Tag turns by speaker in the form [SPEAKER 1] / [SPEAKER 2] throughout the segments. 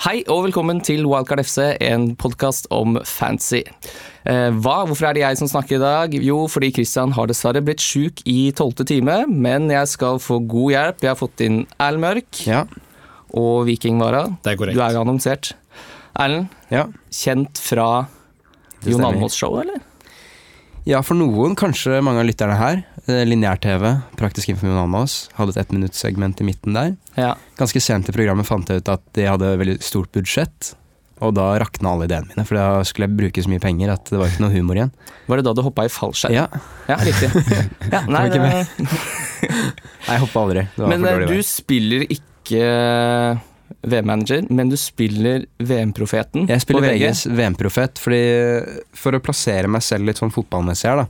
[SPEAKER 1] Hei og velkommen til Wildcard FC, en podkast om fancy. Eh, hva? Hvorfor er det jeg som snakker i dag? Jo, fordi Christian har dessverre blitt sjuk i tolvte time, men jeg skal få god hjelp. Jeg har fått inn Erlend Mørk
[SPEAKER 2] Ja,
[SPEAKER 1] og Vikingvara.
[SPEAKER 3] Det er korrekt.
[SPEAKER 1] Du er jo annonsert. Erlend,
[SPEAKER 2] ja.
[SPEAKER 1] kjent fra
[SPEAKER 2] Det
[SPEAKER 1] Jon
[SPEAKER 2] stemmer.
[SPEAKER 1] Almaas-show, eller?
[SPEAKER 2] ja, for noen, kanskje mange av lytterne her. eh, Lineær-TV, praktisk informasjon om oss, hadde et ettminuttssegment i midten der.
[SPEAKER 1] Ja.
[SPEAKER 2] Ganske sent i programmet fant jeg ut at de hadde veldig stort budsjett, og da rakna alle ideene mine, for da skulle jeg bruke så mye penger at det var ikke noe humor igjen.
[SPEAKER 1] Var det da du hoppa i fallskjerm?
[SPEAKER 2] Ja,
[SPEAKER 1] Ja, riktig. Ja, nei,
[SPEAKER 2] ikke med.
[SPEAKER 1] det-
[SPEAKER 2] Nei, jeg hoppa aldri. Det var
[SPEAKER 1] men
[SPEAKER 2] for
[SPEAKER 1] eh,
[SPEAKER 2] dårlig
[SPEAKER 1] du
[SPEAKER 2] vei.
[SPEAKER 1] spiller ikke VM-manager, men du spiller VM-profeten
[SPEAKER 2] Jeg
[SPEAKER 1] på
[SPEAKER 2] spiller
[SPEAKER 1] VG.
[SPEAKER 2] VGs VM-profet, fordi eh, for å plassere meg selv litt sånn fotballmessig her, da,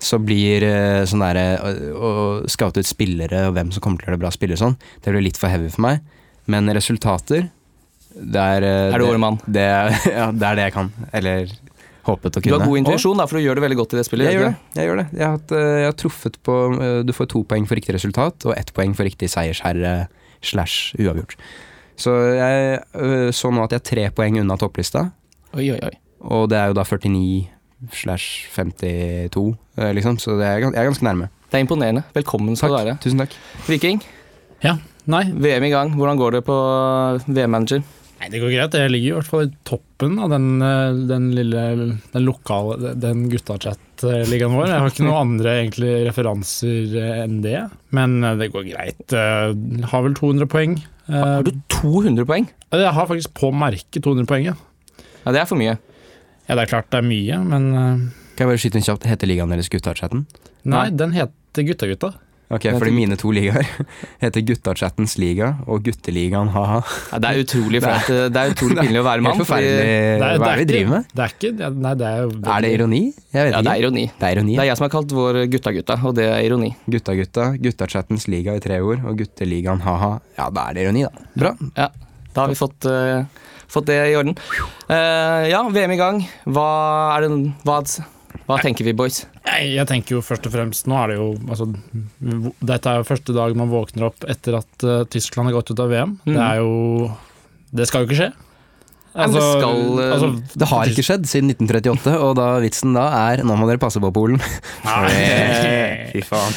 [SPEAKER 2] så blir eh, sånn derre å- å scoute ut spillere og hvem som kommer til å gjøre det bra spillere og sånn, det blir litt for heavy for meg. Men resultater, det er eh,
[SPEAKER 1] Er du vår mann?
[SPEAKER 2] Det, er- ja, det er det jeg kan. Eller håpet å
[SPEAKER 1] Du
[SPEAKER 2] kunne.
[SPEAKER 1] har god intuisjon, da, for du gjør det veldig godt i det
[SPEAKER 2] Og
[SPEAKER 1] spillet.
[SPEAKER 2] jeg
[SPEAKER 1] gjør
[SPEAKER 2] gjør
[SPEAKER 1] du
[SPEAKER 2] det. Jeg, gjør det. Jeg, har hatt, eh, jeg har truffet på eh, Du får to poeng for riktig resultat og ett poeng for riktig seiersherre slash uavgjort. Så jeg eh, så nå at jeg er tre poeng unna topplista.
[SPEAKER 1] ikke? Oi, oi, oi.
[SPEAKER 2] Og det er jo da 49 slash 52, eh, liksom. Så det er, gans- jeg er ganske nærme.
[SPEAKER 1] Det er imponerende. Velkommen skal du være.
[SPEAKER 2] Tusen takk.
[SPEAKER 1] Viking,
[SPEAKER 3] Ja, nei.
[SPEAKER 1] VM i gang. Hvordan går det på eh, VM-manager?
[SPEAKER 3] nei, det går greit. Jeg ligger i hvert fall i toppen av den, eh, den lille den lokale den guttachat-ligaen vår. Jeg har ikke noen andre egentlig referanser eh, enn det, men eh, det går greit. Eh, Har vel 200 poeng. Eh,
[SPEAKER 1] Har du 200 poeng?
[SPEAKER 3] Jeg har faktisk på merket 200 poeng, ja.
[SPEAKER 1] Ja, det er for mye.
[SPEAKER 3] Ja, det er klart det er mye, men eh,
[SPEAKER 2] Kan jeg bare skyte inn kjapt? Heter ligaen deres Guttachatten?
[SPEAKER 3] nei,
[SPEAKER 1] Nei.
[SPEAKER 3] den heter Gutta-gutta.
[SPEAKER 2] Ok,
[SPEAKER 1] Jeg
[SPEAKER 2] fordi
[SPEAKER 1] tror-
[SPEAKER 2] mine to ligaer heter Guttachattens liga og Gutteligaen, ha-ha.
[SPEAKER 1] Ja, det er utrolig flaut. Det er utrolig pinlig å være mann.
[SPEAKER 2] Helt
[SPEAKER 1] fordi-
[SPEAKER 2] forferdelig. Eh, Hva er det vi driver med?
[SPEAKER 3] Det er ikke det er- Nei, det er jo
[SPEAKER 2] Er det ironi? Jeg vet
[SPEAKER 1] Ja, det er
[SPEAKER 2] ikke.
[SPEAKER 1] ironi.
[SPEAKER 2] Det er ironi.
[SPEAKER 1] Det er jeg som har kalt vår gutta-gutta, og det er ironi.
[SPEAKER 2] Gutta-gutta, Guttachattens liga i tre ord og Gutteligaen, ha-ha. Ja, da er det ironi, da. Bra.
[SPEAKER 1] Da har vi fått, eh, fått det i orden. Eh, ja, VM i gang. Hva er det Hva, hva tenker vi, boys?
[SPEAKER 3] Nei, jeg tenker jo først og fremst Nå er det jo altså, v- Dette er jo første dag man våkner opp etter at eh, Tyskland har gått ut av VM.
[SPEAKER 1] Mhm.
[SPEAKER 3] Det er jo Det skal jo ikke skje. Altså,
[SPEAKER 1] Nei, men det skal, eh,
[SPEAKER 2] Det har ikke skjedd siden 1938, og da vitsen da er nå må dere passe på Polen.
[SPEAKER 3] Nei.
[SPEAKER 2] Fy faen.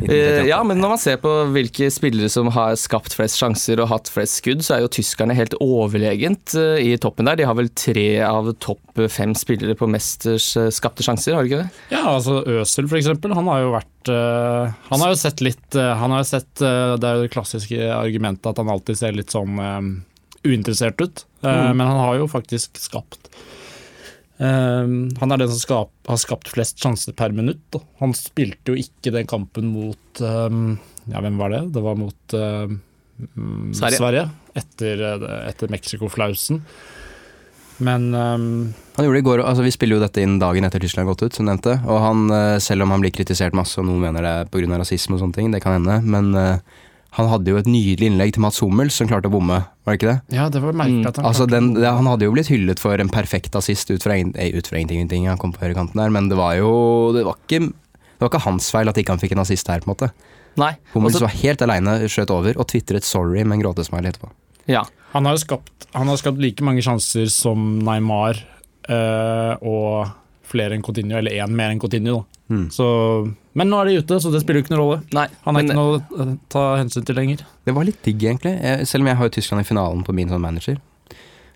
[SPEAKER 1] Eh, ja, men når man ser på hvilke spillere som har skapt flest sjanser og hatt flest skudd, så er jo tyskerne helt overlegent eh, i toppen der. De har vel tre av topp fem spillere på mesters eh, skapte sjanser, har de ikke det?
[SPEAKER 3] Ja, altså Øsel for eksempel, han har jo vært eh, Han har jo sett litt eh, Han har jo sett eh, Det er jo det klassiske argumentet at han alltid ser litt sånn eh, uinteressert ut, Eh,
[SPEAKER 1] Mm.
[SPEAKER 3] men han har jo faktisk skapt eh, Han er den som skap, har skapt flest sjanser per minutt. Da. Han spilte jo ikke den kampen mot eh, Ja, hvem var det? Det var mot eh, mm,
[SPEAKER 1] Sverige.
[SPEAKER 3] Sverige etter, eh, etter Mexico-flausen. Men eh,
[SPEAKER 2] Han gjorde det i går, altså Vi spiller jo dette inn dagen etter Tyskland har gått ut, som nevnte. Og han, eh, selv om han blir kritisert masse, og noen mener det er pga. rasisme og sånne ting, det kan hende, men eh, han hadde jo et nydelig innlegg til Mats Hummel som klarte å bomme, var det ikke det?
[SPEAKER 3] ja, det var merkelig
[SPEAKER 1] Mm,
[SPEAKER 3] at han
[SPEAKER 2] Altså
[SPEAKER 3] klarte-
[SPEAKER 2] den, det- Han hadde jo blitt hyllet for en perfekt assist ut fra, ingen- eh, ut fra ingenting, ingenting, han kom på høyrekanten der, men det var jo det var, ikke, det var ikke hans feil at ikke han fikk en assist her, på en måte.
[SPEAKER 1] Nei.
[SPEAKER 2] Hummels
[SPEAKER 1] Også-
[SPEAKER 2] var helt aleine, skjøt over, og tvitret 'sorry' med en gråtesmile etterpå.
[SPEAKER 1] ja.
[SPEAKER 3] Han har jo skapt, han har skapt like mange sjanser som Neymar eh, og flere enn Coutinho, eller én mer enn Coutinho. Da. Så, men nå er de ute, så det spiller jo ikke noen rolle.
[SPEAKER 1] Nei.
[SPEAKER 3] Han er
[SPEAKER 1] men-
[SPEAKER 3] ikke noe å eh, ta hensyn til lenger.
[SPEAKER 2] Det var litt digg, egentlig. Jeg, selv om jeg har jo Tyskland i finalen på min sånn manager.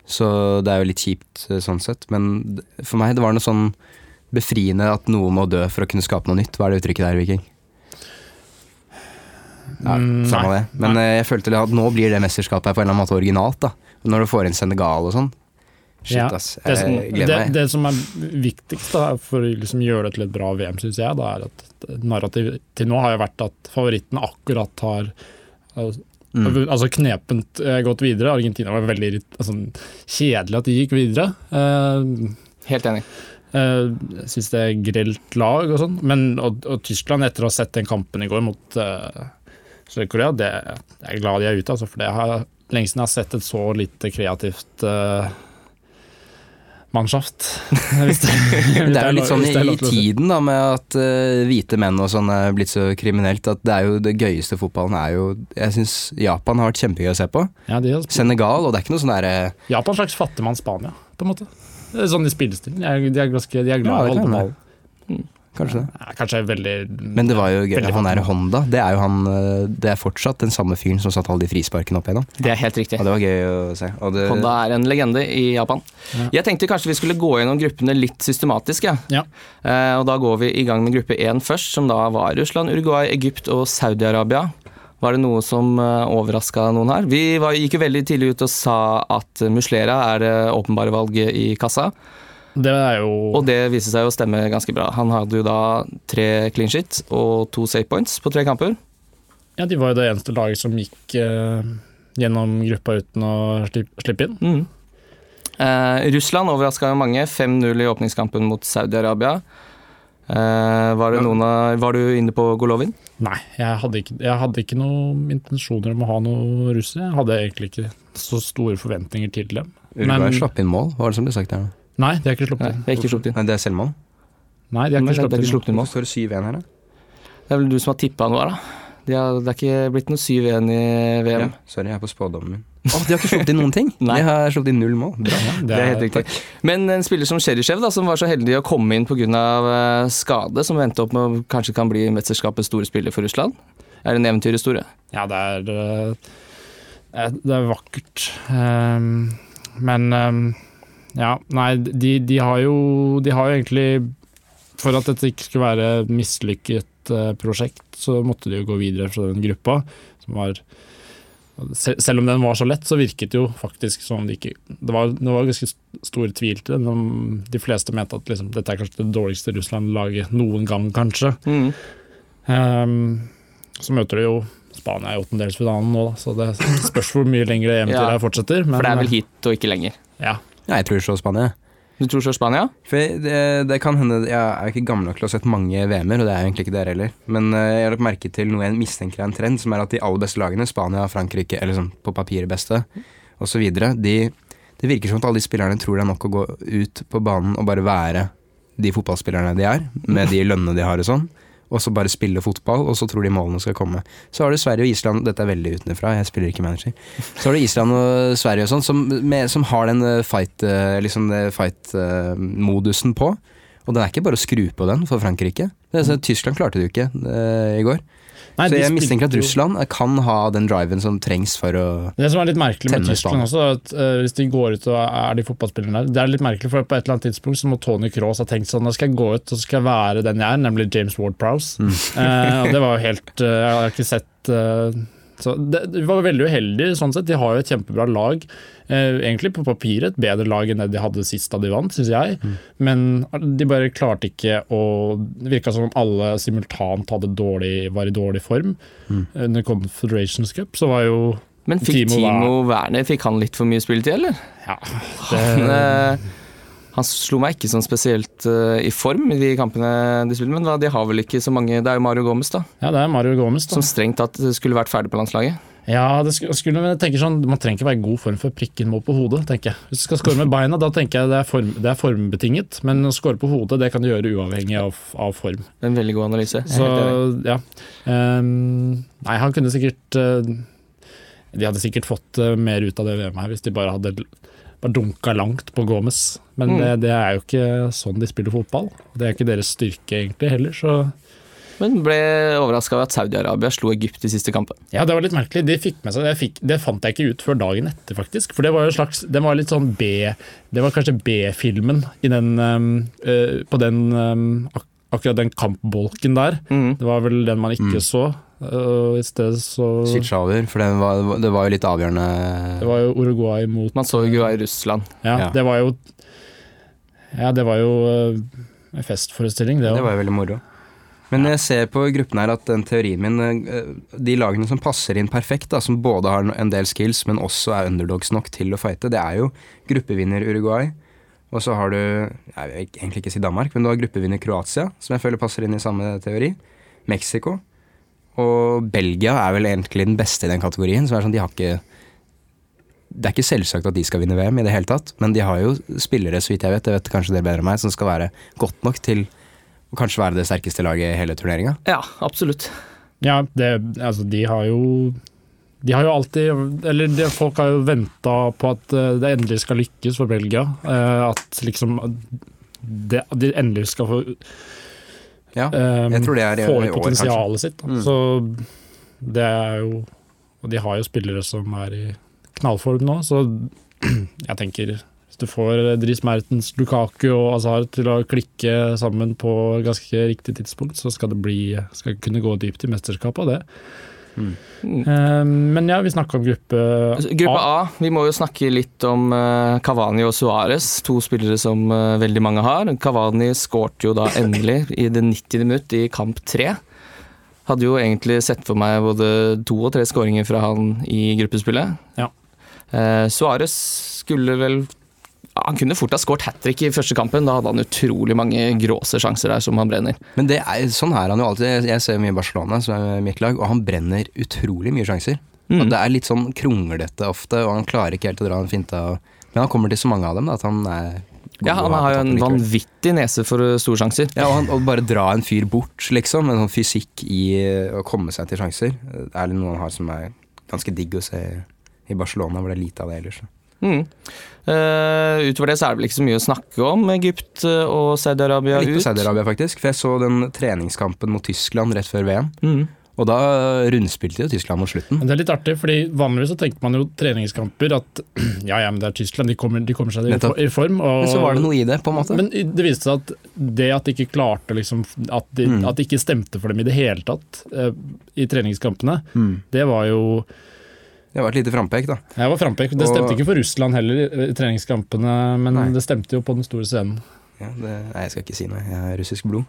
[SPEAKER 2] Så det er jo litt kjipt eh, sånn sett. Men d- for meg det var noe sånn befriende at noe må dø for å kunne skape noe nytt. Hva er det uttrykket der, Viking? Ja,
[SPEAKER 3] Mm,
[SPEAKER 2] samme
[SPEAKER 3] nei.
[SPEAKER 2] det. Men eh, jeg følte at nå blir det mesterskapet her på en eller annen måte originalt. da. Når du får inn Senegal og sånn. Shit,
[SPEAKER 3] Ja,
[SPEAKER 2] ass.
[SPEAKER 3] Det som,
[SPEAKER 2] Jeg
[SPEAKER 3] det,
[SPEAKER 2] gleder meg.
[SPEAKER 3] det som er viktigst da, for å liksom gjøre det til et bra VM, syns jeg, da, er at narrativet til nå har jo vært at favoritten akkurat har eh,
[SPEAKER 2] Mm.
[SPEAKER 3] Altså knepent eh, gått videre. Argentina var veldig irrit- altså, kjedelig at de gikk videre. Eh,
[SPEAKER 1] Helt enig.
[SPEAKER 3] Eh, Jeg syns det er grelt lag og sånn. Men og, og Tyskland, etter å ha sett den kampen i går mot eh, Sør-Korea, det, jeg er glad de er ute, altså, for det er lenge siden jeg har sett et så lite kreativt eh, mannschaft. Hvis det, hvis
[SPEAKER 2] Det er jo
[SPEAKER 3] lov-
[SPEAKER 2] litt sånn
[SPEAKER 3] hvis
[SPEAKER 2] i,
[SPEAKER 3] det er lov
[SPEAKER 2] i
[SPEAKER 3] til å si.
[SPEAKER 2] tiden da med at eh, hvite menn og sånn er blitt så kriminelt, at det er jo det gøyeste fotballen er jo Jeg syns Japan har vært kjempegøy å se på.
[SPEAKER 3] Ja, de har
[SPEAKER 2] Senegal, og det er ikke noe sånn derre
[SPEAKER 3] Japan er en slags fattigmann Spania, på en måte. Det er Sånn i spillestilen. De er, de er, ganske, de er
[SPEAKER 2] Ja,
[SPEAKER 3] glad
[SPEAKER 2] det
[SPEAKER 3] i å holde
[SPEAKER 2] kan
[SPEAKER 3] på
[SPEAKER 2] være.
[SPEAKER 3] ballen.
[SPEAKER 2] Kanskje det.
[SPEAKER 3] Ja, Kanskje veldig
[SPEAKER 2] Men det var jo gøy.
[SPEAKER 3] Veldig
[SPEAKER 2] Han der
[SPEAKER 3] fattig.
[SPEAKER 2] Honda, det er jo han eh, Det er fortsatt den samme fyren som satte alle de frisparkene opp igjennom.
[SPEAKER 1] Det er helt riktig.
[SPEAKER 2] Og det var gøy å se. Og det,
[SPEAKER 1] Honda er en legende i Japan.
[SPEAKER 3] Ja.
[SPEAKER 1] Jeg tenkte kanskje vi skulle gå gjennom gruppene litt systematisk. Ja.
[SPEAKER 3] Ja.
[SPEAKER 1] Eh, og da går vi i gang med gruppe én først, som da var Russland, Uruguay, Egypt og Saudi-Arabia. Var det noe som eh, overraska noen her? Vi var, gikk jo veldig tidlig ut og sa at Muslera er det åpenbare valget i kassa,
[SPEAKER 3] Det er jo
[SPEAKER 1] og det viste seg å stemme ganske bra. Han hadde jo da tre clean shit og to safe points på tre kamper.
[SPEAKER 3] Ja, de var jo det eneste laget som gikk eh, gjennom gruppa uten å slippe, slippe inn.
[SPEAKER 1] Mm. Eh, Russland overraska jo mange. 5-0 i åpningskampen mot Saudi-Arabia. Eh, var, det noen av, var du inne på Golovin?
[SPEAKER 3] Nei, jeg hadde ikke, jeg hadde ikke noen intensjoner om å ha noe russere. Jeg hadde egentlig ikke så store forventninger til dem.
[SPEAKER 2] Uruguay
[SPEAKER 3] Men-
[SPEAKER 2] slapp inn mål, hva var det som ble sagt der nå?
[SPEAKER 3] Nei, de har ikke
[SPEAKER 1] Nei,
[SPEAKER 3] sluppet inn.
[SPEAKER 1] jeg har ikke sluppet inn.
[SPEAKER 2] Nei, det er selvmål?
[SPEAKER 3] Nei, de har
[SPEAKER 1] Nei,
[SPEAKER 3] ikke
[SPEAKER 1] det er
[SPEAKER 3] sluppet
[SPEAKER 1] ikke
[SPEAKER 3] inn.
[SPEAKER 1] sluppet inn mål.
[SPEAKER 2] Hvorfor står det 7-1 her, da?
[SPEAKER 1] Det er vel du som har tippa noe her, da. De har, det er ikke blitt noe 7-1 i VM.
[SPEAKER 2] Ja, sorry, jeg er på spådommen min. Å, de har ikke sluppet inn noen ting!
[SPEAKER 1] Nei.
[SPEAKER 2] De har sluppet inn null mål. Bra.
[SPEAKER 3] Ja,
[SPEAKER 1] Det er helt riktig. Men en spiller som Cheryshev, da, som var så heldig å komme inn pga. eh, skade, som endte opp med å kanskje kan bli mesterskapets store spiller for Russland, er en eventyrhistorie.
[SPEAKER 3] Ja, det er eh, Det er vakkert. Ehm, Men ehm, ja, nei, de, de har jo De har jo egentlig For at dette ikke skulle være et mislykket eh, prosjekt, så måtte de jo gå videre fra den gruppa som var se- selv om den var så lett, så virket det jo faktisk som om de ikke Det var, det var ganske stor tvil til den. om De fleste mente at liksom, dette er kanskje det dårligste Russland-laget noen gang, kanskje.
[SPEAKER 1] Mm.
[SPEAKER 3] Ehm, så møter de jo Spania i åttendelsfinalen nå, da, så det spørs hvor mye lenger det eventyret
[SPEAKER 1] Ja.
[SPEAKER 3] her fortsetter. Men, eh,
[SPEAKER 1] For det er vel hit og ikke lenger.
[SPEAKER 3] Ja.
[SPEAKER 2] Ja, jeg tror så Spania.
[SPEAKER 1] Du tror så Spania?
[SPEAKER 2] For jeg- det, det kan hende Jeg er jo ikke gammel nok til å ha sett mange VM-er, og det er jo egentlig ikke dere heller. Men eh, jeg har lagt merke til noe jeg mistenker er en trend, som er at de aller beste lagene, Spania, Frankrike, eller sånn på papiret beste, osv., de Det virker som at alle de spillerne tror det er nok å gå ut på banen og bare være de fotballspillerne de er, med de lønnene de har og sånn. Og så bare spille fotball, og så tror de målene skal komme. Så har du Sverige og Island Dette er veldig utenfra, jeg spiller ikke manager. Så har du Island og Sverige og sånn, som, med- som har den eh, fight, eh, liksom det fight eh, modusen på. Og det er ikke bare å skru på den for Frankrike. Det er, så, Tyskland klarte det jo ikke eh, i går.
[SPEAKER 3] Nei,
[SPEAKER 2] så
[SPEAKER 3] de
[SPEAKER 2] jeg
[SPEAKER 3] spilte
[SPEAKER 2] mistenker at
[SPEAKER 3] jo-
[SPEAKER 2] Russland eh, kan ha den driven som trengs for å
[SPEAKER 3] Det som er litt merkelig med
[SPEAKER 2] Tenner Spania.
[SPEAKER 3] Tyskland også, er at eh, hvis de går ut og er de fotballspillerne der Det er litt merkelig, for på et eller annet tidspunkt så må Tony Cross ha tenkt sånn Nå skal jeg gå ut og så skal jeg være den jeg er, nemlig James Ward-Prowse. Eh, og det var jo helt eh, Jeg har ikke sett eh, så det, De var veldig uheldige sånn sett. De har jo et kjempebra lag. Eh, egentlig på papiret et bedre lag enn det de hadde sist da de vant, syns jeg. Men de bare klarte ikke å Det virka som om alle simultant hadde dårlig, var i dårlig form. Under Confederations Cup så var jo
[SPEAKER 1] Men fikk
[SPEAKER 3] Timo
[SPEAKER 1] Timo,
[SPEAKER 3] Werner-
[SPEAKER 1] Werner fikk han litt for mye spilletid, eller?
[SPEAKER 3] Ja,
[SPEAKER 1] Han, eh, han slo meg ikke sånn spesielt eh, i form i de kampene de spilte, men hva, de har vel ikke så mange Det er jo Mario Gomez, da,
[SPEAKER 3] Ja, det er Mario Gomez, da.
[SPEAKER 1] som strengt tatt skulle vært ferdig på landslaget.
[SPEAKER 3] Ja, det skulle, skulle men jeg tenker sånn, Man trenger ikke være i god form for prikken må på hodet, tenker jeg. Hvis du skal score med beina, da tenker jeg det er, form, det er formbetinget. Men å score på hodet, det kan du gjøre uavhengig av, av form.
[SPEAKER 1] Det er En veldig god analyse. Jeg er
[SPEAKER 3] Så
[SPEAKER 1] helt enig.
[SPEAKER 3] ja. Ehm, nei, han kunne sikkert eh, De hadde sikkert fått eh, mer ut av det VM her hvis de bare hadde l- bare dunka langt på Gomez. Men
[SPEAKER 1] Mm.
[SPEAKER 3] det, det er jo ikke sånn de spiller fotball. Det er ikke deres styrke egentlig heller, så
[SPEAKER 1] Men ble overraska over at Saudi-Arabia slo Egypt i siste kampen.
[SPEAKER 3] Ja, det var litt merkelig. De fikk med seg, det, fikk, det fant jeg ikke ut før dagen etter, faktisk. For det var jo en slags Det var litt sånn B Det var kanskje B-filmen i den ehm, eh, På den ehm, ak Akkurat den kampbolken der.
[SPEAKER 1] Mhm.
[SPEAKER 3] Det var vel den man ikke
[SPEAKER 2] Mm.
[SPEAKER 3] så. Og I stedet så
[SPEAKER 2] switche over, for det var, det var jo litt avgjørende
[SPEAKER 3] Det var jo Uruguay mot
[SPEAKER 1] Man så Uruguay-Russland.
[SPEAKER 3] Ja,
[SPEAKER 2] Ja.
[SPEAKER 3] det var jo Ja, det var jo eh, en festforestilling, det
[SPEAKER 2] Det
[SPEAKER 3] òg.
[SPEAKER 2] var jo veldig moro. Men jeg ser på gruppen her at den teorien min eh, De lagene som passer inn perfekt, da, som både har en del skills, men også er underdogs nok til å fighte, det er jo gruppevinner Uruguay. Og så har du Jeg vil egentlig ikke si Danmark, men du har gruppevinner Kroatia, som jeg føler passer inn i samme teori. Mexico. Og Belgia er vel egentlig den beste i den kategorien. Så det er sånn, de har ikke det er ikke selvsagt at de skal vinne VM i det hele tatt, men de har jo spillere, så vidt jeg vet, det vet kanskje dere bedre enn meg, som skal være godt nok til å kanskje være det sterkeste laget i hele turneringa.
[SPEAKER 1] Ja, absolutt.
[SPEAKER 3] Ja, det, altså, de har jo De har jo alltid Eller det, folk har jo venta på at eh, det endelig skal lykkes for Belgia. eh, At liksom det, De endelig skal få
[SPEAKER 2] Ja,
[SPEAKER 3] eh,
[SPEAKER 2] jeg tror det er i,
[SPEAKER 3] få
[SPEAKER 2] i år,
[SPEAKER 3] ut
[SPEAKER 2] kanskje.
[SPEAKER 3] potensialet sitt. Da.
[SPEAKER 2] Mm.
[SPEAKER 3] Så det er jo Og de har jo spillere som er i knallform nå, så jeg tenker hvis du får Dris Mertens, Lukaku og Azar til å klikke sammen på ganske riktig tidspunkt, så skal det bli, skal det kunne gå dypt i mesterskapet av det.
[SPEAKER 1] Mm.
[SPEAKER 3] Eh, Men ja, vi snakka om gruppe
[SPEAKER 1] Altså,
[SPEAKER 2] Altså,
[SPEAKER 1] Gruppe A, vi må jo snakke litt om eh, Cavani og Suárez. To spillere som eh, veldig mange har. Cavani skårte jo da endelig i det 90. minutt i kamp tre. Hadde jo egentlig sett for meg både to og tre skåringer fra han i gruppespillet.
[SPEAKER 3] Ja.
[SPEAKER 1] Eh, Suárez skulle vel Han kunne fort ha skåret hat trick i første kampen. Da hadde han utrolig mange gråse sjanser der som han brenner.
[SPEAKER 2] Men det er, sånn er han jo alltid. Jeg- Jeg ser mye Barcelona, som er mitt lag, og han brenner utrolig mye sjanser.
[SPEAKER 1] Mm.
[SPEAKER 2] Og det er litt sånn kronglete ofte, og han klarer ikke helt å dra den finta. Men han kommer til så mange av dem da, at han er god
[SPEAKER 1] Ja,
[SPEAKER 2] å
[SPEAKER 1] han
[SPEAKER 2] ha på
[SPEAKER 1] har jo en
[SPEAKER 2] toppen likevel.
[SPEAKER 1] vanvittig nese for eh, store sjanser.
[SPEAKER 2] Ja, og, han, og bare dra en fyr bort, liksom. En sånn fysikk i å komme seg til sjanser. Det er noe han har som er ganske digg å se i Barcelona, hvor det er lite av det ellers.
[SPEAKER 1] Mm. Eh, utover det så er det vel ikke så mye å snakke om. Egypt eh, og Saudi-Arabia
[SPEAKER 2] Litt på
[SPEAKER 1] ut.
[SPEAKER 2] Saudi-Arabia, faktisk. For jeg så den treningskampen mot Tyskland rett før VM.
[SPEAKER 1] Mm.
[SPEAKER 2] Og da rundspilte jo Tyskland mot slutten.
[SPEAKER 3] Men det er litt artig, fordi vanligvis så tenker man jo treningskamper at ja, ja, men det er Tyskland, de kommer, de kommer seg i,
[SPEAKER 2] Nettopp.
[SPEAKER 3] i form. Og
[SPEAKER 2] Men så var det noe i det, på en måte.
[SPEAKER 3] Men det viste seg at det at de ikke klarte liksom, at, de,
[SPEAKER 2] Mm.
[SPEAKER 3] at det ikke stemte for dem i det hele tatt eh, i treningskampene,
[SPEAKER 2] Mm.
[SPEAKER 3] det var jo
[SPEAKER 2] Det var et lite frampek, da.
[SPEAKER 3] Jeg var frampek. Det
[SPEAKER 2] Og-
[SPEAKER 3] stemte ikke for Russland heller i- i treningskampene, men
[SPEAKER 2] Nei.
[SPEAKER 3] det stemte jo på den store scenen.
[SPEAKER 2] Ja, det, nei, jeg skal ikke si noe. Jeg har russisk blod.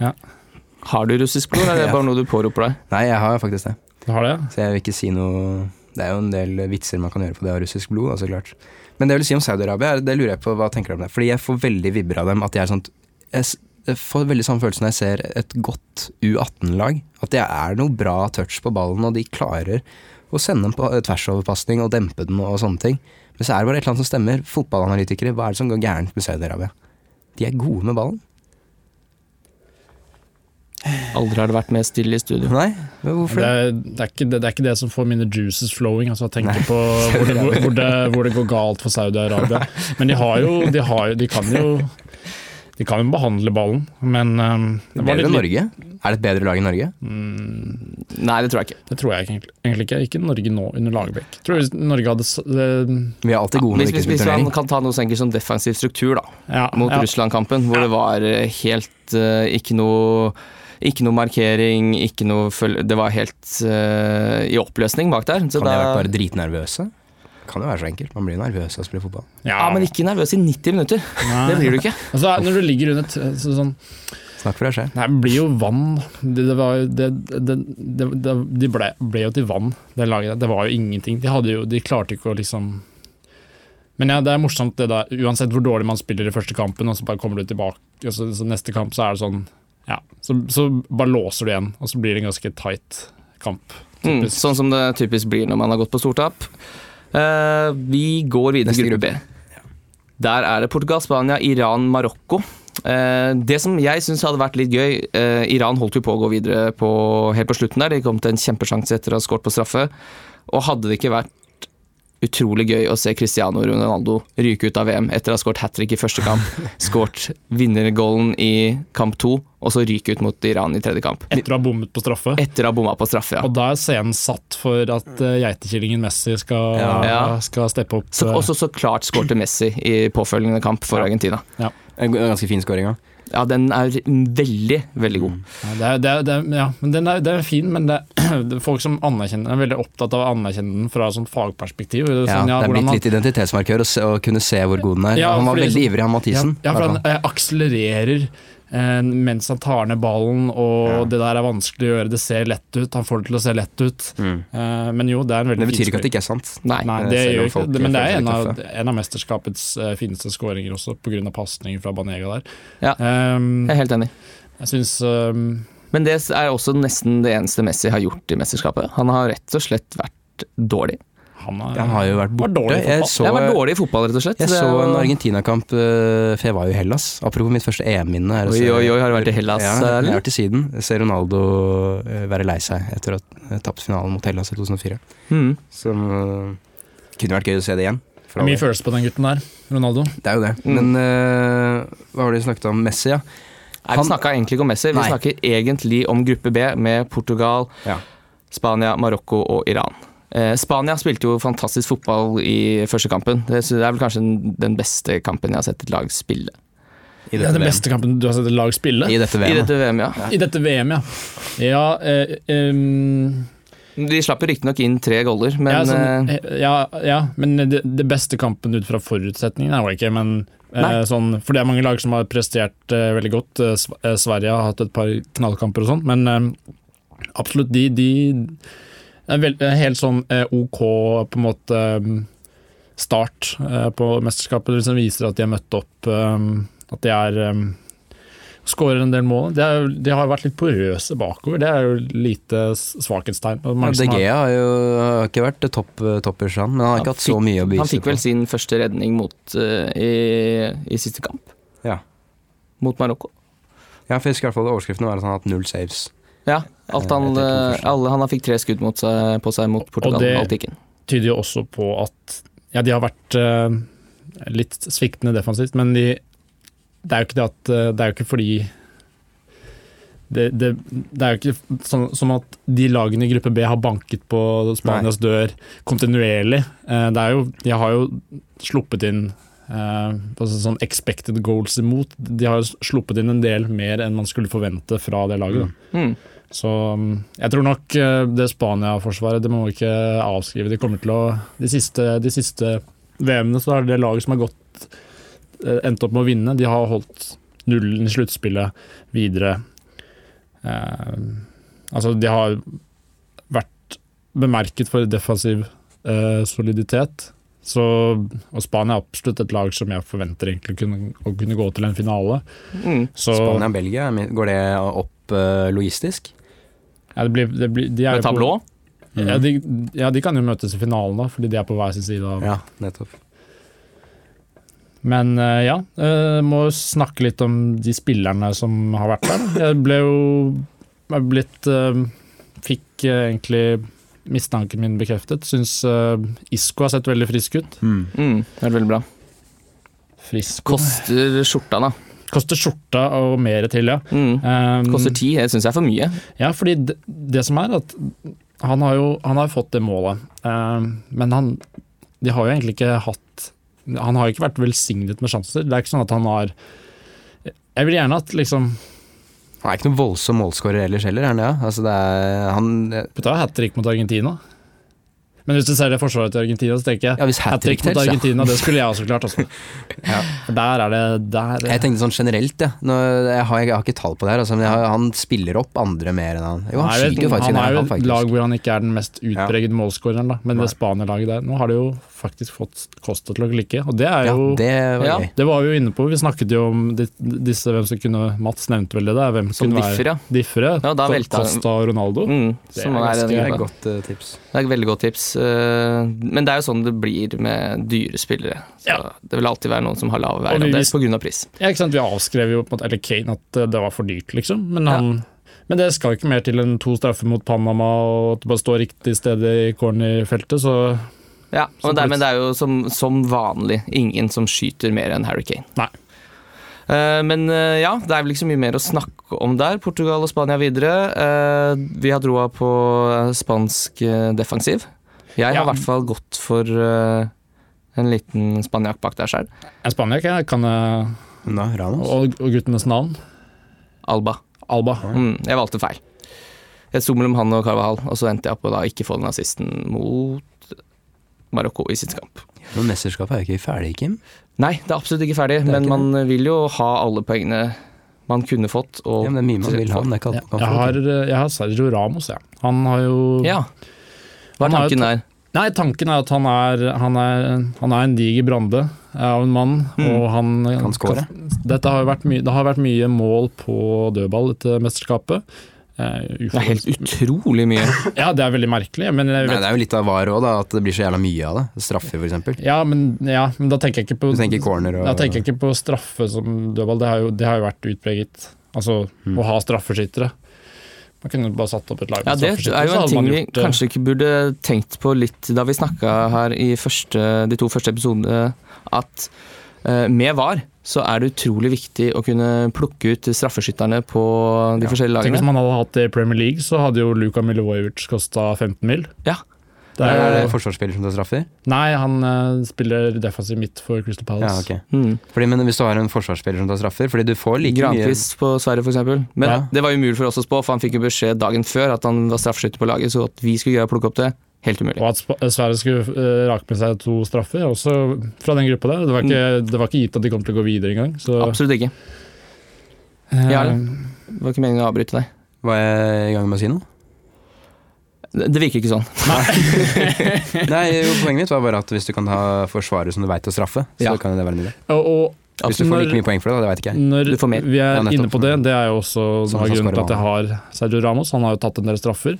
[SPEAKER 1] Har du russisk blod, eller er det
[SPEAKER 2] Ja.
[SPEAKER 1] bare noe du påroper deg?
[SPEAKER 2] Nei, jeg har faktisk det.
[SPEAKER 3] Du har det?
[SPEAKER 2] Så jeg vil ikke si noe Det er jo en del vitser man kan gjøre på det av russisk blod, da, så klart. Men det jeg vil si om Saudi-Arabia, er- det lurer jeg på hva tenker du om det? Fordi jeg får veldig vibber av dem at jeg er sånn jeg, s- jeg får veldig samme følelse når jeg ser et godt U18-lag. At det er noe bra touch på ballen, og de klarer å sende en pa- tversoverpasning og dempe den og sånne ting. Men så er det bare et eller annet som stemmer. Fotballanalytikere, hva er det som går gærent med Saudi-Arabia? De er gode med ballen.
[SPEAKER 1] Aldri har det vært mer stille i studio.
[SPEAKER 2] Nei, men hvorfor
[SPEAKER 3] Det
[SPEAKER 2] det?
[SPEAKER 3] er, det, er ikke, det, det er ikke det som får mine juices flowing, altså å tenke på hvor det, hvor, hvor, det, hvor det går galt for Saudi-Arabia. Men de har jo de, har, jo- de kan jo De kan jo behandle ballen, men ehm, det var
[SPEAKER 2] Bedre enn
[SPEAKER 3] litt
[SPEAKER 2] Norge? Er det et bedre lag enn Norge?
[SPEAKER 1] Nei, det tror jeg ikke.
[SPEAKER 3] Det tror jeg ikke, egentlig- egentlig ikke. Ikke Norge nå, under Lagerbäck. Jeg tror hvis Norge hadde s- det-
[SPEAKER 2] Vi er alltid gode når
[SPEAKER 1] Hvis,
[SPEAKER 2] vi ikke
[SPEAKER 1] hvis,
[SPEAKER 2] spiller
[SPEAKER 1] hvis
[SPEAKER 2] turnering.
[SPEAKER 1] man kan ta noe så enkelt som defensiv struktur, da.
[SPEAKER 3] ja,
[SPEAKER 1] mot
[SPEAKER 3] ja.
[SPEAKER 1] Russland-kampen, hvor det var eh, helt eh, ikke noe ikke noe markering, ikke noe følge... Det var helt eh, i oppløsning bak der. Så
[SPEAKER 2] Kan de ha
[SPEAKER 1] da-
[SPEAKER 2] vært bare dritnervøse? Kan jo være så enkelt. Man blir nervøs av å spille fotball.
[SPEAKER 1] ja, men ikke nervøs i 90 minutter.
[SPEAKER 3] Nei.
[SPEAKER 1] Det blir du ikke.
[SPEAKER 3] Altså, når du ligger under t så, sånn
[SPEAKER 2] Snakk for deg selv.
[SPEAKER 3] Nei, det blir jo vann. Det, det var, jo- det, det, det, det, de ble, ble jo til vann, det laget der. Det var jo ingenting. De, hadde jo, de klarte ikke å liksom Men ja, det er morsomt det der. Uansett hvor dårlig man spiller i første kampen, og så bare kommer du tilbake, og så, så neste kamp så er det sånn Ja. Så, så bare låser du igjen, og så blir det en ganske tight kamp.
[SPEAKER 1] Mm,
[SPEAKER 3] Typisk.
[SPEAKER 1] sånn som det typisk blir når man har gått på stortap. Eh, vi går videre til
[SPEAKER 2] Neste
[SPEAKER 1] gruppe B. Der er det Portugal, Spania, Iran, Marokko. Eh, det som jeg syns hadde vært litt gøy eh, Iran holdt jo på å gå videre på, helt på slutten der. De kom til en kjempesjanse etter å ha skåret på straffe. Og hadde det ikke vært utrolig gøy å se Cristiano Ronaldo ryke ut av VM etter å ha skåret hat trick i første kamp, skåret vinnergålen i kamp to, og så ryke ut mot Iran i tredje kamp.
[SPEAKER 3] Etter å ha bommet på straffe.
[SPEAKER 1] Etter å ha bomma på straffe, ja.
[SPEAKER 3] Og da er scenen satt for at eh, geitekillingen Messi skal,
[SPEAKER 1] Ja.
[SPEAKER 3] skal steppe opp.
[SPEAKER 1] Så,
[SPEAKER 3] eh,
[SPEAKER 1] også så klart skårte Messi i påfølgende kamp for
[SPEAKER 3] Ja.
[SPEAKER 1] Argentina.
[SPEAKER 2] En g- ganske fin scoring òg.
[SPEAKER 1] Ja, den er veldig, veldig
[SPEAKER 2] Mm.
[SPEAKER 1] god.
[SPEAKER 3] ja, det er, det er, det er, ja, men den er, den er fin, men det er, det er folk som anerkjenner er veldig opptatt av å anerkjenne den fra et sånt fagperspektiv. Sånn,
[SPEAKER 2] Ja, det
[SPEAKER 3] ja,
[SPEAKER 2] er
[SPEAKER 3] hvordan
[SPEAKER 2] blitt
[SPEAKER 3] han-
[SPEAKER 2] litt identitetsmarkør å, se, å kunne se hvor god den er.
[SPEAKER 3] Ja,
[SPEAKER 2] han var
[SPEAKER 3] fordi
[SPEAKER 2] veldig
[SPEAKER 3] liksom-
[SPEAKER 2] ivrig, han Mathisen.
[SPEAKER 3] Ja, ja, for han eh, akselererer eh, mens han tar ned ballen, og det der er vanskelig å gjøre. Det ser lett ut, han får det til å se lett ut.
[SPEAKER 2] Mm.
[SPEAKER 3] Eh, men jo, det er en
[SPEAKER 2] Det
[SPEAKER 3] veldig
[SPEAKER 2] betyr
[SPEAKER 3] fin
[SPEAKER 2] ikke at det ikke er sant.
[SPEAKER 1] Nei.
[SPEAKER 3] Nei,
[SPEAKER 2] Eh,
[SPEAKER 3] det
[SPEAKER 2] selv om
[SPEAKER 3] gjør ikke
[SPEAKER 2] folk
[SPEAKER 3] det, men det er
[SPEAKER 2] føler seg
[SPEAKER 3] en av,
[SPEAKER 2] tøffe.
[SPEAKER 3] en av mesterskapets eh, fineste skåringer også, pga. pasninger fra Banega der.
[SPEAKER 1] Ja.
[SPEAKER 3] Ehm,
[SPEAKER 1] Jeg er helt enig.
[SPEAKER 3] jeg syns ehm,
[SPEAKER 1] Men det er også nesten det eneste Messi har gjort i mesterskapet. Han har rett og slett vært dårlig.
[SPEAKER 3] Han har,
[SPEAKER 2] Han har jo vært
[SPEAKER 3] var
[SPEAKER 2] borte.
[SPEAKER 3] dårlig i
[SPEAKER 2] jeg
[SPEAKER 3] fotball.
[SPEAKER 2] så,
[SPEAKER 1] Jeg har vært dårlig i fotball, rett og slett.
[SPEAKER 2] jeg
[SPEAKER 1] Det
[SPEAKER 2] så
[SPEAKER 1] er jo-
[SPEAKER 2] en Argentina-kamp, eh, for jeg var jo i Hellas. Apropos mitt første EM-minne. er å
[SPEAKER 1] Oi,
[SPEAKER 2] se-
[SPEAKER 1] oi, oi, har du vært i Hellas,
[SPEAKER 2] Ja, jeg
[SPEAKER 1] Erlend?
[SPEAKER 2] har vært i Syden. Jeg ser Ronaldo eh, være lei seg etter å ha tapt finalen mot Hellas i 2004.
[SPEAKER 1] Mm.
[SPEAKER 2] Som eh, kunne vært gøy å se det igjen.
[SPEAKER 3] Det er mye følelse på den gutten der, Ronaldo.
[SPEAKER 2] Det er jo det.
[SPEAKER 1] Mm.
[SPEAKER 2] Men eh, hva var det vi snakket om? Messi, ja.
[SPEAKER 1] Nei,
[SPEAKER 2] Han-
[SPEAKER 1] vi snakka egentlig ikke om Messi, vi
[SPEAKER 2] Nei.
[SPEAKER 1] snakker egentlig om gruppe B med Portugal,
[SPEAKER 2] Ja.
[SPEAKER 1] Spania, Marokko og Iran. Eh, Spania spilte jo fantastisk fotball i første kampen. Det sy- det er vel kanskje den- den beste kampen jeg har sett et lag spille.
[SPEAKER 2] I
[SPEAKER 3] Det er den beste kampen du har sett et lag spille.
[SPEAKER 2] I dette
[SPEAKER 1] I
[SPEAKER 2] VM.
[SPEAKER 1] dette VM, ja.
[SPEAKER 3] I dette VM, ja. Ja, eh, em,
[SPEAKER 1] De slapp jo riktignok inn tre goller, men
[SPEAKER 3] ja, sånn,
[SPEAKER 1] eh,
[SPEAKER 3] eh, ja, ja, men det, det beste kampen ut fra forutsetningene er jo ikke men eh,
[SPEAKER 1] Nei.
[SPEAKER 3] sånn, For det er mange lag som har prestert eh, veldig godt. Eh, Sv- eh, Sverige har hatt et par knallkamper og sånn, men eh, absolutt, de, de er vel, eh, helt sånn eh, OK på en måte eh, start eh, på mesterskapet, som viser at de har møtt opp, eh, at de er eh, Skårer en del mål. De, er, jo- de har vært litt porøse bakover. Det er jo lite s- svakhetstegn. Og mange som
[SPEAKER 2] DG
[SPEAKER 3] har-
[SPEAKER 1] E
[SPEAKER 2] har jo har ikke vært topp, toppers, han. Men han har
[SPEAKER 1] Han
[SPEAKER 2] ikke hatt så
[SPEAKER 1] fikk-
[SPEAKER 2] mye å
[SPEAKER 1] han
[SPEAKER 2] bevise
[SPEAKER 1] fikk vel
[SPEAKER 2] på.
[SPEAKER 1] sin første redning mot, eh, i, i siste kamp,
[SPEAKER 2] Ja.
[SPEAKER 1] mot Marokko.
[SPEAKER 2] ja, for jeg husker i hvert fall overskriften var at han har hatt null saves.
[SPEAKER 1] Ja, alt han,
[SPEAKER 2] Eh, etter to
[SPEAKER 1] eh,
[SPEAKER 2] første.
[SPEAKER 1] alle, han fikk tre skudd mot seg, på seg mot Portugal,
[SPEAKER 3] det-
[SPEAKER 1] alt gikk inn.
[SPEAKER 3] tyder jo også på at ja, de har vært eh, litt sviktende defensivt, men de, det er jo ikke det at eh, Det er jo ikke fordi det, det, det er jo ikke sånn, som at de lagene i gruppe B har banket på Spanias dør kontinuerlig. Eh, det er jo, de har jo sluppet inn eh, altså sånn expected goals imot. De har jo sluppet inn en del mer enn man skulle forvente fra det laget. Da.
[SPEAKER 1] Mm.
[SPEAKER 3] Så um, jeg tror nok eh, det Spania-forsvaret, det må vi ikke avskrive. De kommer til å De siste, de siste VM-ene så er det laget som har gått eh, endt opp med å vinne. De har holdt nullen i sluttspillet videre. Eh, altså, de har vært bemerket for defensiv eh, soliditet. Så, og Spania er absolutt et lag som jeg forventer egentlig kunne, å kunne gå til en finale.
[SPEAKER 1] Mm.
[SPEAKER 3] Så
[SPEAKER 2] Spania-Belgia, går det opp eh, logistisk?
[SPEAKER 3] ja, det blir, det blir, de er
[SPEAKER 1] Med
[SPEAKER 3] jo på-
[SPEAKER 1] tablå.
[SPEAKER 3] Ja de, ja, de kan jo møtes i finalen, da, fordi de er på hver sin side. Av.
[SPEAKER 2] Ja, nettopp.
[SPEAKER 3] Men eh, ja, eh, må snakke litt om de spillerne som har vært der. Jeg ble jo jeg ble litt eh, Fikk eh, egentlig mistanken min bekreftet. Syns eh, Isco har sett veldig frisk ut.
[SPEAKER 1] Mm. Det er veldig bra.
[SPEAKER 3] Frisk
[SPEAKER 1] Koster skjorta, da.
[SPEAKER 3] Koster skjorta og mer til, ja.
[SPEAKER 1] Mm.
[SPEAKER 3] Eh,
[SPEAKER 1] Koster ti, det syns jeg er for mye.
[SPEAKER 3] Ja, fordi det, det som er at han har jo han har fått det målet, eh, men han de har jo egentlig ikke hatt Han har jo ikke vært velsignet med sjanser. Det er ikke sånn at han har Jeg vil gjerne at liksom
[SPEAKER 2] Han er ikke noen voldsom målskårer ellers heller, er han det? ja? Altså, det er, han,
[SPEAKER 3] Putta hat trick mot Argentina. Men hvis du ser det forsvaret til Argentina, så tenker jeg
[SPEAKER 2] ja, hvis
[SPEAKER 3] hat
[SPEAKER 2] hat-trick
[SPEAKER 3] trick mot
[SPEAKER 2] tells, ja.
[SPEAKER 3] Argentina, det skulle jeg også klart. Altså.
[SPEAKER 2] Ja.
[SPEAKER 3] For der er det der,
[SPEAKER 2] Jeg tenkte sånn generelt, ja. Nå, jeg, har, jeg har ikke tall på det her, altså, men jeg har, han spiller opp andre mer enn han Jo, han
[SPEAKER 3] er jo et-
[SPEAKER 2] skyter jo faktisk inn
[SPEAKER 3] han er jo
[SPEAKER 2] her,
[SPEAKER 3] et
[SPEAKER 2] faktisk.
[SPEAKER 3] lag hvor han ikke er den mest utpregede målskåreren, da. men det Spania-laget der Nå har det jo faktisk fått Costa til å klikke, og det er
[SPEAKER 2] Ja,
[SPEAKER 3] jo
[SPEAKER 2] det var
[SPEAKER 1] Ja.
[SPEAKER 2] gøy.
[SPEAKER 3] Det var vi jo inne på. Vi snakket jo om di- disse hvem som kunne Mats nevnte vel det der. Hvem
[SPEAKER 1] Som
[SPEAKER 3] kunne
[SPEAKER 1] differ, ja.
[SPEAKER 3] være differe.
[SPEAKER 1] Ja, da
[SPEAKER 3] Så
[SPEAKER 1] velta han.
[SPEAKER 3] Costa og Ronaldo.
[SPEAKER 1] Mm.
[SPEAKER 3] Det
[SPEAKER 1] Som er
[SPEAKER 3] er ganske-
[SPEAKER 1] den
[SPEAKER 2] Det er
[SPEAKER 1] gruppa.
[SPEAKER 2] et godt eh, tips.
[SPEAKER 1] Det er et veldig godt tips. eh, Men det er jo sånn det blir med dyre spillere. Så
[SPEAKER 3] Ja.
[SPEAKER 1] Det vil alltid være noen som har lav
[SPEAKER 3] Og vi-
[SPEAKER 1] verdiandel pga. pris.
[SPEAKER 3] Ja, ikke sant? Vi avskrev jo på en måte, eller Kane at eh, det var for dyrt, liksom. Men, han, men det skal ikke mer til enn to straffer mot Panama og at det bare står riktig sted i cornerfeltet, så
[SPEAKER 1] Ja,
[SPEAKER 3] Som
[SPEAKER 1] og det, er-
[SPEAKER 3] pris.
[SPEAKER 1] men det er jo som, som vanlig ingen som skyter mer enn Harry Kane.
[SPEAKER 3] Nei.
[SPEAKER 1] Eh, Men eh, ja, det er vel ikke så mye mer å snakke om der. Portugal og Spania videre. Eh, Vi har droa på eh, spansk eh, defensiv. Jeg har i
[SPEAKER 3] Ja.
[SPEAKER 1] hvert fall gått for eh, en liten spanjakk bak der sjøl.
[SPEAKER 3] En spaniak jeg kan eh,
[SPEAKER 2] Men da, Ramos.
[SPEAKER 3] og, og guttenes navn.
[SPEAKER 1] Alba.
[SPEAKER 3] Alba.
[SPEAKER 1] Mm, jeg valgte feil. Jeg sto mellom han og Carvahal, og så endte jeg opp på å da ikke få den assisten mot Marokko i sitt kamp.
[SPEAKER 2] Men mesterskapet er jo ikke ferdig, Kim.
[SPEAKER 1] Nei, det er absolutt ikke ferdig,
[SPEAKER 2] er
[SPEAKER 1] men
[SPEAKER 2] ikke
[SPEAKER 1] man vil jo ha alle poengene man kunne fått.
[SPEAKER 2] Ja,
[SPEAKER 1] Og
[SPEAKER 2] men det er mye man vil ha, men det er ikke alt man
[SPEAKER 3] Jeg,
[SPEAKER 2] kan
[SPEAKER 3] jeg,
[SPEAKER 2] få
[SPEAKER 3] har,
[SPEAKER 2] til.
[SPEAKER 3] eh, jeg har Sergio Ramos, jeg. Ja. Han har jo
[SPEAKER 1] Ja. Hva
[SPEAKER 3] Han
[SPEAKER 1] er
[SPEAKER 3] har jo
[SPEAKER 1] tanken der?
[SPEAKER 3] Nei, tanken er at han er, han er, han er en diger brande eh, av en mann.
[SPEAKER 1] Mm.
[SPEAKER 3] Og han
[SPEAKER 2] Kan score.
[SPEAKER 3] Dette har jo vært mye, det har vært mye mål på dødball, dette mesterskapet. Eh,
[SPEAKER 1] Det er helt utrolig mye.
[SPEAKER 3] Ja, det er veldig merkelig, men jeg
[SPEAKER 2] Nei,
[SPEAKER 3] vet
[SPEAKER 2] det er jo litt av var òg, at det blir så jævla mye av det. Straffer, f.eks.
[SPEAKER 3] ja, men, ja, men da tenker jeg ikke på
[SPEAKER 2] Du tenker corner og
[SPEAKER 3] Da tenker jeg ikke på straffe som dødball, det har jo, det har jo vært utpreget. Altså å ha straffeskyttere. Man kunne bare satt opp et lag
[SPEAKER 1] Mm. Ja,
[SPEAKER 3] med
[SPEAKER 1] Det
[SPEAKER 3] straffeskyttere,
[SPEAKER 1] er jo
[SPEAKER 3] så
[SPEAKER 1] en
[SPEAKER 3] hadde
[SPEAKER 1] ting
[SPEAKER 3] man
[SPEAKER 1] vi
[SPEAKER 3] gjort eh. det.
[SPEAKER 1] kanskje ikke burde tenkt på litt da vi snakka her i første, de to første episodene, at eh, med VAR så er det utrolig viktig å kunne plukke ut straffeskytterne på de forskjellige
[SPEAKER 3] Tenk hvis
[SPEAKER 1] lagene.
[SPEAKER 3] man hadde hatt det i Premier League, så hadde jo Luka Milivojevic kosta 15 mil.
[SPEAKER 1] Ja.
[SPEAKER 3] Det
[SPEAKER 2] Er
[SPEAKER 3] er,
[SPEAKER 2] det forsvarsspiller som tar straffer?
[SPEAKER 3] nei, han eh, spiller defensiv midt for Crystal
[SPEAKER 2] Ja,
[SPEAKER 3] Palace.
[SPEAKER 2] ok.
[SPEAKER 1] Mm.
[SPEAKER 2] Fordi, men hvis du har en forsvarsspiller som tar straffer Fordi du får like
[SPEAKER 1] Grankvist på Sverige, f.eks. Men
[SPEAKER 2] Ja.
[SPEAKER 1] det var umulig for oss å spå, for han fikk jo beskjed dagen før at han var straffeskytter på laget, så at vi skulle greie å plukke opp det, helt umulig.
[SPEAKER 3] Og at Sp- Sverige skulle eh, rake med seg to straffer, også fra den gruppa der. Det var ikke, det var ikke gitt at de kom til å gå videre engang. Så,
[SPEAKER 1] Mm. Absolutt ikke.
[SPEAKER 3] eh,
[SPEAKER 1] Ja, Det var ikke meningen å avbryte deg.
[SPEAKER 2] mye Var jeg i gang med å si noe?
[SPEAKER 1] Det det virker ikke sånn.
[SPEAKER 2] Nei, jo, poenget mitt var bare at hvis du kan ha forsvarer som du veit å straffe, så
[SPEAKER 1] Ja.
[SPEAKER 2] kan jo det være en idé.
[SPEAKER 3] Eh, og, og
[SPEAKER 2] Hvis du får
[SPEAKER 3] Når-
[SPEAKER 2] like mye poeng for det, da, det veit ikke jeg.
[SPEAKER 3] Når
[SPEAKER 1] Eh, Du får mer.
[SPEAKER 3] vi er
[SPEAKER 2] Ja, nettopp.
[SPEAKER 3] inne på det, det er jo også
[SPEAKER 2] Som
[SPEAKER 3] noe av
[SPEAKER 2] skal
[SPEAKER 3] grunnen til
[SPEAKER 2] skåre
[SPEAKER 3] at jeg har Sergio Ramos. Han har jo tatt en del straffer.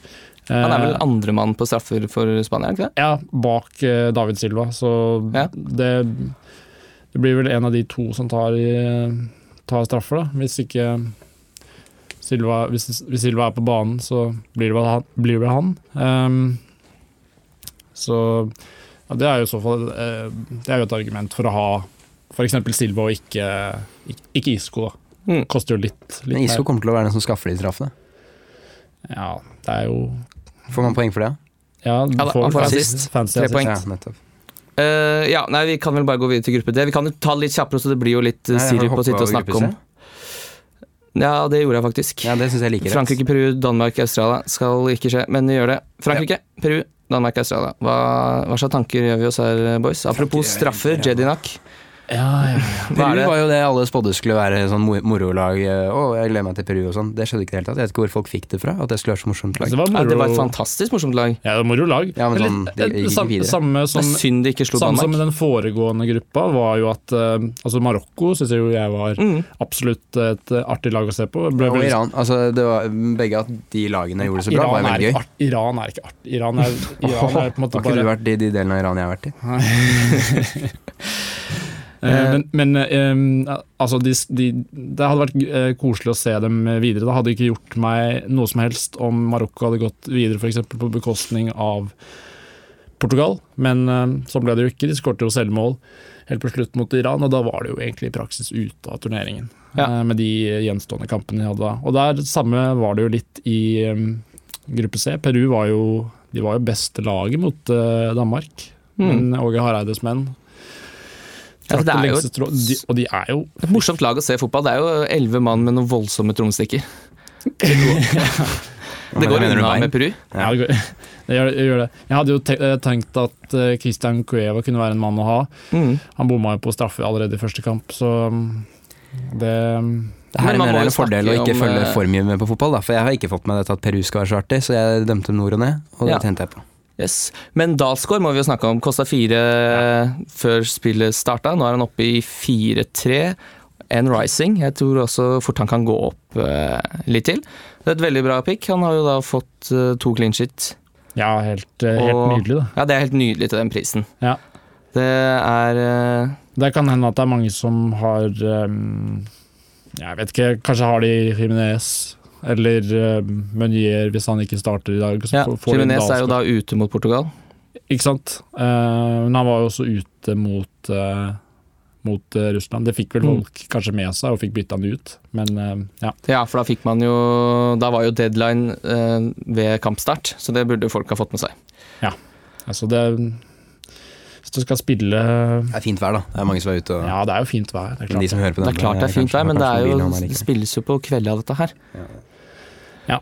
[SPEAKER 1] Han er vel
[SPEAKER 3] Eh,
[SPEAKER 1] andremann på straffer for Spania, er han ikke det?
[SPEAKER 3] ja, bak eh, David Silva, så
[SPEAKER 1] Ja.
[SPEAKER 3] det, det blir vel en av de to som tar, i, tar straffer, da. Hvis ikke Silva, hvis, hvis Silva er på banen, så blir det vel han. Blir det vel han. Ehm, så ja, det er jo i så fall eh, Det er jo et argument for å ha f.eks. Silva og ikke, ikke- ikke Isco. da.
[SPEAKER 1] Mm.
[SPEAKER 3] Koster jo litt. litt
[SPEAKER 2] Men
[SPEAKER 3] mer.
[SPEAKER 2] Isco kommer til å være den som skaffer de straffene.
[SPEAKER 3] Ja, det er jo
[SPEAKER 2] Får man poeng for det?
[SPEAKER 3] Ja, du
[SPEAKER 1] Ja, da, han får assist.
[SPEAKER 3] Fancy
[SPEAKER 1] Tre
[SPEAKER 3] assist.
[SPEAKER 1] poeng.
[SPEAKER 2] Ja, nettopp.
[SPEAKER 1] Eh, ja, nei, Vi kan vel bare gå videre til gruppe D. Vi kan jo ta det litt kjappere, så det blir jo litt eh,
[SPEAKER 2] Nei, har du
[SPEAKER 1] sirup å
[SPEAKER 2] hoppet
[SPEAKER 1] sitte og
[SPEAKER 2] over
[SPEAKER 1] snakke
[SPEAKER 2] gruppe
[SPEAKER 1] om.
[SPEAKER 2] C?
[SPEAKER 1] Ja, det gjorde jeg faktisk.
[SPEAKER 2] Ja, det syns jeg liker
[SPEAKER 1] Frankrike, Peru, Danmark, Australia skal ikke skje, men gjør det. Frankrike, Peru, Danmark, Australia. Hva, hva slags tanker gjør vi oss her, boys? Apropos
[SPEAKER 2] Frankrike-
[SPEAKER 1] straffer,
[SPEAKER 2] ja.
[SPEAKER 1] Jedinak.
[SPEAKER 3] Ja, ja.
[SPEAKER 2] Peru
[SPEAKER 1] Hva er det?
[SPEAKER 2] var jo det alle spådde skulle være sånn mo- morolag. eh, Å, jeg gleder meg til Peru og sånn. Det skjedde ikke i det hele tatt. Jeg vet ikke hvor folk fikk det fra, at det skulle være så morsomt lag.
[SPEAKER 3] Det var moro,
[SPEAKER 1] Ja, det var et fantastisk morsomt lag.
[SPEAKER 3] ja, det var moro lag.
[SPEAKER 2] Ja, men
[SPEAKER 3] Eller,
[SPEAKER 2] sånn, de
[SPEAKER 3] eh,
[SPEAKER 2] gikk ikke
[SPEAKER 3] sam-
[SPEAKER 2] videre.
[SPEAKER 3] Samme
[SPEAKER 1] Det
[SPEAKER 3] som,
[SPEAKER 1] er synd de ikke slo
[SPEAKER 3] samme som
[SPEAKER 1] Danmark.
[SPEAKER 3] den foregående gruppa, var jo at eh, altså Marokko syns jeg jo jeg var
[SPEAKER 1] Mm.
[SPEAKER 3] absolutt et eh, artig lag å se på. Ble
[SPEAKER 2] Og
[SPEAKER 3] veldig-
[SPEAKER 2] Iran. Altså, det var begge at de lagene gjorde det så bra,
[SPEAKER 3] Iran
[SPEAKER 2] var
[SPEAKER 3] er,
[SPEAKER 2] veldig
[SPEAKER 3] ikke
[SPEAKER 2] gøy.
[SPEAKER 3] art, Iran er ikke artig. Iran er, Iran er på en måte
[SPEAKER 2] Har ikke du
[SPEAKER 3] bare
[SPEAKER 2] vært i de delene av Iran jeg har vært i?
[SPEAKER 3] Eh, Men, men eh, eh, altså de, de, det hadde vært eh, koselig å se dem videre. Det hadde ikke gjort meg noe som helst om Marokko hadde gått videre for eksempel på bekostning av Portugal, men eh, sånn ble det jo ikke. De skårte jo selvmål helt på slutt mot Iran, og da var det jo egentlig i praksis ute av turneringen.
[SPEAKER 1] Ja.
[SPEAKER 3] eh, Med de gjenstående kampene de hadde da. Og der samme var det jo litt i eh, gruppe C. Peru var jo, de var jo beste laget mot eh, Danmark,
[SPEAKER 1] Mm.
[SPEAKER 3] men Åge Hareides menn
[SPEAKER 1] Ja, for det er jo
[SPEAKER 3] Lengste strå- de, og de er jo
[SPEAKER 1] et morsomt lag å se fotball. Det er jo elleve mann med noen voldsomme trommestikker. Det
[SPEAKER 2] men
[SPEAKER 1] går
[SPEAKER 2] mener du
[SPEAKER 1] unna
[SPEAKER 2] Bayern?
[SPEAKER 1] med Peru.
[SPEAKER 2] Ja.
[SPEAKER 3] ja. det går- det gjør, det gjør det. Jeg hadde jo te eh, tenkt at eh, Christian Cueva kunne være en mann å ha.
[SPEAKER 1] Mm.
[SPEAKER 3] Han bomma jo på straffe allerede i første kamp, så mm, det mm,
[SPEAKER 2] Det her
[SPEAKER 1] Men man
[SPEAKER 2] mener
[SPEAKER 1] må
[SPEAKER 2] jeg er
[SPEAKER 1] jo
[SPEAKER 2] en fordel å
[SPEAKER 1] snakke
[SPEAKER 2] ikke
[SPEAKER 1] om,
[SPEAKER 2] følge
[SPEAKER 1] eh,
[SPEAKER 2] for mye med på fotball, da. For jeg har ikke fått med dette at Peru skal være så artig, så jeg dømte nord og ned, og det
[SPEAKER 1] Ja.
[SPEAKER 2] tente jeg på.
[SPEAKER 1] Yes. Men Dalsgaard må vi jo snakke om. Kosta fire før spillet starta. Nå er han oppe i 4-3. En rising. Jeg tror også fort han kan gå opp eh, litt til. Det er et veldig bra pick. Han har jo da fått eh, to clean shit.
[SPEAKER 3] Ja, helt, eh, helt
[SPEAKER 1] Og-
[SPEAKER 3] nydelig, da.
[SPEAKER 1] Ja, det er helt nydelig til den prisen.
[SPEAKER 3] Ja.
[SPEAKER 1] Det er eh,
[SPEAKER 3] Det kan hende at det er mange som har um, Jeg vet ikke, kanskje har de Jimenez eller um, Meunier hvis han ikke starter i dag. så
[SPEAKER 1] Ja,
[SPEAKER 3] får- får de en
[SPEAKER 1] Jimenez er jo
[SPEAKER 3] Dahlsgaard.
[SPEAKER 1] da ute mot Portugal.
[SPEAKER 3] Ikke sant? Eh, men han var jo også ute mot, eh, mot eh, Russland. Det fikk vel
[SPEAKER 1] Mm.
[SPEAKER 3] folk kanskje med seg, og fikk bytta han ut. Men eh, ja.
[SPEAKER 1] Ja, for da fikk man jo Da var jo deadline eh, ved kampstart, så det burde folk ha fått med seg.
[SPEAKER 3] Altså det Hvis du skal spille
[SPEAKER 2] Det er fint vær, da. Det er mange som er ute og
[SPEAKER 3] Ja, det er jo fint vær, det er
[SPEAKER 2] Men
[SPEAKER 3] klart.
[SPEAKER 2] de som hører på
[SPEAKER 1] Det er
[SPEAKER 2] denne,
[SPEAKER 1] klart det er fint
[SPEAKER 2] kanskje-
[SPEAKER 1] vær, men det,
[SPEAKER 2] kanskje
[SPEAKER 1] er jo,
[SPEAKER 2] mobilen har
[SPEAKER 1] det
[SPEAKER 2] ikke.
[SPEAKER 1] spilles jo på kvelda, dette her.
[SPEAKER 3] Ja.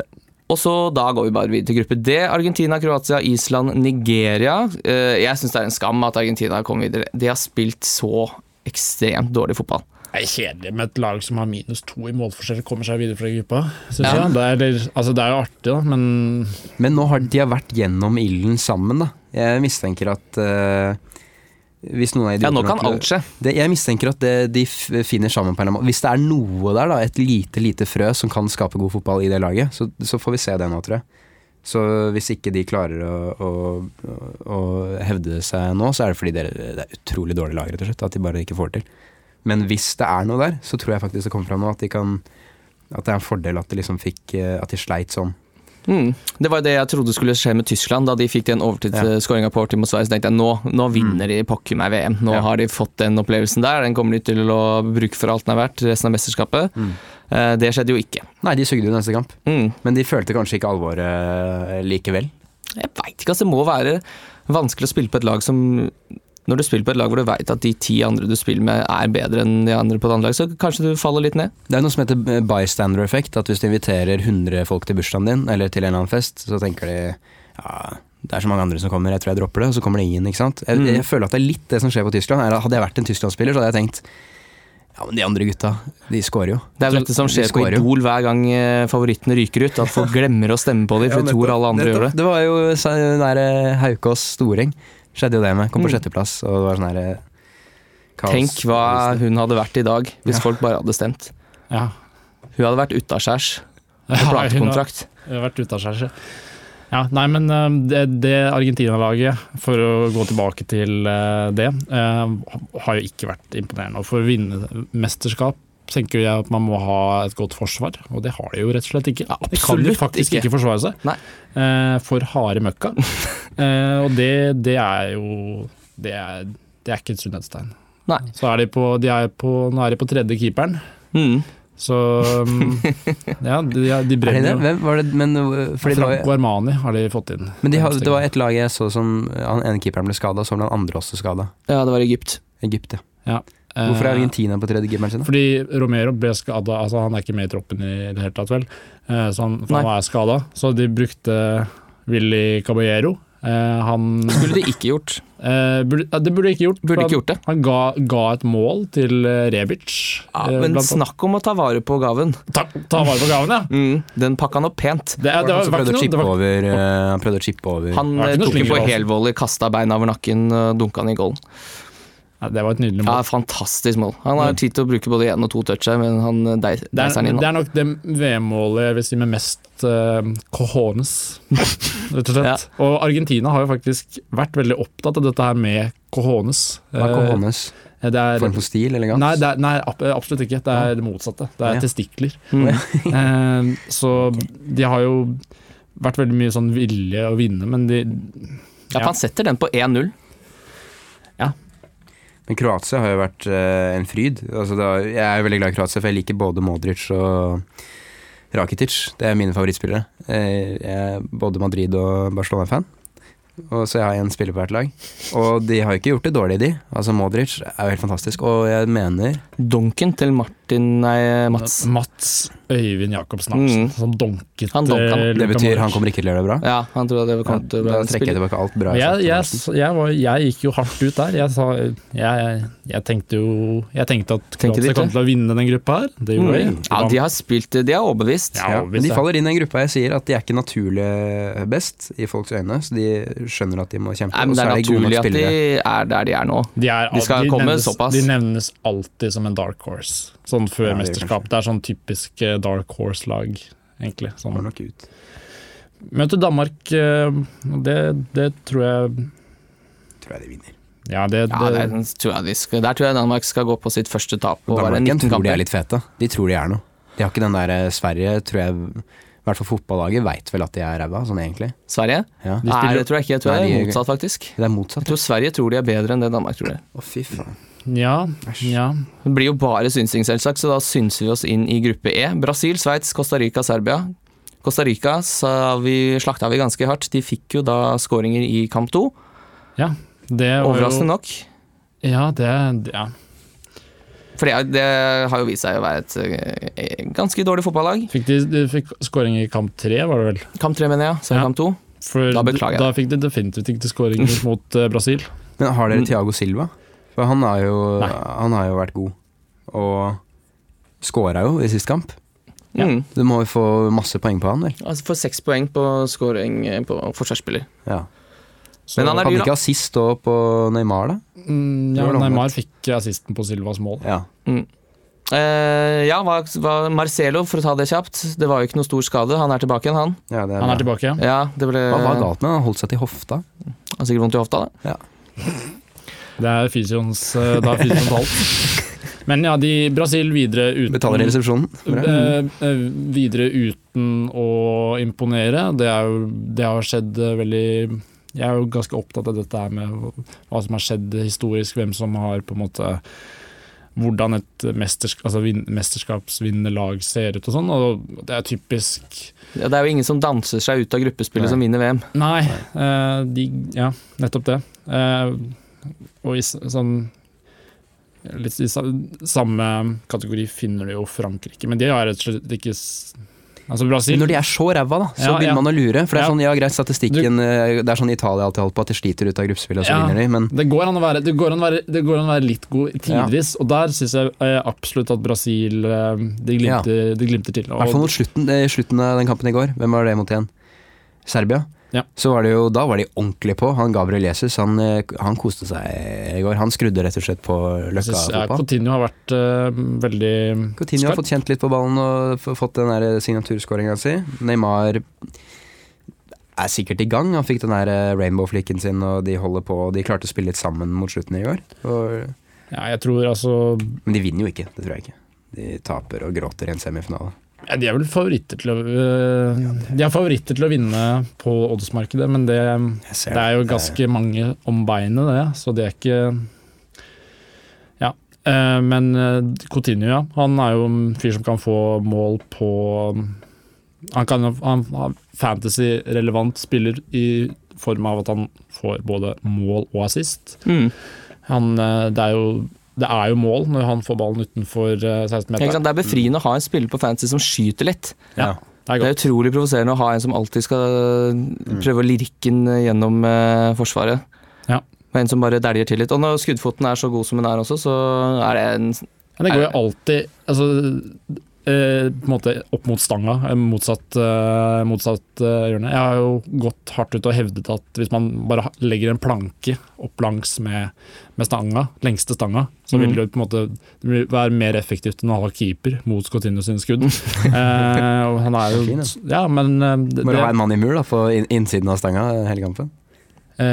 [SPEAKER 1] Og så Da går vi bare videre til gruppe D. Argentina, Kroatia, Island, Nigeria. Eh, Jeg syns det er en skam at Argentina kom videre. De har spilt så ekstremt dårlig fotball.
[SPEAKER 3] Det er kjedelig med et lag som har minus to i målforskjell, kommer seg videre fra gruppa. Synes
[SPEAKER 1] Ja.
[SPEAKER 3] jeg. Det er, eller, altså, det er jo artig, da, men
[SPEAKER 2] Men nå har de har vært gjennom ilden sammen, da. Jeg mistenker at eh, Hvis noen er
[SPEAKER 1] Ja,
[SPEAKER 2] idioter
[SPEAKER 1] nå kan
[SPEAKER 2] nok eh, til-
[SPEAKER 1] alt skje.
[SPEAKER 2] det, Jeg mistenker at det, de f- finner sammen på en eller annen måte. Hvis det er noe der, da, et lite lite frø som kan skape god fotball i det laget, så, så får vi se det nå, tror jeg. Så hvis ikke de klarer å, å, å hevde seg nå, så er det fordi det, det er utrolig dårlig lag, rett og slett. At de bare ikke får det til. Men hvis det er noe der, så tror jeg faktisk det kommer fram nå at de kan at det er en fordel at de liksom fikk eh, At de sleit sånn.
[SPEAKER 1] Mm. Det var jo det jeg trodde skulle skje med Tyskland. Da de fikk den overtidsskåringa på overtid mot Sverige, så tenkte jeg nå, nå vinner de pokker meg VM. Nå
[SPEAKER 2] Ja.
[SPEAKER 1] har de fått den opplevelsen der. Den kommer de til å bruke for alt den er verdt resten av mesterskapet.
[SPEAKER 2] Mm.
[SPEAKER 1] Eh, Det skjedde jo ikke.
[SPEAKER 2] Nei, de sugde jo neste kamp.
[SPEAKER 1] Mm.
[SPEAKER 2] Men de følte kanskje ikke alvoret eh, likevel.
[SPEAKER 1] Jeg veit ikke, altså. Det må være vanskelig å spille på et lag som Når du spiller på et lag hvor du veit at de ti andre du spiller med er bedre enn de andre på et annet lag, så kanskje du faller litt ned.
[SPEAKER 2] Det er noe som heter bystander-effekt. At hvis du inviterer 100 folk til bursdagen din, eller til en eller annen fest, så tenker de ja, det er så mange andre som kommer, jeg tror jeg dropper det. Og så kommer det ingen, ikke sant. Jeg,
[SPEAKER 1] Mm.
[SPEAKER 2] jeg føler at det er litt det som skjer på Tyskland. Er, at hadde jeg vært en Tyskland-spiller, så hadde jeg tenkt ja, men de andre gutta, de scorer jo.
[SPEAKER 1] Det er jo
[SPEAKER 2] Så
[SPEAKER 1] dette som
[SPEAKER 2] de
[SPEAKER 1] skjer på
[SPEAKER 2] scorer jo.
[SPEAKER 1] Idol hver gang eh, favorittene ryker ut. At folk glemmer å stemme på dem, for de tror alle andre gjør det.
[SPEAKER 2] Det var jo sånn der eh, Haukås Storeng. Skjedde jo det med. Kom på
[SPEAKER 1] Mm.
[SPEAKER 2] sjetteplass, og det var sånn her eh, kaos.
[SPEAKER 1] Tenk hva hun hadde vært i dag hvis
[SPEAKER 2] Ja.
[SPEAKER 1] folk bare hadde stemt.
[SPEAKER 3] Ja.
[SPEAKER 1] Hun hadde vært utaskjærs med
[SPEAKER 3] Ja,
[SPEAKER 1] platekontrakt.
[SPEAKER 3] Jeg har vært ute av skjærse. Ja, nei, men eh, det, det Argentina-laget, for å gå tilbake til eh, det, eh, har jo ikke vært imponerende. Og for å vinne mesterskap tenker jeg at man må ha et godt forsvar, og det har de jo rett og slett ikke. De kan jo
[SPEAKER 1] absolutt
[SPEAKER 3] faktisk
[SPEAKER 1] ikke.
[SPEAKER 3] ikke, forsvare seg.
[SPEAKER 1] Nei.
[SPEAKER 3] Eh, for harde møkka. Eh, og det, det er jo det er, det er ikke et sunnhetstegn.
[SPEAKER 1] Nei.
[SPEAKER 3] Så er de på, de er på, nå er de på tredje keeperen,
[SPEAKER 1] Mm.
[SPEAKER 3] så mm, Ja, de, de
[SPEAKER 2] Er det
[SPEAKER 3] brenner
[SPEAKER 2] det?
[SPEAKER 3] jo.
[SPEAKER 2] Hvem var det? Men, eh, fordi det var,
[SPEAKER 3] Altså, Franco Armani har de fått inn.
[SPEAKER 2] Men de, har- det var et lag jeg så som Han ene keeperen ble skada, så ble han andre også skada.
[SPEAKER 1] Ja, det var Egypt.
[SPEAKER 2] Egypt, ja. Hvorfor er Argentina på tredje keeperen sin?
[SPEAKER 3] Eh,
[SPEAKER 2] da?
[SPEAKER 3] Fordi Romero ble skada, altså han er ikke med i troppen i det hele tatt, vel. Eh, Så han, for
[SPEAKER 1] Nei.
[SPEAKER 3] han er skada, så de brukte Willy Caballero. Eh, Han
[SPEAKER 1] Skulle de ikke gjort.
[SPEAKER 3] eh, burde, ja, Det burde de ikke gjort.
[SPEAKER 1] Burde
[SPEAKER 3] for
[SPEAKER 1] ikke gjort det.
[SPEAKER 3] han, han ga, ga et mål til eh, Rebic.
[SPEAKER 1] Ja,
[SPEAKER 3] eh,
[SPEAKER 1] men
[SPEAKER 3] blant annet.
[SPEAKER 1] snakk om å ta vare på gaven.
[SPEAKER 3] ta, ta vare på gaven, ja!
[SPEAKER 1] Mm. Den pakka han opp pent.
[SPEAKER 3] Det, er- det var,
[SPEAKER 2] han som
[SPEAKER 3] var
[SPEAKER 2] prøvde å
[SPEAKER 3] ikke noe,
[SPEAKER 2] chippe
[SPEAKER 3] det var,
[SPEAKER 2] over, eh, han prøvde å chippe over
[SPEAKER 1] Han
[SPEAKER 3] Det var
[SPEAKER 1] eh,
[SPEAKER 3] ikke noe
[SPEAKER 1] tok den på
[SPEAKER 3] slinger, altså.
[SPEAKER 1] helvolley, kasta beina over nakken og dunka den i goalen.
[SPEAKER 3] Nei, det var et nydelig mål.
[SPEAKER 1] Ja, fantastisk mål. Han har tid til å bruke både én og to touch her, men han eh, deis-
[SPEAKER 3] Det
[SPEAKER 1] deiser den
[SPEAKER 3] er,
[SPEAKER 1] inn.
[SPEAKER 3] det
[SPEAKER 1] nå.
[SPEAKER 3] er nok det VM-målet jeg vil si med mest uh, cojones, rett og slett. Og Argentina har jo faktisk vært veldig opptatt av dette her med cojones.
[SPEAKER 2] Hva er Cojones?
[SPEAKER 3] Eh, det er,
[SPEAKER 2] Form for sånn stil, elegans?
[SPEAKER 3] nei, det er, nei, ab- absolutt ikke. Det er det motsatte. Det
[SPEAKER 2] Ja.
[SPEAKER 3] er testikler.
[SPEAKER 1] Mm.
[SPEAKER 3] Eh, så de har jo vært veldig mye sånn vilje å vinne, men de
[SPEAKER 1] Ja, for han setter den på 1-0.
[SPEAKER 2] Men Kroatia har jo vært eh, en fryd. Altså, det har, jeg er jo veldig glad i Kroatia, for jeg liker både Modric og Rakitic. Det er mine favorittspillere. Eh, jeg er både Madrid og Barcelona-fan. Og så jeg har én spiller på hvert lag. Og de har jo ikke gjort det dårlig, de. Altså Modric er jo helt fantastisk. Og jeg mener
[SPEAKER 1] Dunken til Martin, nei, Mats.
[SPEAKER 3] Mats Øyvind Jacobsen Hansen,
[SPEAKER 1] Mm.
[SPEAKER 3] som donket
[SPEAKER 1] Han donket han.
[SPEAKER 3] eh,
[SPEAKER 2] Det
[SPEAKER 3] Luka
[SPEAKER 2] betyr
[SPEAKER 3] Modric. eh,
[SPEAKER 2] han kommer ikke til å gjøre det bra?
[SPEAKER 1] Ja, han trodde det var
[SPEAKER 2] Ja,
[SPEAKER 1] kommet til den
[SPEAKER 2] da trekker jeg
[SPEAKER 1] spillen.
[SPEAKER 2] tilbake alt bra.
[SPEAKER 3] Men
[SPEAKER 2] jeg har
[SPEAKER 3] jeg,
[SPEAKER 2] sagt om
[SPEAKER 3] jeg, jeg, var, jeg gikk jo hardt ut der. Jeg, sa, jeg, jeg tenkte jo Jeg tenkte at
[SPEAKER 1] Tenkte
[SPEAKER 3] Kroatia
[SPEAKER 1] litt,
[SPEAKER 3] kom til å vinne den gruppa her. Det gjorde jeg.
[SPEAKER 1] Mm. Ja, de har spilt, de er overbevist.
[SPEAKER 3] Ja,
[SPEAKER 2] Arsenal. Ja, men de
[SPEAKER 3] overbevist,
[SPEAKER 2] faller inn i den gruppa jeg sier at de er ikke naturlig best i folks øyne, så de skjønner at de må kjempe.
[SPEAKER 1] Nei, men
[SPEAKER 2] og
[SPEAKER 1] Det er
[SPEAKER 2] så er de gode nok
[SPEAKER 1] naturlig at de
[SPEAKER 2] spillere.
[SPEAKER 1] er der de er nå.
[SPEAKER 3] de, er,
[SPEAKER 1] De skal komme
[SPEAKER 3] nevnes,
[SPEAKER 1] såpass.
[SPEAKER 3] De nevnes alltid som en dark horse, sånn før
[SPEAKER 2] Ja, det gjør
[SPEAKER 3] mesterskap. Det er sånn typisk eh, dark horse-lag, egentlig.
[SPEAKER 2] Kommer
[SPEAKER 3] Sånn.
[SPEAKER 2] nok ut.
[SPEAKER 3] Møter Danmark, eh, det, det tror jeg
[SPEAKER 2] Tror jeg de vinner.
[SPEAKER 3] Ja, det,
[SPEAKER 1] Ja,
[SPEAKER 3] det,
[SPEAKER 1] der, tror jeg de skal, der tror jeg Danmark skal gå på sitt første tap og være
[SPEAKER 2] Danmarken
[SPEAKER 1] 19
[SPEAKER 2] tror de
[SPEAKER 1] kamper.
[SPEAKER 2] er litt fete. De tror de er noe. De har ikke den der eh, Sverige, tror jeg I hvert fall fotballaget veit vel at de er ræva, sånn egentlig.
[SPEAKER 1] Sverige?
[SPEAKER 2] Ja.
[SPEAKER 1] Nei, det tror jeg ikke. Jeg tror
[SPEAKER 2] Nei,
[SPEAKER 1] det
[SPEAKER 2] de-
[SPEAKER 1] er motsatt, faktisk.
[SPEAKER 2] Det er
[SPEAKER 1] Jeg
[SPEAKER 2] motsatt.
[SPEAKER 1] tror Sverige tror de er bedre enn det Danmark tror det.
[SPEAKER 2] Å, fy faen.
[SPEAKER 3] ja, ja.
[SPEAKER 1] Det blir jo bare synsing, selvsagt, så da synser vi oss inn i gruppe E. Brasil, Sveits, Costa Rica, Serbia. Costa Rica sa vi, slakta vi ganske hardt. De fikk jo da skåringer i kamp to.
[SPEAKER 3] Det var jo-
[SPEAKER 1] Overraskende nok.
[SPEAKER 3] Ja, det, ja.
[SPEAKER 1] For det, det har jo vist seg å være et eh, ganske dårlig fotballag.
[SPEAKER 3] Fikk de, de fikk scoring i kamp tre, var det vel?
[SPEAKER 1] Kamp tre, mener jeg. Så er det
[SPEAKER 3] Ja.
[SPEAKER 1] kamp to.
[SPEAKER 3] For
[SPEAKER 1] Da beklager jeg.
[SPEAKER 3] Da fikk de definitivt ikke skåring mot eh, Brasil.
[SPEAKER 2] Men har dere
[SPEAKER 1] Mm.
[SPEAKER 2] Thiago Silva? For han har jo,
[SPEAKER 3] Nei.
[SPEAKER 2] han har jo vært god. Og skåra jo i sist kamp.
[SPEAKER 3] Ja.
[SPEAKER 1] Mm.
[SPEAKER 2] Du må jo få masse poeng på han, vel?
[SPEAKER 1] Altså Får seks poeng på scoring eh, på forsvarsspiller.
[SPEAKER 2] Ja.
[SPEAKER 3] Så-
[SPEAKER 1] Men han er
[SPEAKER 2] Hadde
[SPEAKER 1] dyr, da.
[SPEAKER 2] ikke assist da på Neymar, da?
[SPEAKER 3] Mm, ja,
[SPEAKER 2] Det var det
[SPEAKER 3] Neymar fikk assisten på Silvas mål.
[SPEAKER 2] Ja.
[SPEAKER 1] Eh, ja, hva, hva, Marcelo, for å ta det kjapt. Det var jo ikke noe stor skade. Han er tilbake igjen, han.
[SPEAKER 2] ja det er
[SPEAKER 3] Han er
[SPEAKER 2] bra.
[SPEAKER 3] tilbake.
[SPEAKER 1] Ja, det ble
[SPEAKER 2] Hva var
[SPEAKER 1] Han
[SPEAKER 2] galt med han? Han holdt seg til hofta?
[SPEAKER 1] har sikkert vondt i hofta, da.
[SPEAKER 3] Det er fysioens eh, Det er fysioens alt. Men ja, de Brasil videre uten
[SPEAKER 2] Betaler i resepsjonen? Bra.
[SPEAKER 3] Eh, eh, videre uten å imponere. Det, er jo, det har skjedd eh, veldig Jeg er jo ganske opptatt av dette her med hva som har skjedd historisk, hvem som har på en måte Hvordan et mestersk, altså vin, mesterskapsvinnende lag ser ut og sånn. Og det er typisk
[SPEAKER 1] Ja, det er jo ingen som danser seg ut av gruppespillet
[SPEAKER 2] Nei.
[SPEAKER 1] som vinner VM.
[SPEAKER 3] Nei, eh, de, ja, nettopp det. Eh, og i s- sånn Litt i sa- samme kategori finner du jo Frankrike, men de har rett og slett ikke s- Altså Brasil
[SPEAKER 2] Når de er så ræva, da, så
[SPEAKER 3] Ja,
[SPEAKER 2] begynner
[SPEAKER 3] ja.
[SPEAKER 2] man å lure. For det er
[SPEAKER 3] Ja.
[SPEAKER 2] sånn, ja greit, statistikken eh, Det er sånn Italia alltid holdt på, at de sliter ut av gruppespill, og så
[SPEAKER 3] Ja.
[SPEAKER 2] vinner de, men
[SPEAKER 3] det går, an å være, det, går an å være, det går an å være litt god tidvis, og der syns jeg eh, absolutt at Brasil eh,
[SPEAKER 2] Ja.
[SPEAKER 3] det glimter, det glimter til.
[SPEAKER 2] i hvert fall
[SPEAKER 3] Og,
[SPEAKER 2] mot slutten, eh, slutten av den kampen i går. Hvem var det mot igjen? Serbia?
[SPEAKER 3] Ja.
[SPEAKER 2] Så var det jo, Da var de ordentlig på. Han Gabriel Jesus han, eh, han koste seg i går. Han skrudde rett og slett på
[SPEAKER 3] jeg synes, ja,
[SPEAKER 2] Løkka-fotball.
[SPEAKER 3] Coutinho har vært eh, veldig
[SPEAKER 2] Coutinho har fått kjent litt på ballen og f- fått den der signaturskåringa si. Neymar er sikkert i gang. Han fikk den der rainbow-flikken sin, og de holder på. og De klarte å spille litt sammen mot slutten i går. Og
[SPEAKER 3] Ja, jeg tror altså
[SPEAKER 2] Men de vinner jo ikke, det tror jeg ikke. De taper og gråter i en semifinale.
[SPEAKER 3] ja, De er vel favoritter til å eh, De er favoritter til å vinne på oddsmarkedet, men det,
[SPEAKER 2] Jeg ser
[SPEAKER 3] det er jo ganske mange om beinet, det, så det er ikke Ja. eh, men eh, Coutinho, ja. Han er jo en fyr som kan få mål på Han kan han har fantasy-relevant spiller i form av at han får både mål og assist.
[SPEAKER 1] Mm.
[SPEAKER 3] Han, eh, det, er jo, det er jo mål når han får ballen utenfor eh, 16-meteren.
[SPEAKER 1] Ikke sant? Det er befriende å ha en spiller på fantasy som skyter litt.
[SPEAKER 2] Eh,
[SPEAKER 3] Ja. Det er
[SPEAKER 1] Det
[SPEAKER 3] godt.
[SPEAKER 1] er utrolig provoserende å ha en som alltid skal eh,
[SPEAKER 2] Mm.
[SPEAKER 1] prøve å lirke den gjennom eh, forsvaret.
[SPEAKER 3] Ja.
[SPEAKER 1] Og en som bare dæljer til litt. Og når skuddfoten er så god som den er også, så er det en
[SPEAKER 3] Men det går jo alltid altså, eh, på en måte opp mot stanga, eh, motsatt, eh, motsatt eh, hjørne. Jeg har jo gått hardt ut og hevdet at hvis man bare ha- legger en planke opp langs med, med stanga, lengste stanga, så vil det jo på en måte bli- være mer effektivt enn å ha keeper mot Coutinho sine skudd. Eh, og han er
[SPEAKER 2] Fin,
[SPEAKER 3] jo Ja, men eh, det,
[SPEAKER 2] Bare ha
[SPEAKER 3] det,
[SPEAKER 2] en mann i mur da, på in- innsiden av stanga hele kampen.
[SPEAKER 3] eh,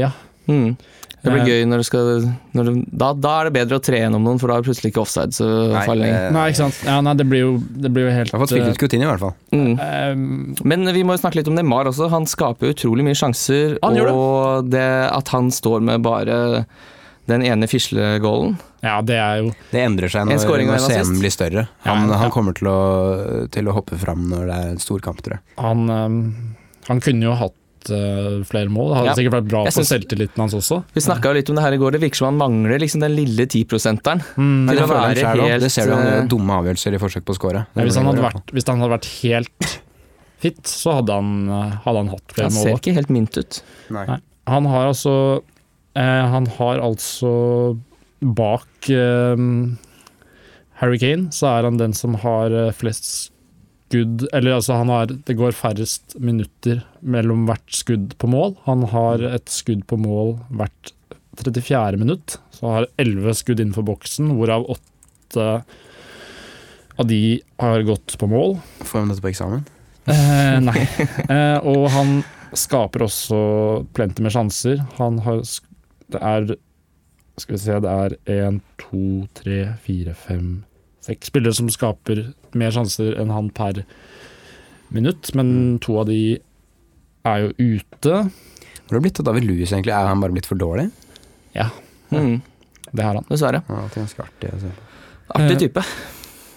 [SPEAKER 3] ja.
[SPEAKER 1] mm. Det blir
[SPEAKER 3] Eh.
[SPEAKER 1] gøy når du skal når du, da, da er det bedre å tre gjennom noen, for da er det plutselig ikke offside så farlig lenger.
[SPEAKER 2] jeg
[SPEAKER 3] Nei, ikke sant. Ja, nei, det blir jo, det blir jo helt
[SPEAKER 2] har fått spilt ut Coutinho i hvert fall.
[SPEAKER 1] Mm.
[SPEAKER 3] eh,
[SPEAKER 1] Men vi må jo snakke litt om Neymar også. Han skaper utrolig mye sjanser.
[SPEAKER 3] Han gjør det.
[SPEAKER 1] og det at han står med bare den ene fislegålen
[SPEAKER 3] Ja, det er jo
[SPEAKER 2] Det endrer seg
[SPEAKER 1] En
[SPEAKER 2] når,
[SPEAKER 1] scoring og
[SPEAKER 2] når
[SPEAKER 1] en
[SPEAKER 2] scenen
[SPEAKER 1] assist.
[SPEAKER 2] blir større.
[SPEAKER 3] Ja,
[SPEAKER 2] Han,
[SPEAKER 3] ja.
[SPEAKER 2] han kommer til å, til å hoppe fram når det er en stor kamp, tror jeg.
[SPEAKER 3] han, eh, han kunne jo hatt eh, flere mål. Det hadde
[SPEAKER 1] Ja.
[SPEAKER 3] sikkert vært bra
[SPEAKER 1] Jeg
[SPEAKER 3] for
[SPEAKER 1] syns-
[SPEAKER 3] selvtilliten hans også.
[SPEAKER 1] Vi snakka jo litt om det her i går. Det virker som han mangler liksom den lille 10-prosenteren.
[SPEAKER 2] Men
[SPEAKER 1] Til
[SPEAKER 2] det,
[SPEAKER 1] å
[SPEAKER 2] føler han
[SPEAKER 1] være
[SPEAKER 2] selv også.
[SPEAKER 1] helt,
[SPEAKER 2] det ser du han gjør
[SPEAKER 1] eh,
[SPEAKER 2] dumme avgjørelser i forsøk på å score.
[SPEAKER 3] Ja,
[SPEAKER 2] Det
[SPEAKER 3] hvis,
[SPEAKER 2] blir
[SPEAKER 3] han hadde
[SPEAKER 2] bra.
[SPEAKER 3] vært, hvis han hadde vært helt fit, så hadde han, eh, hadde han hatt flere
[SPEAKER 1] Han
[SPEAKER 3] mål.
[SPEAKER 1] ser
[SPEAKER 3] da.
[SPEAKER 1] ikke helt mint ut.
[SPEAKER 2] Nei.
[SPEAKER 3] Nei. Han har altså eh, Han har altså bak eh, Harry Kane, så er han den som har eh, flest skudd Eller altså, han har Det går færrest minutter mellom hvert skudd på mål. Han har et skudd på mål hvert 34. minutt. Så han har 11 skudd innenfor boksen, hvorav 8 av de har gått på mål.
[SPEAKER 2] Får han dette på eksamen?
[SPEAKER 3] Eh, nei. Eh, og han skaper også plenty med sjanser. Han har sk- Det er Skal vi se, det er én, to, tre, fire, fem, seks spillere som skaper mer sjanser enn han per minutt,
[SPEAKER 1] Mm.
[SPEAKER 3] men to av de er jo ute.
[SPEAKER 2] Hvor har det blitt av David Lewis, egentlig? Er han bare blitt for dårlig?
[SPEAKER 1] Mm,
[SPEAKER 3] Det har han.
[SPEAKER 1] dessverre.
[SPEAKER 2] Han er alltid ganske artig. å se på.
[SPEAKER 1] Artig
[SPEAKER 3] Eh,
[SPEAKER 1] type.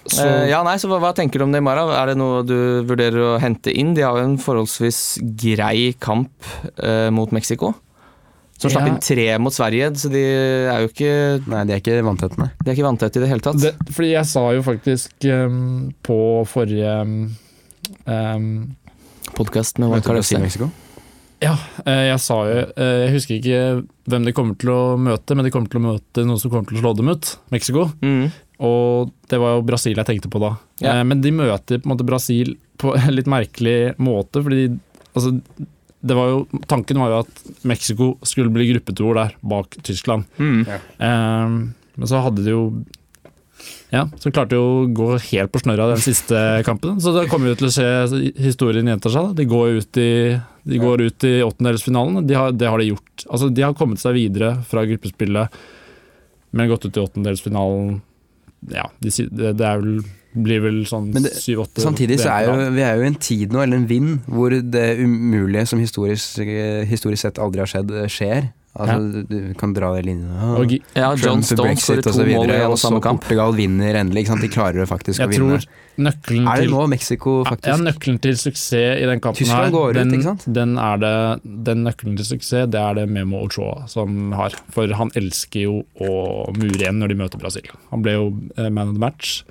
[SPEAKER 3] Så
[SPEAKER 1] Eh, ja, nei, så hva, hva tenker du om Neymar? da? Er det noe du vurderer å hente inn? De har jo en forholdsvis grei kamp eh, mot Mexico. Som slapp
[SPEAKER 3] Ja.
[SPEAKER 1] inn tre mot Sverige, så de er jo ikke,
[SPEAKER 2] Nei, de er ikke vanntette, nei.
[SPEAKER 1] de er ikke vanntette i det hele tatt.
[SPEAKER 3] det, Fordi jeg sa jo faktisk eh, på forrige eh,
[SPEAKER 1] Podkast med
[SPEAKER 2] Møter
[SPEAKER 1] Wildcard
[SPEAKER 2] Brasil
[SPEAKER 1] FC.
[SPEAKER 2] Mexico.
[SPEAKER 3] Ja, eh, jeg sa jo eh, Jeg husker ikke hvem de kommer til å møte, men de kommer til å møte noen som kommer til å slå dem ut. Mexico.
[SPEAKER 1] Mm.
[SPEAKER 3] Og det var jo Brasil jeg tenkte på da.
[SPEAKER 1] Ja.
[SPEAKER 3] Eh, Men de møter på en måte Brasil på en litt merkelig måte, fordi altså det var jo, tanken var jo at Mexico skulle bli gruppetoer der, bak Tyskland.
[SPEAKER 1] Mm.
[SPEAKER 3] Eh, men så hadde de jo Ja, så klarte de å gå helt på snørra den siste kampen. Så det kommer jo til å skje historien gjentar seg. da. De går ut i, de går ut i åttendedelsfinalen. De har, det har de gjort. Altså, de har kommet seg videre fra gruppespillet, men gått ut i åttendedelsfinalen Ja, de, si- det, det er vel, blir vel sånn
[SPEAKER 2] Men det-
[SPEAKER 3] syv-åtte
[SPEAKER 2] Samtidig så er jo, vi er jo i en tid nå, eller en vind, hvor det umulige som historisk, historisk sett aldri har skjedd, skjer. Altså, du du kan dra de linjene. Ah,
[SPEAKER 3] Og gi-
[SPEAKER 1] Ja, John
[SPEAKER 2] Trump,
[SPEAKER 1] Stones skårer
[SPEAKER 2] Brexit og
[SPEAKER 1] to
[SPEAKER 2] så
[SPEAKER 1] mål i
[SPEAKER 2] videre,
[SPEAKER 1] alle
[SPEAKER 2] og så
[SPEAKER 1] samme kamp.
[SPEAKER 2] Portugal vinner endelig. Ikke sant? De klarer jo faktisk
[SPEAKER 3] jeg
[SPEAKER 2] å vinne.
[SPEAKER 3] tror nøkkelen
[SPEAKER 2] Er det
[SPEAKER 3] til
[SPEAKER 2] nå Mexico faktisk
[SPEAKER 3] Ja, nøkkelen til suksess i den kampen
[SPEAKER 2] Tyskland
[SPEAKER 3] her,
[SPEAKER 2] går ut,
[SPEAKER 3] den,
[SPEAKER 2] ikke sant?
[SPEAKER 3] Den, er det, den nøkkelen til suksess, det er det Memo Ochoa som har. For han elsker jo å mure igjen når de møter Brasil. Han ble jo eh, man of the match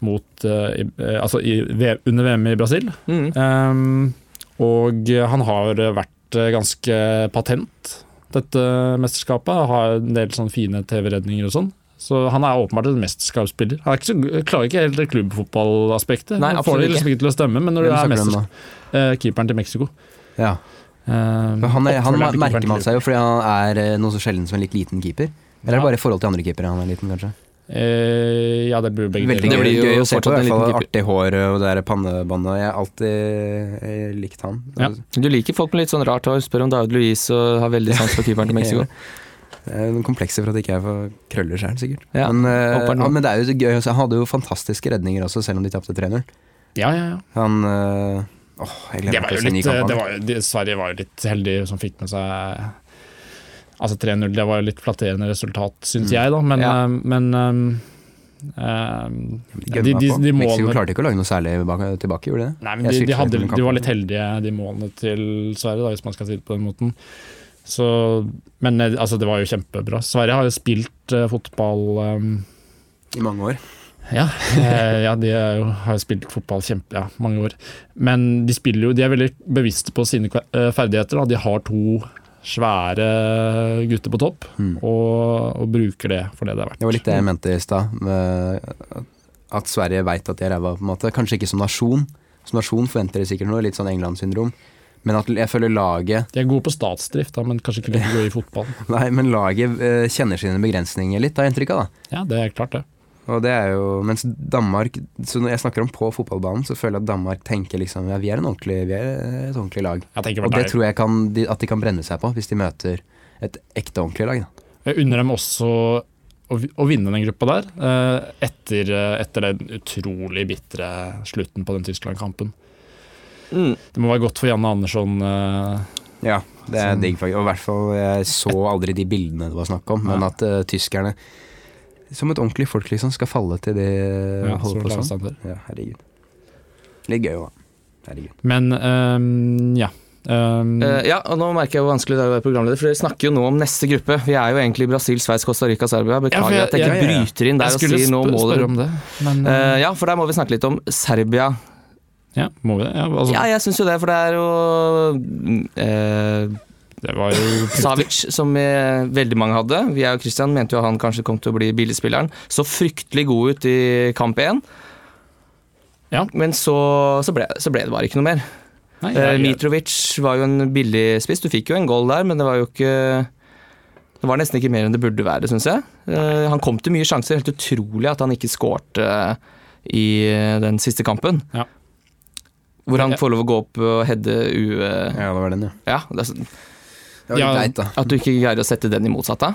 [SPEAKER 3] mot, eh, i, eh, altså i, V- under VM i Brasil.
[SPEAKER 1] Mm.
[SPEAKER 3] Ehm, og han har vært eh, ganske patent, dette mesterskapet. Har en del sånne fine TV-redninger og sånn. Så han er åpenbart en mesterskapsspiller. Han er ikke så, klarer ikke helt det klubbfotballaspektet.
[SPEAKER 1] Nei,
[SPEAKER 3] Han får
[SPEAKER 1] absolutt
[SPEAKER 3] det liksom ikke til å stemme, men når
[SPEAKER 2] Hvem
[SPEAKER 3] du er
[SPEAKER 2] snakker du om
[SPEAKER 3] mester,
[SPEAKER 2] da?
[SPEAKER 3] eh, keeperen til Mexico
[SPEAKER 2] Ja.
[SPEAKER 3] Ehm,
[SPEAKER 2] For han, er, han
[SPEAKER 3] oppfølgeren til
[SPEAKER 2] merker
[SPEAKER 3] keeperen
[SPEAKER 2] man
[SPEAKER 3] til-
[SPEAKER 2] seg jo fordi han er eh, noe så sjelden som en litt liten keeper. Eller er det bare i forhold til andre keepere han er liten, kanskje?
[SPEAKER 3] Eh, ja, det blir jo begge
[SPEAKER 2] Veldig
[SPEAKER 1] Det
[SPEAKER 2] gøy,
[SPEAKER 3] deler.
[SPEAKER 1] blir jo
[SPEAKER 2] gøy å se på, i
[SPEAKER 1] fortsatt en
[SPEAKER 2] hvert fall.
[SPEAKER 1] liten
[SPEAKER 2] Artig hår eh, og det der pannebåndet. Jeg har alltid eh, likt han.
[SPEAKER 3] Ja.
[SPEAKER 1] Du liker folk med litt sånn rart hår. Spør om David Luiz og har veldig sans for keeperen til Mexico.
[SPEAKER 2] Det er noen komplekser for at ikke jeg får krøller sjøl, sikkert.
[SPEAKER 1] Ja,
[SPEAKER 2] men, eh,
[SPEAKER 1] håper det.
[SPEAKER 2] ja, men det er jo gøy. å se. Han hadde jo fantastiske redninger også, selv om de tapte 3-0.
[SPEAKER 3] Ja, ja, ja.
[SPEAKER 2] Han eh, Åh, jeg
[SPEAKER 3] Det
[SPEAKER 2] gleder meg
[SPEAKER 3] var
[SPEAKER 2] til
[SPEAKER 3] jo
[SPEAKER 2] å se en ny
[SPEAKER 3] litt, eh,
[SPEAKER 2] kamp.
[SPEAKER 3] det
[SPEAKER 2] han.
[SPEAKER 3] var, jo- de- Sverige var jo litt heldige som fikk med seg Altså 3-0, det var jo litt flatterende resultat,
[SPEAKER 2] Mm.
[SPEAKER 3] syns jeg, da, men,
[SPEAKER 1] Ja.
[SPEAKER 3] eh, men eh, eh,
[SPEAKER 2] Gønna
[SPEAKER 3] de, de,
[SPEAKER 2] på.
[SPEAKER 3] de
[SPEAKER 2] Mexico
[SPEAKER 3] målene
[SPEAKER 2] klarte ikke å lage noe særlig bak- tilbake, gjorde de det?
[SPEAKER 3] Nei,
[SPEAKER 2] Jeg
[SPEAKER 3] men de,
[SPEAKER 2] synes
[SPEAKER 3] de,
[SPEAKER 2] det
[SPEAKER 3] hadde,
[SPEAKER 2] var en
[SPEAKER 3] de var
[SPEAKER 2] kamp.
[SPEAKER 3] litt heldige, de målene til Sverige, da, hvis man skal si det på den måten. Så, men eh, altså, det var jo kjempebra. Sverige har jo spilt eh, fotball eh,
[SPEAKER 2] I mange år.
[SPEAKER 3] ja, eh, ja, de er jo, har jo spilt fotball kjempe, ja, mange år. Men de spiller jo, de er veldig bevisste på sine kva- eh, ferdigheter. Da. De har to svære gutter på topp,
[SPEAKER 2] Mm.
[SPEAKER 3] og, og bruker det for det det er verdt.
[SPEAKER 2] Det var litt eh, det jeg mente i stad. med At Sverige veit at de er ræva, på en måte. Kanskje ikke som nasjon. Som nasjon forventer de sikkert noe, litt sånn England-syndrom. Men at jeg føler laget
[SPEAKER 3] De er gode på statsdrift, da, men kanskje ikke like gode i fotball.
[SPEAKER 2] Nei, men laget eh, kjenner sine begrensninger litt, har jeg inntrykk av. da
[SPEAKER 3] Ja, det er klart, det.
[SPEAKER 2] Og det er jo, mens Danmark Så når jeg snakker om på fotballbanen, så føler jeg at Danmark tenker liksom ja, vi er, en ordentlig, vi er et ordentlig lag.
[SPEAKER 3] Jeg tenker
[SPEAKER 2] Og
[SPEAKER 3] bare
[SPEAKER 2] det
[SPEAKER 3] deg.
[SPEAKER 2] tror jeg kan, de, at de kan brenne seg på, hvis de møter et ekte ordentlig lag. Da.
[SPEAKER 3] Jeg unner dem også å, vi- å vinne den gruppa der, eh, etter, eh, etter den utrolig bitre slutten på den Tyskland-kampen.
[SPEAKER 1] Mm.
[SPEAKER 3] Det må være godt for Janne Andersson. eh,
[SPEAKER 2] Ja, det er
[SPEAKER 3] Sånn.
[SPEAKER 2] digg, faktisk. Og i hvert fall, jeg så aldri de bildene det var snakk om, men
[SPEAKER 3] Nei.
[SPEAKER 2] at eh, tyskerne som et ordentlig folk liksom skal falle til de
[SPEAKER 3] ja, så
[SPEAKER 2] holder på
[SPEAKER 3] lavt
[SPEAKER 2] sånn.
[SPEAKER 3] standard.
[SPEAKER 2] Ja, herregud. Litt gøy òg, da. Herregud.
[SPEAKER 3] Men ehm, ja. ehm,
[SPEAKER 1] Eh, ja, og nå merker jeg hvor vanskelig det er å være programleder, for dere snakker jo nå om neste gruppe. Vi er jo egentlig Brasil, Sveits, Costa Rica, Serbia.
[SPEAKER 3] Ja, for
[SPEAKER 1] Beklager
[SPEAKER 3] jeg-
[SPEAKER 1] at jeg ikke
[SPEAKER 2] ja, ja, ja.
[SPEAKER 1] bryter inn der
[SPEAKER 3] jeg
[SPEAKER 1] og
[SPEAKER 3] skulle
[SPEAKER 1] sier nå
[SPEAKER 3] sp-
[SPEAKER 1] må
[SPEAKER 3] spørre
[SPEAKER 1] dere
[SPEAKER 3] om det, men eh,
[SPEAKER 1] Eh, Ja, for der må vi snakke litt om Serbia.
[SPEAKER 3] ja, må vi det? Ja, altså,
[SPEAKER 1] Ja, jeg syns jo det, for det er jo eh,
[SPEAKER 3] Det var jo
[SPEAKER 1] Savic, som eh, veldig mange hadde. Vi er jo Christian, mente jo han kanskje kom til å bli billigspilleren. Så fryktelig god ut i kamp én.
[SPEAKER 3] Ja.
[SPEAKER 1] Men så, så, ble, så ble det bare ikke noe mer.
[SPEAKER 3] Nei,
[SPEAKER 1] Eh,
[SPEAKER 3] jeg-
[SPEAKER 1] Mitrovic var jo en billig spiss. Du fikk jo en goal der, men det var jo ikke Det var nesten ikke mer enn det burde være, syns jeg. Eh, han kom til mye sjanser. Helt utrolig at han ikke skårte i eh, den siste kampen.
[SPEAKER 3] Ja.
[SPEAKER 1] Hvor han
[SPEAKER 3] Ja.
[SPEAKER 1] får lov å gå opp og heade u... eh,
[SPEAKER 2] Ja, det var den, ja.
[SPEAKER 1] Ja, det er sånn-
[SPEAKER 2] Det var litt
[SPEAKER 3] Ja.
[SPEAKER 2] leit, da.
[SPEAKER 1] At du ikke greier å sette den i motsatte.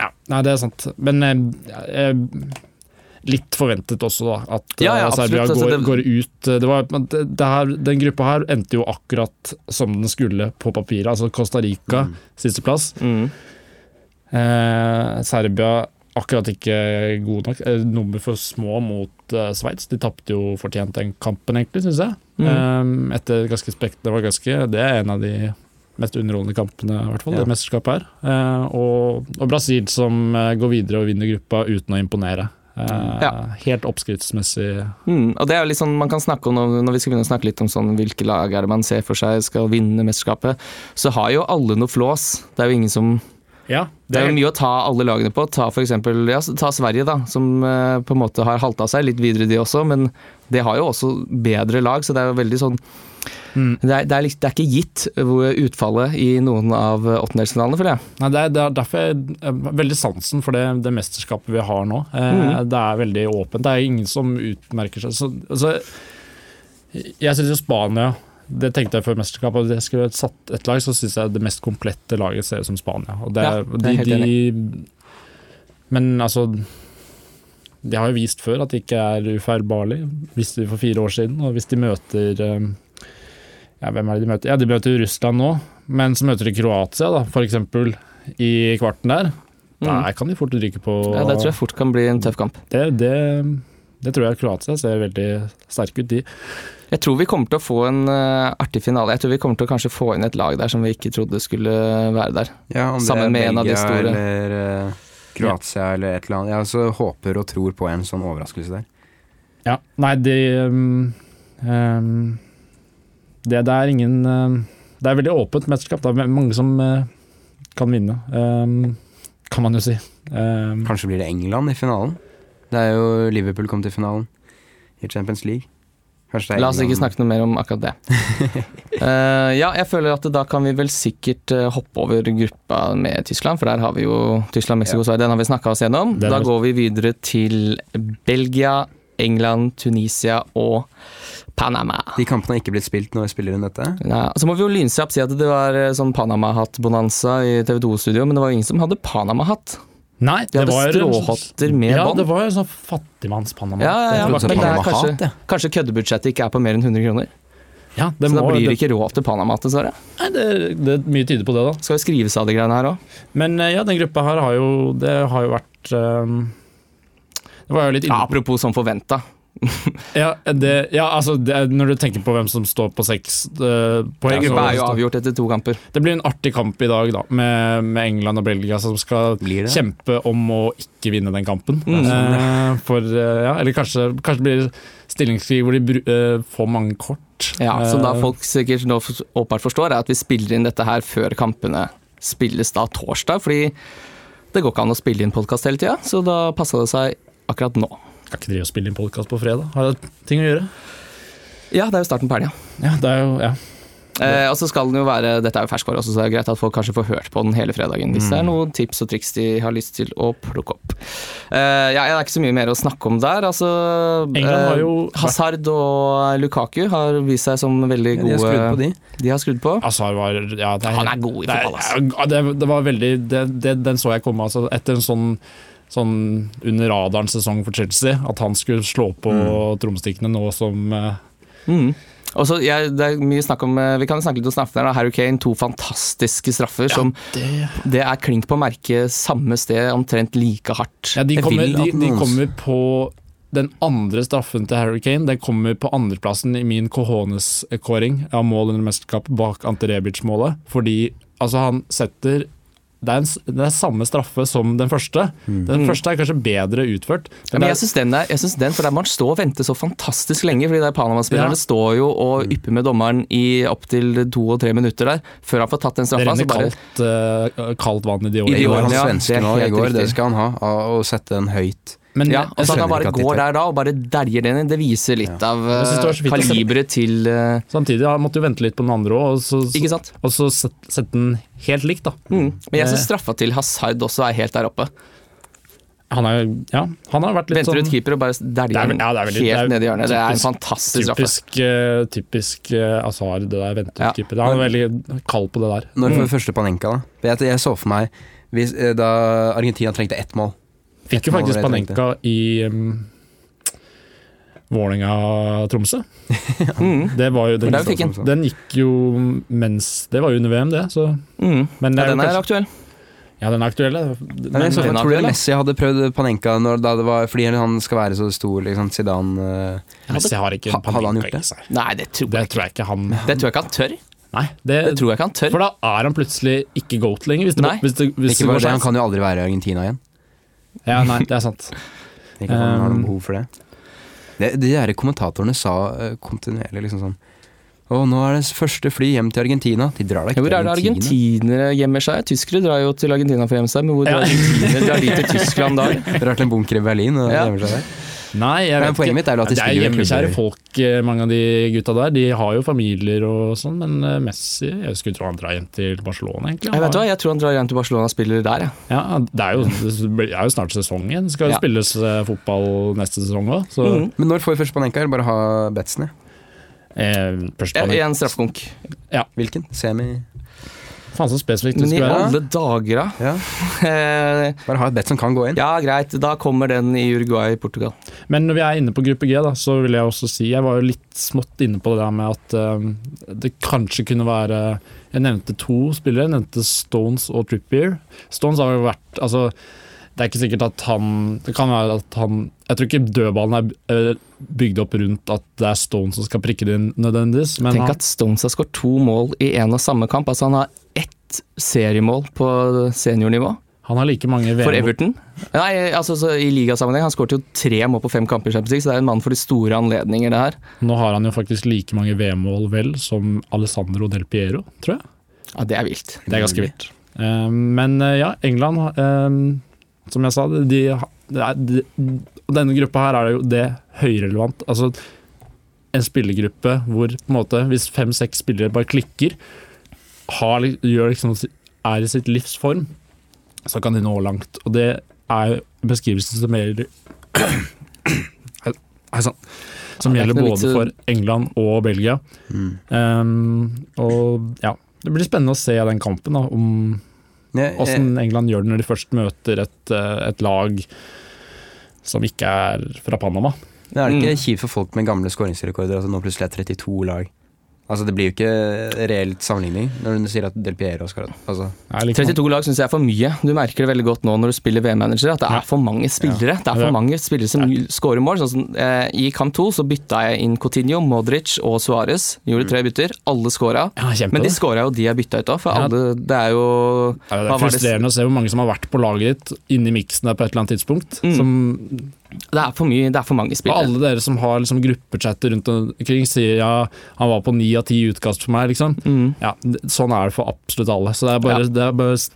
[SPEAKER 3] ja, nei, det er sant. Men eh, ja, eh, litt forventet også, da. At
[SPEAKER 1] Ja, ja,
[SPEAKER 3] eh,
[SPEAKER 1] absolutt.
[SPEAKER 3] Serbia
[SPEAKER 1] Altså,
[SPEAKER 3] går,
[SPEAKER 1] det-
[SPEAKER 3] går ut. eh, Det var, men det, det her, den gruppa her endte jo akkurat som den skulle på papiret. Altså Costa Rica,
[SPEAKER 2] Mm.
[SPEAKER 3] sisteplass.
[SPEAKER 1] Mm.
[SPEAKER 3] Eh, Serbia akkurat ikke god nok. Eh, nummer for små mot eh, Sveits. De tapte jo fortjent den kampen, egentlig, syns jeg.
[SPEAKER 1] Mm.
[SPEAKER 3] Eh, etter ganske spekt, det, var ganske, det er en av de mest underholdende kampene, i hvert fall,
[SPEAKER 2] Ja.
[SPEAKER 3] det mesterskapet her. Eh, og, og Brasil som eh, går videre og vinner gruppa uten å imponere. Eh,
[SPEAKER 1] Ja.
[SPEAKER 3] Helt oppskriftsmessig.
[SPEAKER 1] Mm, og det er jo litt sånn man kan snakke om når, når vi skal begynne å snakke litt om sånn, hvilke lag er det man ser for seg skal vinne mesterskapet, så har jo alle noe flås. Det er jo ingen som
[SPEAKER 3] Ja,
[SPEAKER 1] Det er jo mye å ta alle lagene på. Ta for eksempel, ja, ta Sverige, da, som eh, på en måte har halta seg litt videre, de også. Men det har jo også bedre lag, så det er jo veldig sånn
[SPEAKER 3] Mm.
[SPEAKER 1] Det er, det er, likt- det er ikke gitt hvor utfallet i noen av åttendelsfinalene, føler jeg.
[SPEAKER 3] Nei, det, er, det er derfor jeg har veldig sansen for det, det mesterskapet vi har nå. Eh,
[SPEAKER 1] Mhm.
[SPEAKER 3] Det er veldig åpent. Det er ingen som utmerker seg. Så, altså, jeg syns jo Spania Det tenkte jeg før mesterskapet. og det skulle jeg satt et lag, så syns jeg det mest komplette laget ser ut som Spania. Og det,
[SPEAKER 1] Ja,
[SPEAKER 3] er-
[SPEAKER 1] det er helt
[SPEAKER 3] de, de, men altså De har jo vist før at de ikke er ufeilbarlige. Visste de for fire år siden. Og hvis de møter eh, ja, Hvem er det de møter? Ja, de møter jo Russland nå. Men så møter de Kroatia, da, for eksempel, i kvarten der. Der kan de fort ryke på.
[SPEAKER 1] Mm. Ja, det tror jeg fort kan bli en tøff kamp.
[SPEAKER 3] det, det, det tror jeg Kroatia ser veldig sterke ut, de.
[SPEAKER 1] Jeg tror vi kommer til å få en eh, artig finale. Jeg tror vi kommer til å kanskje få inn et lag der som vi ikke trodde skulle være der.
[SPEAKER 2] Ja, om
[SPEAKER 1] Sammen
[SPEAKER 2] det
[SPEAKER 1] med
[SPEAKER 2] er
[SPEAKER 1] en av de
[SPEAKER 2] Belgia
[SPEAKER 1] store.
[SPEAKER 2] Eller eh, Kroatia eller et eller annet. Jeg også håper og tror på en sånn overraskelse der.
[SPEAKER 3] Ja, nei, det um, um, det, det er ingen um, Det er veldig åpent mesterskap. Det er mange som uh, kan vinne, um, kan man jo si. Um,
[SPEAKER 2] Kanskje blir det England i finalen? Det er jo Liverpool kom til finalen i Champions League. Kanskje det er
[SPEAKER 1] La oss ikke
[SPEAKER 2] England-
[SPEAKER 1] snakke noe mer om akkurat det. Eh, ja, jeg føler at da kan vi vel sikkert eh, hoppe over gruppa med Tyskland, for der har vi jo Tyskland, Mexico, Sverige. Den har vi snakka oss gjennom.
[SPEAKER 3] Den
[SPEAKER 1] Da
[SPEAKER 3] har vi-
[SPEAKER 1] går vi videre til Belgia, England, Tunisia og Panama.
[SPEAKER 2] De kampene har ikke blitt spilt når vi spiller inn dette.
[SPEAKER 1] Ja, så må vi jo lynkjapt si at det var eh, sånn Panama-hatt-bonanza i TV 2-studio, men det var jo ingen som hadde Panama-hatt.
[SPEAKER 3] nei,
[SPEAKER 1] De hadde
[SPEAKER 3] var-
[SPEAKER 1] stråhatter med
[SPEAKER 3] Ja,
[SPEAKER 1] bånd.
[SPEAKER 3] det var jo sånn fattigmannspanama.
[SPEAKER 1] Ja, ja, ja.
[SPEAKER 2] Jeg
[SPEAKER 1] Men
[SPEAKER 2] trodde det var
[SPEAKER 1] det er
[SPEAKER 2] Panama-hatt,
[SPEAKER 1] kanskje, kanskje køddebudsjettet ikke er på mer enn 100 kroner.
[SPEAKER 3] Ja, det,
[SPEAKER 1] Så da
[SPEAKER 3] må,
[SPEAKER 1] blir det
[SPEAKER 3] det,
[SPEAKER 1] ikke råd til Panama, dessverre.
[SPEAKER 3] nei, det, det er mye tyder på det, da.
[SPEAKER 1] Skal jo skrives av de greiene her òg.
[SPEAKER 3] Men eh, ja, den gruppa her har jo Det har jo vært ehm, Det var jo litt
[SPEAKER 1] Ja,
[SPEAKER 3] inne på
[SPEAKER 1] apropos som forventa.
[SPEAKER 3] ja, det, ja, altså det, er- Når du tenker på hvem som står på seks eh,
[SPEAKER 1] Den
[SPEAKER 3] poeng
[SPEAKER 1] gruppa er jo
[SPEAKER 3] så-
[SPEAKER 1] avgjort etter to kamper.
[SPEAKER 3] Det blir en artig kamp i dag, da, med, med England og Belgia som skal
[SPEAKER 2] Blir det?
[SPEAKER 3] kjempe om å ikke vinne den kampen.
[SPEAKER 1] Mm.
[SPEAKER 3] Eh, for, eh, ja, eller kanskje, kanskje blir det stillingskrig hvor de bru, eh, får mange kort.
[SPEAKER 1] Ja, Som da
[SPEAKER 3] Eh,
[SPEAKER 1] folk sikkert nå f- åpenbart forstår, er at vi spiller inn dette her før kampene spilles da torsdag. Fordi det går ikke an å spille inn podkast hele tida, så da passa det seg akkurat nå.
[SPEAKER 3] Kan ikke drive og spille inn podkast på fredag, har jeg ting å gjøre?
[SPEAKER 1] Ja, det er jo starten på helga.
[SPEAKER 3] Ja, det er jo, ja.
[SPEAKER 1] Eh, og så skal den jo være, Dette er jo ferskvare også, så det er greit at folk kanskje får hørt på den hele fredagen hvis det er noen tips og triks de har lyst til å plukke opp. Eh, ja, Det er ikke så mye mer å snakke om der. altså
[SPEAKER 3] England har jo-
[SPEAKER 1] eh, Hazard og Lukaku har vist seg som veldig
[SPEAKER 2] Ja, de
[SPEAKER 1] gode
[SPEAKER 2] har skrudd på de.
[SPEAKER 1] De har skrudd på.
[SPEAKER 3] Azar var ja, det
[SPEAKER 1] Han er god i
[SPEAKER 3] det er-
[SPEAKER 1] fotball, ass.
[SPEAKER 3] ja, Det, det var veldig det, det, Den så jeg komme, altså. Etter en sånn, sånn under radaren sesong for Chelsea, at han skulle slå på trommestikkene nå som eh,
[SPEAKER 1] Mm. Og så, jeg, det er mye snakk om, eh, Vi kan snakke litt om straffene. her, da. Harry Kane, to fantastiske straffer som Det er klink på merket samme sted, omtrent like hardt.
[SPEAKER 3] Ja, de
[SPEAKER 2] Jeg
[SPEAKER 3] kommer,
[SPEAKER 2] vil at
[SPEAKER 3] de, de
[SPEAKER 2] noen-
[SPEAKER 3] kommer på den andre straffen til Harry Kane den kommer på andreplassen i min Cohones-kåring av mål under mesterskapet bak Ante Rebic-målet. Fordi altså, han setter det er, en, s- det er samme straffe som den første. Den første er kanskje bedre utført.
[SPEAKER 1] Ja, men
[SPEAKER 3] det er-
[SPEAKER 1] jeg syns den, er- jeg synes den, for der må han stå og vente så fantastisk lenge. fordi der Panama-spillerne
[SPEAKER 3] Ja.
[SPEAKER 1] står jo og ypper med dommeren i opptil to og tre minutter der, før han får tatt den
[SPEAKER 3] Det
[SPEAKER 1] straffa.
[SPEAKER 3] renner
[SPEAKER 1] så bare-
[SPEAKER 3] kaldt, eh, kaldt vann i de
[SPEAKER 1] I de årene,
[SPEAKER 2] Det var
[SPEAKER 3] årene.
[SPEAKER 2] han
[SPEAKER 1] ja. Det er
[SPEAKER 2] svensken nå i
[SPEAKER 1] helt
[SPEAKER 2] går,
[SPEAKER 1] riktig.
[SPEAKER 2] det skal han ha. av Å sette den høyt.
[SPEAKER 3] Men altså,
[SPEAKER 1] Ja, altså- og
[SPEAKER 3] jeg,
[SPEAKER 1] så at han
[SPEAKER 2] skjønner
[SPEAKER 1] bare
[SPEAKER 2] ikke at de
[SPEAKER 1] går
[SPEAKER 2] tar-
[SPEAKER 1] der da og bare dæljer den inn. Det viser litt av
[SPEAKER 3] Jeg synes det var så
[SPEAKER 1] eh,
[SPEAKER 3] fint å se.
[SPEAKER 1] kaliberet til eh,
[SPEAKER 3] samtidig han måtte jo vente litt på den andre òg, og så,
[SPEAKER 1] Ikke sant?
[SPEAKER 3] og så sette sette den helt likt, da.
[SPEAKER 1] Mm. Men jeg
[SPEAKER 3] Eh.
[SPEAKER 1] syns straffa til Hazard også er helt der oppe.
[SPEAKER 3] Han, er, jo- ja, han har vært litt
[SPEAKER 1] Venter
[SPEAKER 3] sånn
[SPEAKER 1] ut keeper og bare
[SPEAKER 3] Det
[SPEAKER 1] dæljer
[SPEAKER 3] er vel-
[SPEAKER 1] den
[SPEAKER 3] ja, det er veldig- det er
[SPEAKER 1] helt ned i hjørnet. Det er en
[SPEAKER 3] typisk-
[SPEAKER 1] fantastisk straffe.
[SPEAKER 3] Typisk, eh, typisk eh, Azar, det der ventetype. Han er veldig kald på det der.
[SPEAKER 2] Når
[SPEAKER 1] Mm.
[SPEAKER 2] får vi første Panenka, da? For Jeg, jeg så for meg hvis, eh, da Argentina trengte ett mål.
[SPEAKER 3] Fikk jo
[SPEAKER 2] Nå var
[SPEAKER 3] faktisk
[SPEAKER 2] det jeg
[SPEAKER 3] Panenka i um, Vålerenga-Tromsø.
[SPEAKER 1] Mm.
[SPEAKER 3] Det var jo den,
[SPEAKER 1] der fikk han.
[SPEAKER 3] den gikk jo mens Det var jo under VM, det. Så,
[SPEAKER 1] Mm.
[SPEAKER 3] men det
[SPEAKER 1] Ja,
[SPEAKER 3] er
[SPEAKER 1] den
[SPEAKER 3] jo
[SPEAKER 1] er
[SPEAKER 3] kanskje,
[SPEAKER 1] aktuell.
[SPEAKER 3] ja, den er aktuell. det.
[SPEAKER 2] Men,
[SPEAKER 3] Men,
[SPEAKER 2] jeg så for
[SPEAKER 1] den er
[SPEAKER 2] meg, tror
[SPEAKER 1] aktuell,
[SPEAKER 2] du
[SPEAKER 1] da.
[SPEAKER 2] Messi hadde prøvd Panenka når, da det var, fordi han skal være så stor, liksom, Zidane eh,
[SPEAKER 3] Messi altså, har ikke
[SPEAKER 2] Ha- hadde han
[SPEAKER 3] Panenka
[SPEAKER 2] gjort det?
[SPEAKER 3] i seg.
[SPEAKER 1] Nei, det tror
[SPEAKER 3] Det Eh,
[SPEAKER 1] jeg
[SPEAKER 3] tror jeg ikke han
[SPEAKER 1] Det tror jeg ikke han tør.
[SPEAKER 3] Nei, det,
[SPEAKER 1] Det tror jeg ikke han tør.
[SPEAKER 3] for da er han plutselig ikke goat lenger, hvis det,
[SPEAKER 1] Nei,
[SPEAKER 3] hvis det, hvis
[SPEAKER 2] Ikke
[SPEAKER 3] det
[SPEAKER 2] bare
[SPEAKER 3] går
[SPEAKER 2] det, han
[SPEAKER 3] skeis.
[SPEAKER 2] kan jo aldri være i Argentina igjen.
[SPEAKER 3] Ja, nei, det er sant.
[SPEAKER 2] Ikke at han har
[SPEAKER 3] Um,
[SPEAKER 2] noe behov for det. det de der kommentatorene sa eh, kontinuerlig liksom sånn Og nå er det første fly hjem til Argentina. De drar da ikke
[SPEAKER 1] Hvor er det argentinere gjemmer seg? Tyskere drar jo til Argentina for å gjemme seg, men hvor drar argentinere drar de til Tyskland da?
[SPEAKER 2] Drar til en bunker i Berlin og
[SPEAKER 1] Ja.
[SPEAKER 2] gjemmer seg der.
[SPEAKER 3] Nei, jeg
[SPEAKER 2] Men
[SPEAKER 3] vet
[SPEAKER 2] poenget
[SPEAKER 3] ikke.
[SPEAKER 2] mitt er jo at de
[SPEAKER 3] det er
[SPEAKER 2] spiller jo i
[SPEAKER 3] hjemmekjære
[SPEAKER 2] klubber.
[SPEAKER 3] folk, eh, mange av de gutta der. De har jo familier og sånn, men eh, Messi Jeg skulle tro han drar hjem til Barcelona, egentlig.
[SPEAKER 1] Jeg vet hva, jeg tror han drar hjem til Barcelona og spiller der, jeg.
[SPEAKER 3] Ja, det er jo, det er jo snart sesong igjen. Det skal jo
[SPEAKER 1] Ja.
[SPEAKER 3] spilles eh, fotball neste sesong òg, så
[SPEAKER 1] Mhm.
[SPEAKER 2] Men når får først Panenka? Bare ha Betzen, ja.
[SPEAKER 3] eh, først på
[SPEAKER 1] En-
[SPEAKER 3] den.
[SPEAKER 1] En straffekonk.
[SPEAKER 2] Hvilken? Semi?
[SPEAKER 3] Faen så spesifikt det
[SPEAKER 1] Men i
[SPEAKER 3] skulle være.
[SPEAKER 1] alle dager, da.
[SPEAKER 2] Ja.
[SPEAKER 1] Eh,
[SPEAKER 2] Bare ha et bet som kan gå inn.
[SPEAKER 1] Ja, greit. Da kommer den i Uruguay-Portugal.
[SPEAKER 3] Men når vi er inne på gruppe G, da, så vil jeg også si Jeg var jo litt smått inne på det der med at eh, det kanskje kunne være Jeg nevnte to spillere. Jeg nevnte Stones og Trippier. Stones har jo vært Altså, det er ikke sikkert at han Det kan være at han Jeg tror ikke dødballen er eh, bygd opp rundt at det er Stones som skal prikke det inn nødvendigvis, men
[SPEAKER 1] Tenk
[SPEAKER 3] han,
[SPEAKER 1] at Stones har skåret to mål i én og samme kamp. Altså Han har ett seriemål på seniornivå
[SPEAKER 3] han har like mange
[SPEAKER 1] for
[SPEAKER 3] VM-mål
[SPEAKER 1] Everton. Nei, altså så I ligasammenheng. Han skåret jo tre mål på fem kamper, i Champions League, så det er en mann for de store anledninger, det her.
[SPEAKER 3] Nå har han jo faktisk like mange VM-mål vel som Alessandro Del Piero, tror jeg.
[SPEAKER 1] Ja, Det er vilt.
[SPEAKER 3] Det er ganske vilt. Eh, Men eh, ja, England, eh, som jeg sa, de, det er- de, og denne gruppa her er jo det høyrelevant. Altså en spillergruppe hvor på en måte, hvis fem-seks spillere bare klikker, har, li- gjør liksom, er i sitt livs form, så kan de nå langt. Og det er jo en beskrivelse som gjelder Hei sann.
[SPEAKER 2] sånn?
[SPEAKER 3] Som
[SPEAKER 1] Ja, det er
[SPEAKER 3] gjelder
[SPEAKER 1] ikke noe vits
[SPEAKER 3] både
[SPEAKER 1] i-
[SPEAKER 3] for England og Belgia.
[SPEAKER 2] Mm.
[SPEAKER 3] Um, og ja, det blir spennende å se den kampen, da, om
[SPEAKER 2] Ja,
[SPEAKER 1] Eh,
[SPEAKER 3] åssen England gjør det når de først møter et, eh, et lag som ikke er fra Panama.
[SPEAKER 2] Men er det ikke kjipt for folk med gamle skåringsrekorder at det nå plutselig er 32 lag? Altså Det blir jo ikke reelt sammenligning når du sier at Del Piero har skåret. Altså,
[SPEAKER 3] Det er litt- sånn-
[SPEAKER 1] 32 lag syns jeg er for mye. Du merker det veldig godt nå når du spiller VM-manager, at det
[SPEAKER 3] Ja.
[SPEAKER 1] er for mange spillere. Det er for mange spillere som scorer mål. Sånn, som, eh, I kamp to så bytta jeg inn Coutinho, Modric og Suárez. Gjorde tre bytter. Alle scora.
[SPEAKER 3] Mm. ja, kjempe,
[SPEAKER 1] Men de
[SPEAKER 3] det.
[SPEAKER 1] scora jo de er bytta ut av, for
[SPEAKER 3] Ja.
[SPEAKER 1] alle Det er jo
[SPEAKER 3] Ja, det
[SPEAKER 1] hva
[SPEAKER 3] er
[SPEAKER 1] var det-
[SPEAKER 3] frustrerende å se hvor mange som har vært på laget ditt, inni miksen der på et eller annet tidspunkt.
[SPEAKER 1] Mm.
[SPEAKER 3] Som,
[SPEAKER 1] Det er for mye, det er for mange
[SPEAKER 3] og
[SPEAKER 1] spillere.
[SPEAKER 3] alle dere som har liksom, gruppechatter rundt omkring, sier ja, han var på ni av ti utkast for meg, liksom.
[SPEAKER 1] Mm.
[SPEAKER 3] Ja, d- sånn er det for absolutt alle. Så det er bare, det er bare s-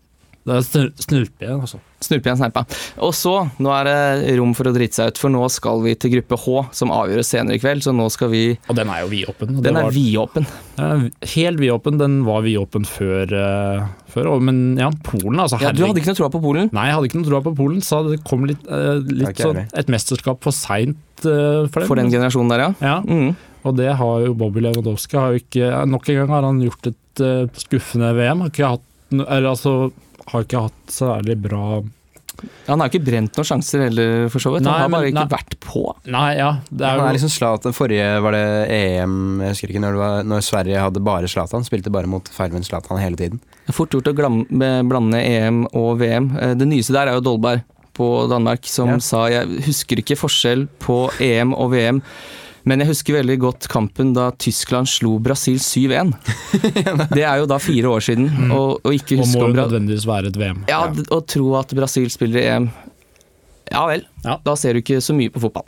[SPEAKER 3] det er snur- snurpe igjen, altså.
[SPEAKER 1] Snurpe igjen snerpa. Og så, nå er det rom for å drite seg ut, for nå skal vi til gruppe H, som avgjøres senere i kveld. Så nå skal vi
[SPEAKER 3] Og den er jo vidåpen. og det
[SPEAKER 1] Den er
[SPEAKER 3] var-
[SPEAKER 1] vidåpen.
[SPEAKER 3] Ja, Helt vidåpen. Den var vidåpen før, eh, før og- Men ja, Polen, altså.
[SPEAKER 1] Ja, du hadde
[SPEAKER 3] herregud.
[SPEAKER 1] ikke noe troa på Polen?
[SPEAKER 3] Nei, jeg hadde ikke noe troa på Polen. Sa det kom litt, eh, litt
[SPEAKER 2] Det er ikke
[SPEAKER 3] sånn et mesterskap for seint for dem.
[SPEAKER 1] For den generasjonen der, ja.
[SPEAKER 3] ja,
[SPEAKER 1] Mm.
[SPEAKER 3] og det har jo Bobby Lewandowski. Har jo ikke, eh, nok en gang har han gjort et eh, skuffende VM. Har ikke hatt, no- eller, altså, har ikke hatt særlig bra
[SPEAKER 1] Han har jo ikke brent noen sjanser heller, for så vidt.
[SPEAKER 3] Nei,
[SPEAKER 1] Han har bare
[SPEAKER 3] men-
[SPEAKER 1] ikke
[SPEAKER 3] nei.
[SPEAKER 1] vært på.
[SPEAKER 3] Nei, ja. Det er
[SPEAKER 2] han er
[SPEAKER 3] jo
[SPEAKER 2] liksom Zlatan. Forrige var det EM, jeg husker ikke når, det var, når Sverige hadde bare Zlatan. Spilte bare mot Farmen Zlatan hele tiden.
[SPEAKER 1] Det er fort gjort å glamme, blande EM og VM. Eh, Det nyeste der er jo Dolberg på Danmark, som
[SPEAKER 2] Ja.
[SPEAKER 1] sa Jeg husker ikke forskjell på EM og VM. Men jeg husker veldig godt kampen da Tyskland slo Brasil 7-1. Det er jo da fire år siden,
[SPEAKER 3] Mm.
[SPEAKER 1] og, og ikke
[SPEAKER 3] Og
[SPEAKER 1] huske
[SPEAKER 3] må
[SPEAKER 1] om
[SPEAKER 3] jo
[SPEAKER 1] Bra
[SPEAKER 3] nødvendigvis være et VM.
[SPEAKER 1] Ja, d- Å tro at Brasil spiller i EM Ja vel,
[SPEAKER 3] Ja.
[SPEAKER 1] da ser du ikke så mye på fotball.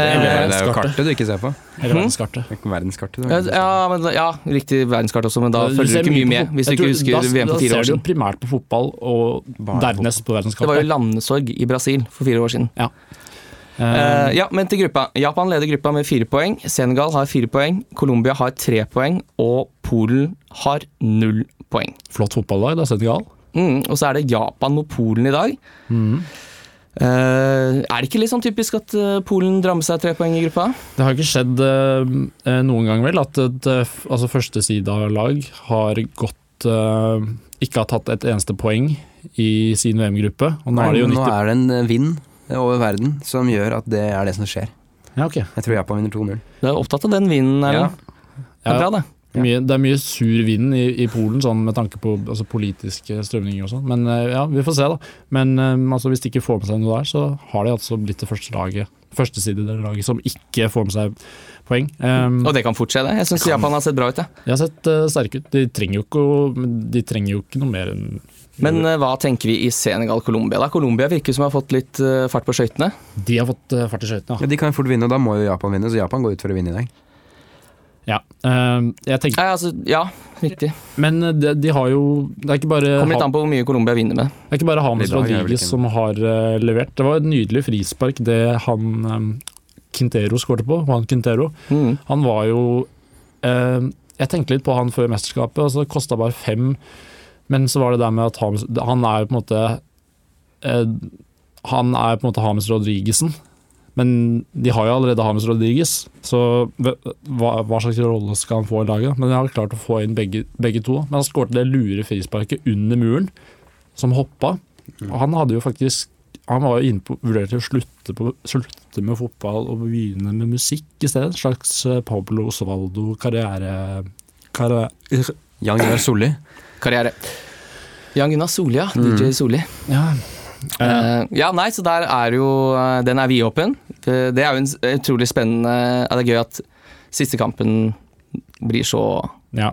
[SPEAKER 1] Eh,
[SPEAKER 2] er, jo
[SPEAKER 3] verdenskartet.
[SPEAKER 2] kartet du ikke ser på.
[SPEAKER 3] Eller
[SPEAKER 1] Mhm.
[SPEAKER 3] verdenskartet.
[SPEAKER 2] Det er ikke Verdenskartet.
[SPEAKER 1] ja,
[SPEAKER 2] du.
[SPEAKER 1] ja, men, ja, riktig verdenskart også, men da
[SPEAKER 3] Du
[SPEAKER 1] følger
[SPEAKER 3] ser
[SPEAKER 1] du ikke mye
[SPEAKER 3] på
[SPEAKER 1] med.
[SPEAKER 3] fot-
[SPEAKER 1] Hvis du
[SPEAKER 3] Jeg
[SPEAKER 1] ikke
[SPEAKER 3] tror-
[SPEAKER 1] husker
[SPEAKER 3] da-
[SPEAKER 1] VM for fire
[SPEAKER 3] Da
[SPEAKER 1] år
[SPEAKER 3] ser du jo
[SPEAKER 1] siden.
[SPEAKER 3] primært på fotball, og
[SPEAKER 2] Bare
[SPEAKER 3] dernest på
[SPEAKER 1] Det var jo
[SPEAKER 3] verdenskartet.
[SPEAKER 1] landesorg i Brasil for fire år siden.
[SPEAKER 3] Eh,
[SPEAKER 1] Eh, ja, men til gruppa. Japan leder gruppa med fire poeng. Senegal har fire poeng. Colombia har tre poeng. Og Polen har null poeng.
[SPEAKER 3] Flott fotballag, da, Senegal.
[SPEAKER 1] Mm, og så er det Japan mot Polen i dag.
[SPEAKER 3] Mm.
[SPEAKER 1] Eh, er det ikke litt sånn typisk at eh, Polen drar med seg tre poeng i gruppa?
[SPEAKER 3] Det har ikke skjedd eh, eh, noen gang, vel, at et eh, f- altså førstesidalag har gått eh, Ikke har tatt et eneste poeng i sin VM-gruppe. Og nå
[SPEAKER 2] Nei,
[SPEAKER 3] er det jo
[SPEAKER 2] men
[SPEAKER 3] 90
[SPEAKER 2] nå er det en eh, vind over verden som gjør at det er det som skjer.
[SPEAKER 3] Ja, ok.
[SPEAKER 2] Jeg tror Japan vinner 2-0.
[SPEAKER 1] Du er jo opptatt av den vinden,
[SPEAKER 2] Ja.
[SPEAKER 1] Erlend. Det
[SPEAKER 3] Ja,
[SPEAKER 1] er bra, det.
[SPEAKER 3] Mye, det er mye sur vind i, i Polen, sånn med tanke på altså, politiske strømninger og sånn. Men eh, ja, vi får se, da. Men eh, altså, hvis de ikke får med seg noe der, så har de altså blitt det første laget førstesidelaget som ikke får med seg poeng. Um,
[SPEAKER 1] Og det kan fort skje, det. Jeg syns Japan har sett bra ut, jeg.
[SPEAKER 3] jeg har sett eh, sterke ut. De trenger, jo ikke, å- men de trenger jo ikke noe mer enn
[SPEAKER 1] Men eh, hva tenker vi i Senegal-Colombia? da? Colombia virker som har fått litt eh, fart på skøytene.
[SPEAKER 3] De har fått eh, fart i skøytene.
[SPEAKER 2] Ja,
[SPEAKER 3] ja.
[SPEAKER 2] de kan jo fort vinne, og da må jo Japan vinne, så Japan går ut for å vinne i dag.
[SPEAKER 3] Ja. eh, jeg tenker,
[SPEAKER 1] Nei, altså, ja, riktig.
[SPEAKER 3] men de, de har jo Det er ikke bare,
[SPEAKER 1] Kommer litt
[SPEAKER 3] Eh, Ha-
[SPEAKER 1] an på hvor mye Colombia vinner med.
[SPEAKER 3] det er ikke bare Hames
[SPEAKER 2] Lille Hagen er vel
[SPEAKER 3] Rodriguez
[SPEAKER 2] ikke-
[SPEAKER 3] som har eh, levert. Det var et nydelig frispark det han eh, Quintero skårte på. Juan Quintero.
[SPEAKER 1] Mm.
[SPEAKER 3] Han var jo eh, Jeg tenkte litt på han før mesterskapet, og så kosta bare fem. Men så var det der med at Hames, han er jo på en måte eh, Han er på en måte Hames Rodriguesen. Men de har jo allerede Hames Rodriguez, så hva, hva slags rolle skal han få i laget? Men de har klart å få inn begge, begge to. Men han skårte det lure frisparket under muren, som hoppa. Og han hadde jo faktisk Han var jo inne på vurderte å slutte, på, slutte med fotball og begynne med musikk i stedet. En slags eh, Pablo Osvaldo karriere... karriere
[SPEAKER 2] Jan Gunnar Solli.
[SPEAKER 1] Karriere. Jan Gunnar Solli, ja. DJ Solli.
[SPEAKER 3] Mm. ja. Eh,
[SPEAKER 1] Eh, ja, nei, så der er jo eh, Den er vidåpen. Eh, Det er jo en s- utrolig spennende ja, Det er gøy at siste kampen blir så
[SPEAKER 3] ja.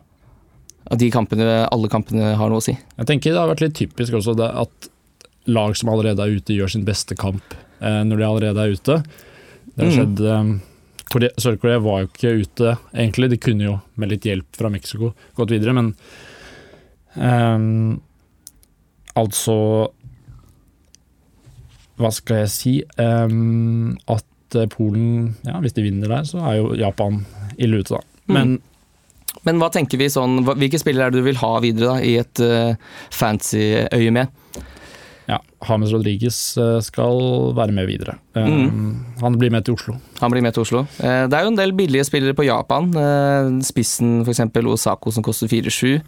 [SPEAKER 1] At de kampene, alle kampene har noe å si.
[SPEAKER 3] Jeg tenker det har vært litt typisk også det at lag som allerede er ute, gjør sin beste kamp eh, når de allerede er ute. Det har
[SPEAKER 1] Mm.
[SPEAKER 3] skjedd eh, Kore- Sør-Korea var jo ikke ute, egentlig. De kunne jo, med litt hjelp fra Mexico, gått videre, men ehm, Altså Hva skal jeg si? Ehm, at eh, Polen, ja, hvis de vinner der, så er jo Japan ille ute, da. Men
[SPEAKER 1] Mm. Men hva tenker vi sånn hva- Hvilke spillere er det du vil ha videre da, i et eh, fancy øye med?
[SPEAKER 3] Ja, James Rodriguez eh, skal være med videre.
[SPEAKER 1] Mm.
[SPEAKER 3] Eh, Han blir med til Oslo.
[SPEAKER 1] Han blir med til Oslo. Eh, Det er jo en del billige spillere på Japan. Eh, Spissen f.eks. Osako som koster 4-7.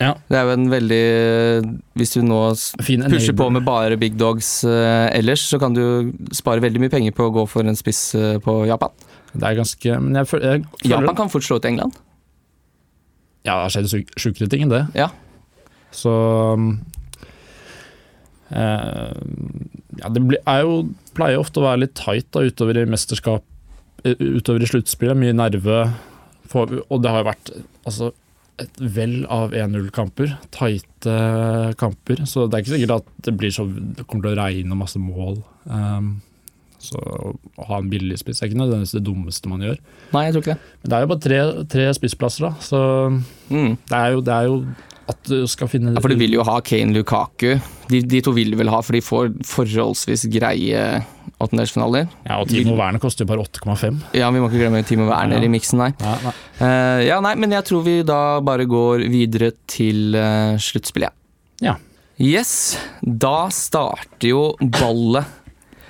[SPEAKER 3] Ja.
[SPEAKER 1] Det er jo en veldig eh, Hvis du nå s-
[SPEAKER 3] Fin
[SPEAKER 1] pusher
[SPEAKER 3] enabler.
[SPEAKER 1] på med bare big dogs eh, ellers, så kan du spare veldig mye penger på å gå for en spiss eh, på Japan.
[SPEAKER 3] Det er ganske Men jeg føler, jeg føler
[SPEAKER 1] Japan kan fort slå ut England.
[SPEAKER 3] Ja, det har skjedd syk- sjukere ting enn det.
[SPEAKER 1] Ja.
[SPEAKER 3] Så um, eh, Ja, det blir, er jo, pleier ofte å være litt tight da, utover i mesterskap eh, Utover i sluttspillet. Mye nerve. Får vi- Og det har jo vært altså, et vell av 1-0-kamper. Tighte kamper. Så det er ikke sikkert at det, blir så, det kommer til å regne masse mål. Um, så å ha en billig spiss er ikke nødvendigvis det dummeste man gjør.
[SPEAKER 1] Nei, jeg tror ikke det.
[SPEAKER 3] Men det er jo bare tre, tre spissplasser, da. Så
[SPEAKER 1] Mm.
[SPEAKER 3] det er jo, det er jo at du skal finne
[SPEAKER 1] Ja, for du vil jo ha Kane Lukaku. De, de to vil du vel ha, for de får forholdsvis greie åttendelsfinaler.
[SPEAKER 3] Ja, og Timo Werner koster jo bare 8,5.
[SPEAKER 1] Ja, vi må ikke glemme Timo Werner
[SPEAKER 3] Ja.
[SPEAKER 1] i miksen her.
[SPEAKER 3] Ja, nei.
[SPEAKER 1] Eh, ja, nei, men jeg tror vi da bare går videre til uh, sluttspillet.
[SPEAKER 3] Ja.
[SPEAKER 1] Yes, da starter jo ballet.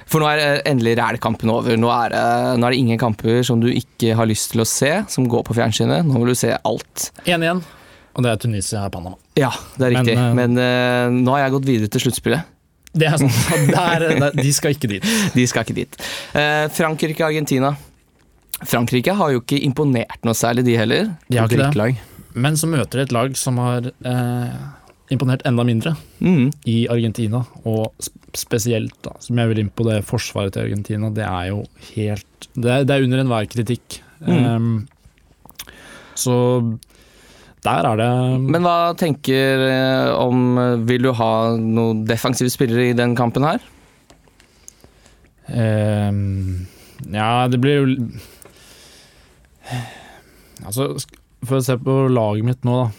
[SPEAKER 1] For nå er eh, endelig rælkampen over. Nå er, det- nå er det ingen kamper som du ikke har lyst til å se, som går på fjernsynet. Nå vil du se alt.
[SPEAKER 3] 1-1, og det er Tunisia og Panama.
[SPEAKER 1] Ja, det er
[SPEAKER 3] Men,
[SPEAKER 1] riktig.
[SPEAKER 3] eh,
[SPEAKER 1] Men, eh, nå har jeg gått videre til sluttspillet.
[SPEAKER 3] Det er sånn, der, der, De skal ikke dit.
[SPEAKER 1] De skal ikke dit. Eh, Frankrike og Argentina. Frankrike har jo ikke imponert noe særlig, de heller.
[SPEAKER 3] De har ikke det.
[SPEAKER 2] Drittlag.
[SPEAKER 3] Men så møter de et lag som har eh, imponert enda mindre,
[SPEAKER 1] Mm.
[SPEAKER 3] i Argentina. Og sp- spesielt, da, som jeg vil inn på, det forsvaret til Argentina. Det er jo helt Det er, det er under enhver kritikk.
[SPEAKER 1] Mm.
[SPEAKER 3] Eh, så der er det
[SPEAKER 1] Men hva tenker eh, om eh, Vil du ha noen defensive spillere i den kampen her?
[SPEAKER 3] Ehm, ja, det blir jo Altså, sk- for å se på laget mitt nå, da.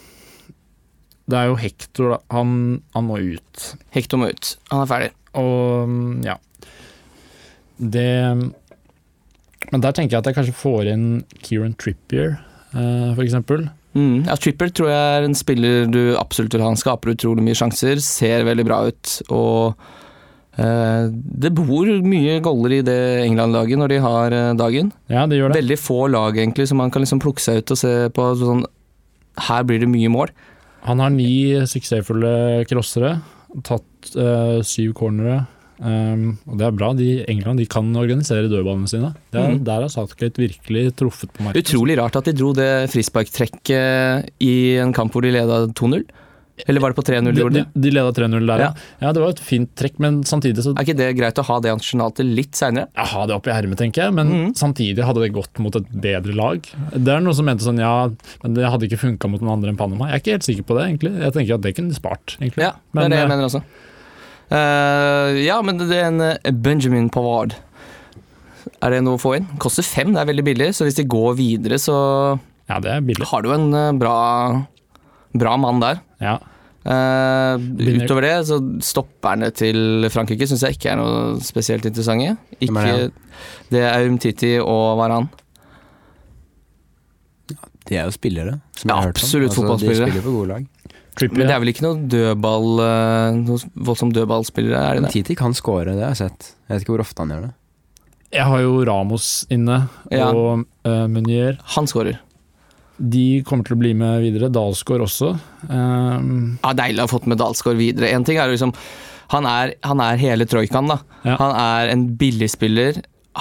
[SPEAKER 3] Det er jo Hector, da. Han, han må ut.
[SPEAKER 1] Hector må ut. Han er ferdig.
[SPEAKER 3] Og mm, ja. Det Men der tenker jeg at jeg kanskje får inn Kieran Trippier, eh, for eksempel.
[SPEAKER 1] Mm. Ja, Tripper tror jeg er en spiller du absolutt vil ha. Han skaper utrolig mye sjanser, ser veldig bra ut og eh, det bor mye goller i det England-laget når de har eh, dagen.
[SPEAKER 3] Ja, det gjør det.
[SPEAKER 1] Veldig få lag egentlig som man kan liksom plukke seg ut og se på sånn Her blir det mye mål.
[SPEAKER 3] Han har ni suksessfulle crossere, tatt eh, syv cornere. Um, og det er bra. De, England de kan organisere dødballene sine. Det er,
[SPEAKER 1] Mhm.
[SPEAKER 3] Der har Southgate virkelig truffet på marken.
[SPEAKER 1] Utrolig rart at de dro det frisparktrekket i en kamp hvor de leda 2-0. Eller var det på 3-0
[SPEAKER 3] De,
[SPEAKER 1] de gjorde
[SPEAKER 3] de,
[SPEAKER 1] det?
[SPEAKER 3] de leda 3-0 der, ja.
[SPEAKER 1] Ja.
[SPEAKER 3] ja. Det var et fint trekk, men samtidig så
[SPEAKER 1] Er ikke det greit å ha det arsenalet litt seinere?
[SPEAKER 3] Jeg har det oppi ermet, tenker jeg, men
[SPEAKER 1] Mhm.
[SPEAKER 3] samtidig hadde det gått mot et bedre lag. Det er noen som mente sånn ja, men det hadde ikke funka mot noen andre enn Panama. Jeg er ikke helt sikker på det, egentlig. Jeg tenker at det kunne de spart, egentlig.
[SPEAKER 1] Ja, det er det jeg
[SPEAKER 3] eh,
[SPEAKER 1] mener også. Eh, ja, men det er en eh, Benjamin Pavard Er det noe å få inn? Koster fem, det er veldig billig. Så hvis de går videre, så
[SPEAKER 3] Ja, det er billig.
[SPEAKER 1] har du en eh, bra, bra mann der.
[SPEAKER 3] Ja.
[SPEAKER 1] Eh,
[SPEAKER 3] Begynner-
[SPEAKER 1] utover det, så stopperne til Frankrike syns jeg ikke er noe spesielt interessante.
[SPEAKER 2] Hvem er
[SPEAKER 1] Ikke, det er Umtiti og Varan.
[SPEAKER 2] De er jo spillere. Som
[SPEAKER 1] Ja,
[SPEAKER 2] jeg har hørt om. Altså,
[SPEAKER 1] absolutt fotballspillere.
[SPEAKER 2] De spiller på gode lag.
[SPEAKER 1] Men det
[SPEAKER 3] Trippier.
[SPEAKER 1] er vel ikke noe dødball eh, Noe voldsomt dødballspillere, er det det?
[SPEAKER 2] Titi kan score, det har jeg sett. Jeg vet ikke hvor ofte han gjør det.
[SPEAKER 3] Jeg har jo Ramos inne,
[SPEAKER 1] Ja.
[SPEAKER 3] og eh, Meunier.
[SPEAKER 1] Han skårer.
[SPEAKER 3] De kommer til å bli med videre. Dalsgaard også. Ehm,
[SPEAKER 1] Ja, deilig å ha fått med Dalsgaard videre. En ting er jo liksom Han er, han er hele troikaen, da.
[SPEAKER 3] Ja.
[SPEAKER 1] Han er en billigspiller.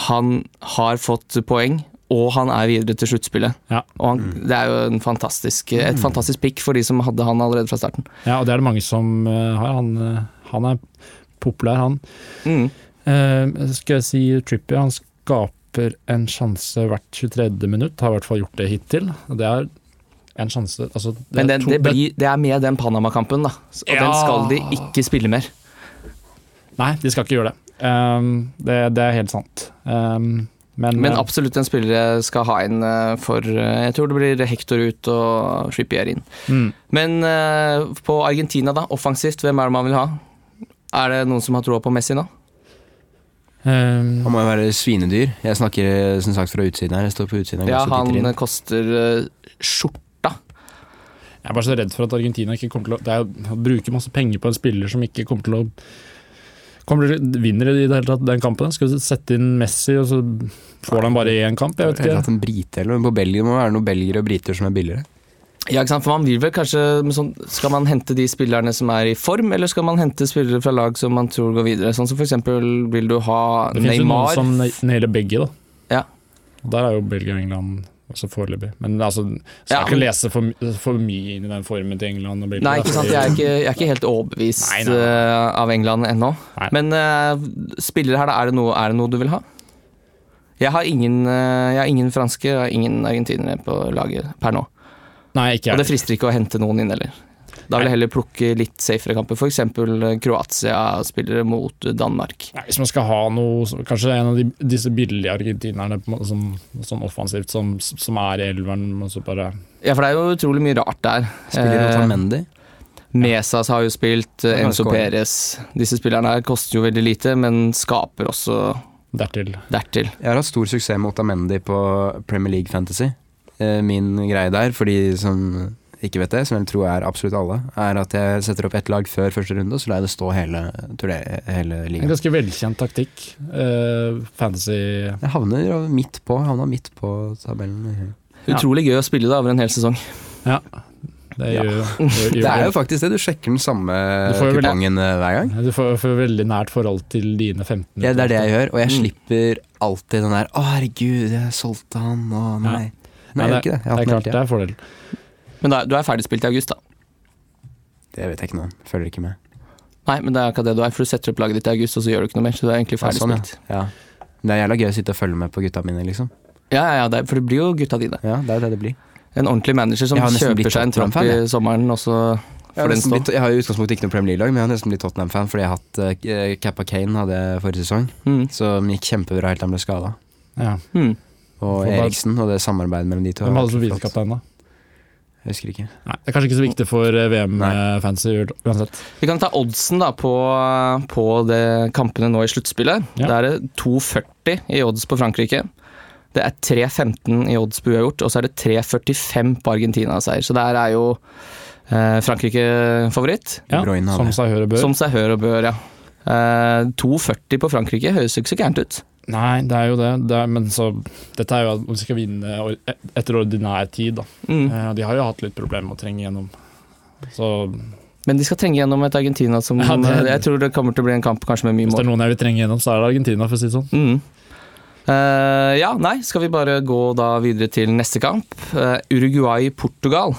[SPEAKER 1] Han har fått poeng, og han er videre til sluttspillet.
[SPEAKER 3] Ja.
[SPEAKER 1] Og han, det er jo en fantastisk, et fantastisk pick for de som hadde han allerede fra starten.
[SPEAKER 3] ja, og det er det mange som eh, har. Han, eh, han er populær, han.
[SPEAKER 1] Mm.
[SPEAKER 3] Eh, skal jeg si Trippier, han skaper en sjanse hvert 23. minutt. Har i hvert fall gjort det hittil. Og Det er en sjanse altså, det
[SPEAKER 1] Men
[SPEAKER 3] er
[SPEAKER 1] den,
[SPEAKER 3] to-
[SPEAKER 1] det, blir, det er med den Panama-kampen, da. Og
[SPEAKER 3] Ja.
[SPEAKER 1] den skal de ikke spille mer.
[SPEAKER 3] Nei, de skal ikke gjøre det. Ehm, det, det er helt sant. Ehm, men,
[SPEAKER 1] Men
[SPEAKER 3] eh,
[SPEAKER 1] absolutt en spiller jeg skal ha inn eh, for eh, Jeg tror det blir Hector ut og Trippier inn.
[SPEAKER 3] mm.
[SPEAKER 1] Men eh, på Argentina, da, offensivt, hvem er det man vil ha? Er det noen som har troa på Messi nå?
[SPEAKER 3] Ehm,
[SPEAKER 2] Han må jo være svinedyr. Jeg snakker som sagt fra utsiden her. Jeg står på utsiden. Jeg
[SPEAKER 1] Ja,
[SPEAKER 2] går så
[SPEAKER 1] han
[SPEAKER 2] titter inn.
[SPEAKER 1] eh, koster eh, skjorta.
[SPEAKER 3] Jeg er bare så redd for at Argentina ikke kommer til å det er, å bruke masse penger på en spiller som ikke kommer til å kommer til, å- Vinner i det hele tatt den kampen? Skal vi sette inn Messi, og så får de bare én kamp? Jeg vet
[SPEAKER 2] Eller at
[SPEAKER 3] ikke.
[SPEAKER 2] en brite, eller men på Belgia må det være noen belgere og briter som er billigere.
[SPEAKER 1] Ja, ikke sant? For man vil vel kanskje men sånn, Skal man hente de spillerne som er i form, eller skal man hente spillere fra lag som man tror går videre? Sånn som for eksempel vil du ha
[SPEAKER 3] Det finnes jo noen
[SPEAKER 1] Neymar?
[SPEAKER 3] som ne- nailer begge, da.
[SPEAKER 1] Ja.
[SPEAKER 3] Og der er jo Belgia og England også foreløpig. Men altså, skal
[SPEAKER 1] Ja.
[SPEAKER 3] ikke lese for, my- for mye inn i den formen til England og Belgia.
[SPEAKER 1] Nei,
[SPEAKER 3] da,
[SPEAKER 1] ikke sant.
[SPEAKER 3] fordi-
[SPEAKER 1] Jeg er ikke, jeg er ikke helt overbevist
[SPEAKER 3] Nei, nei, nei.
[SPEAKER 1] eh, av England ennå.
[SPEAKER 3] Nei.
[SPEAKER 1] Men eh, spillere her, da. Er det, noe, er det noe du vil ha? Jeg har ingen, eh, jeg har ingen franske og ingen argentinere på laget per nå.
[SPEAKER 3] Nei, ikke
[SPEAKER 1] Og det
[SPEAKER 3] jeg.
[SPEAKER 1] frister ikke å hente noen inn heller. Da vil jeg heller plukke litt safere kamper, f.eks. Kroatia-spillere mot eh, Danmark.
[SPEAKER 3] Nei, hvis man skal ha noe så- Kanskje en av de, disse billige argentinerne på en måte som, sånn offensivt, som, som er i elveren, og så bare
[SPEAKER 1] Ja, for det er jo utrolig mye rart der.
[SPEAKER 2] Spiller
[SPEAKER 1] Eh,
[SPEAKER 2] Otamendi.
[SPEAKER 1] Mesas har jo spilt, eh,
[SPEAKER 2] Han kan
[SPEAKER 1] Enzo
[SPEAKER 2] score.
[SPEAKER 1] Perez Disse spillerne her koster jo veldig lite, men skaper også
[SPEAKER 3] dertil.
[SPEAKER 1] dertil.
[SPEAKER 2] Jeg har hatt stor suksess med Otamendi på Premier League Fantasy. Eh, Min greie der, for de som ikke vet det, som jeg tror er absolutt alle, er at jeg setter opp ett lag før første runde, og så lar jeg det stå hele, turné- hele
[SPEAKER 3] En
[SPEAKER 2] ligaen.
[SPEAKER 3] ganske velkjent taktikk. eh, fantasy
[SPEAKER 2] Jeg havner midt på, havna midt på tabellen.
[SPEAKER 3] Ja.
[SPEAKER 1] Utrolig gøy å spille da over en hel sesong.
[SPEAKER 3] Det
[SPEAKER 2] Ja.
[SPEAKER 3] gjør, gjør,
[SPEAKER 2] Det
[SPEAKER 3] gjør
[SPEAKER 2] er jo faktisk det, du sjekker den samme
[SPEAKER 3] Du får jo vel-
[SPEAKER 2] kupongen eh, hver gang.
[SPEAKER 3] Du får, får veldig nært forhold til dine 15.
[SPEAKER 2] Ja, det er det jeg gjør, og jeg
[SPEAKER 1] Mm.
[SPEAKER 2] slipper alltid den der 'Å, herregud, jeg solgte han', å nei. Nei, jeg gjør ikke det. Jeg har hatt
[SPEAKER 3] Det er
[SPEAKER 2] den hele
[SPEAKER 3] klart det
[SPEAKER 2] tida.
[SPEAKER 3] er fordel.
[SPEAKER 1] Men da, du er ferdigspilt i august, da.
[SPEAKER 2] Det vet jeg ikke noe om. Følger ikke med.
[SPEAKER 1] Nei, men det er akkurat det du er, for du setter opp laget ditt i august, og så gjør du ikke noe mer. Så du er egentlig
[SPEAKER 2] Ja, sånn,
[SPEAKER 1] ferdigspilt.
[SPEAKER 2] ja. ja. Det er jævla gøy å sitte og følge med på gutta mine, liksom.
[SPEAKER 1] ja, ja, ja det er, for det blir jo gutta dine.
[SPEAKER 2] Ja, det er jo det det blir.
[SPEAKER 1] En ordentlig manager som
[SPEAKER 2] Jeg har nesten blitt
[SPEAKER 1] kjøper seg en tropp i
[SPEAKER 2] Tottenham-fan,
[SPEAKER 1] sommeren, og så
[SPEAKER 2] Jeg har,
[SPEAKER 1] får den
[SPEAKER 2] nesten
[SPEAKER 1] stå.
[SPEAKER 2] blitt, jeg har jo i utgangspunktet ikke noe Premier League-lag, men jeg har nesten blitt Tottenham-fan fordi jeg har hatt eh, Kappa Kane hadde jeg forrige sesong,
[SPEAKER 1] Mm.
[SPEAKER 2] som gikk kjempebra helt til han ble skada.
[SPEAKER 3] Ja.
[SPEAKER 1] Mm.
[SPEAKER 2] Og
[SPEAKER 3] For bare-
[SPEAKER 2] Eriksen og det samarbeidet mellom de to. har
[SPEAKER 3] Hvem
[SPEAKER 2] vært
[SPEAKER 3] hadde som
[SPEAKER 2] flott.
[SPEAKER 3] visekaptein, da?
[SPEAKER 2] Jeg husker ikke.
[SPEAKER 3] Nei, det er kanskje ikke så viktig for eh, VM
[SPEAKER 2] Nei.
[SPEAKER 3] eh, fantasy uansett.
[SPEAKER 1] Vi kan ta oddsen da på, på det kampene nå i sluttspillet.
[SPEAKER 3] Ja.
[SPEAKER 1] Da er det 2,40 i odds på Frankrike. Det er 3,15 i odds på uavgjort, og så er det 3,45 på Argentina-seier. Så der er jo eh, Frankrike favoritt.
[SPEAKER 3] Ja,
[SPEAKER 2] De Bruyne hadde
[SPEAKER 3] som
[SPEAKER 2] det.
[SPEAKER 3] seg hør og bør.
[SPEAKER 1] Som seg hør og bør, ja. Eh, 2,40 på Frankrike høres jo ikke så gærent ut.
[SPEAKER 3] Nei, det er jo det. det er, men så Dette er jo at vi skal vinne or- et- etter ordinær tid, da.
[SPEAKER 1] Mm.
[SPEAKER 3] Eh, De har jo hatt litt problemer med å trenge gjennom. Så
[SPEAKER 1] Men de skal trenge gjennom et Argentina som eh,
[SPEAKER 3] Ja, det-
[SPEAKER 1] Jeg tror det kommer til å bli en kamp kanskje med mye
[SPEAKER 3] hvis det
[SPEAKER 1] mål.
[SPEAKER 3] er noen jeg vil trenge gjennom, så er det Argentina, for å si det sånn.
[SPEAKER 1] Mm. Eh, ja, nei, skal vi bare gå da videre til neste kamp. Eh, Uruguay-Portugal.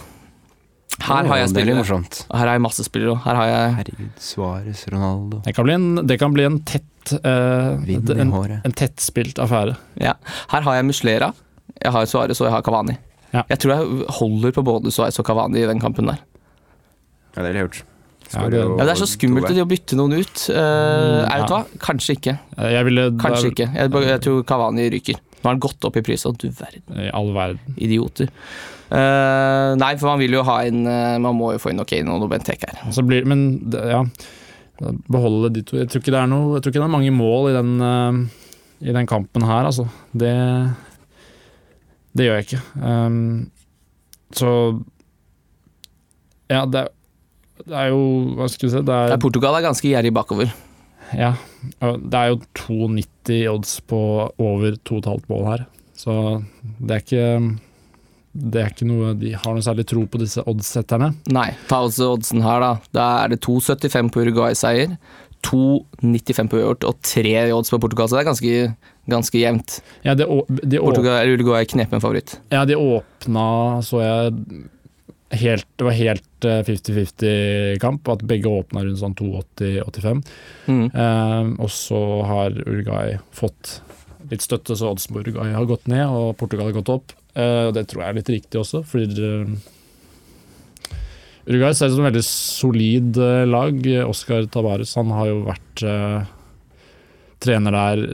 [SPEAKER 1] Her
[SPEAKER 2] Å,
[SPEAKER 1] har jeg
[SPEAKER 2] Det blir
[SPEAKER 1] spillere.
[SPEAKER 2] morsomt.
[SPEAKER 1] Her har jeg masse spillere. og Her har jeg
[SPEAKER 2] Herregud, Suárez, Ronaldo.
[SPEAKER 3] Det kan bli en, det kan bli en tett eh,
[SPEAKER 2] Vind i
[SPEAKER 3] en,
[SPEAKER 2] håret.
[SPEAKER 3] en tettspilt affære.
[SPEAKER 1] ja. Her har jeg Muslera, jeg har Suárez og jeg har Kavani.
[SPEAKER 3] Ja.
[SPEAKER 1] Jeg tror jeg holder på både Suárez og Kavani i den kampen der.
[SPEAKER 2] Ja, det ville jeg gjort.
[SPEAKER 3] Ja, det-
[SPEAKER 1] Ja, det er så skummelt det å bytte noen ut. Eh,
[SPEAKER 3] Mm,
[SPEAKER 1] er vet du
[SPEAKER 3] ja.
[SPEAKER 1] hva? Kanskje ikke.
[SPEAKER 3] Eh, Jeg ville
[SPEAKER 1] Kanskje ikke. Jeg, bare- jeg tror Kavani ryker. Nå har han gått opp i pris, og du verden,
[SPEAKER 3] I all verden.
[SPEAKER 1] idioter. Eh, nei, for man vil jo ha inn eh, Man må jo få inn Okane og Bentek her.
[SPEAKER 3] Så Altså, blir, men det- ja, beholde de to. Jeg tror ikke det er, noe, jeg tror ikke det er mange mål i den, eh, i den kampen her, altså. Det, det gjør jeg ikke. Ehm, så Ja, det, er- det er jo Hva skal vi si? Det
[SPEAKER 1] Ja,
[SPEAKER 3] er,
[SPEAKER 1] Portugal er ganske gjerrig bakover.
[SPEAKER 3] ja, og det er jo 2,90 odds på over 2,5 mål her. Så det er ikke det er ikke noe de har noe særlig tro på, disse oddsetterne.
[SPEAKER 1] Nei, ta også oddsen her, da. Da er det 2,75 på Uruguay-seier, 2,95 på Hjort og 3 i odds på Portugal, så det er ganske, ganske jevnt.
[SPEAKER 3] Ja, det, å- de å-
[SPEAKER 1] Portugal, eller Uruguay er knepen favoritt.
[SPEAKER 3] Ja, de åpna, så jeg helt, Det var helt eh, 50-50-kamp. At begge åpna rundt sånn 82-85.
[SPEAKER 1] Mm.
[SPEAKER 3] Eh, og så har Uruguay fått litt støtte, så oddsen på Uruguay har gått ned, og Portugal har gått opp. Eh, og det tror jeg er litt riktig også, fordi eh, Uruguay ser ut som et veldig solid eh, lag. Oscar Tabares han har jo vært eh, trener der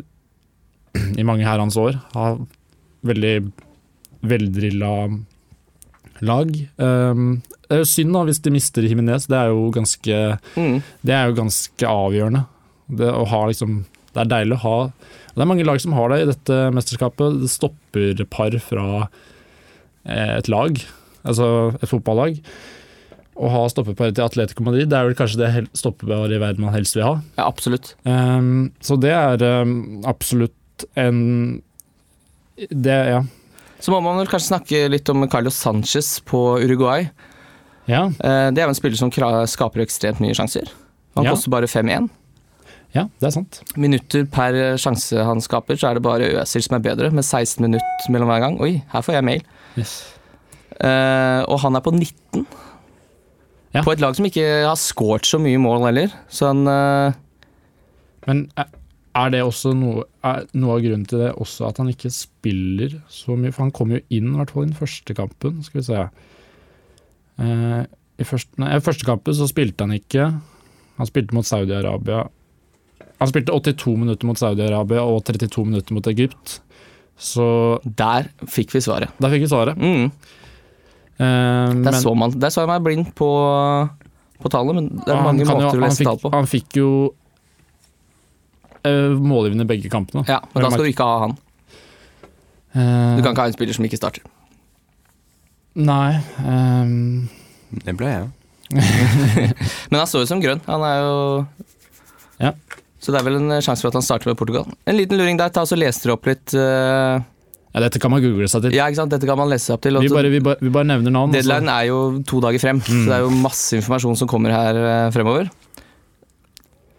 [SPEAKER 3] i mange herrens år. Har veldig veldrilla lag. Eh, det er jo synd da hvis de mister Himinez, det er jo ganske
[SPEAKER 1] Mm.
[SPEAKER 3] det er jo ganske avgjørende. Det, å ha liksom, det er deilig å ha Det er mange lag som har det i dette mesterskapet. Det stopper par fra eh, et lag, altså et fotballag. Å ha stoppeparet til Atletico Madrid det er vel kanskje det hel- stoppeparet i verden man helst vil ha.
[SPEAKER 1] Ja, absolutt.
[SPEAKER 3] Ehm, så det er ehm, absolutt en Det, ja.
[SPEAKER 1] Så må man vel kanskje snakke litt om Carlos Sanchez på Uruguay.
[SPEAKER 3] ja.
[SPEAKER 1] Eh, Det er jo en spiller som kra- skaper ekstremt mye sjanser. Han
[SPEAKER 3] Ja.
[SPEAKER 1] koster bare 5-1.
[SPEAKER 3] Ja, det er sant.
[SPEAKER 1] Minutter per sjanse han skaper, så er det bare Øsil som er bedre, med 16 minutter mellom hver gang. Oi, her får jeg mail. Eh, og han er på 19.
[SPEAKER 3] Ja.
[SPEAKER 1] På et lag som ikke har scoret så mye mål heller. Så han eh,
[SPEAKER 3] Men er- er det også noe, er noe av grunnen til det også at han ikke spiller så mye? For han kom jo inn, i hvert fall i den første kampen, skal vi se. Eh, I første, nei, i første kampen så spilte han ikke. Han spilte mot Saudi-Arabia. Han spilte 82 minutter mot Saudi-Arabia og 32 minutter mot Egypt. Så
[SPEAKER 1] Der fikk vi svaret.
[SPEAKER 3] der fikk vi svaret.
[SPEAKER 1] Mm.
[SPEAKER 3] Eh,
[SPEAKER 1] Der,
[SPEAKER 3] men-
[SPEAKER 1] så man, der så jeg meg blind på, på tallet, men det er
[SPEAKER 3] han
[SPEAKER 1] mange
[SPEAKER 3] kan jo-
[SPEAKER 1] måter å
[SPEAKER 3] han
[SPEAKER 1] lese
[SPEAKER 3] fikk- Ah.
[SPEAKER 1] tall på.
[SPEAKER 3] Han fikk jo uh, målgivende begge kampene.
[SPEAKER 1] Ja, og Da skal du ikke ha han. Du
[SPEAKER 3] Eh,
[SPEAKER 1] kan ikke ha en spiller som ikke starter.
[SPEAKER 3] Nei. ehm,
[SPEAKER 2] Det ble jeg.
[SPEAKER 1] Men han står jo som grønn. Han er jo
[SPEAKER 3] Ja.
[SPEAKER 1] Så det er vel en eh, sjanse for at han starter med Portugal. En liten luring der. ta og så Les dere opp litt. eh,
[SPEAKER 3] ja, dette kan man google seg til.
[SPEAKER 1] Ja, ikke sant? Dette kan man lese seg opp til. og
[SPEAKER 3] vi,
[SPEAKER 1] så-
[SPEAKER 3] bare, vi, bare, vi bare nevner navn. altså. og så-
[SPEAKER 1] Deadline er jo to dager frem, så det er jo masse informasjon som kommer her eh, fremover.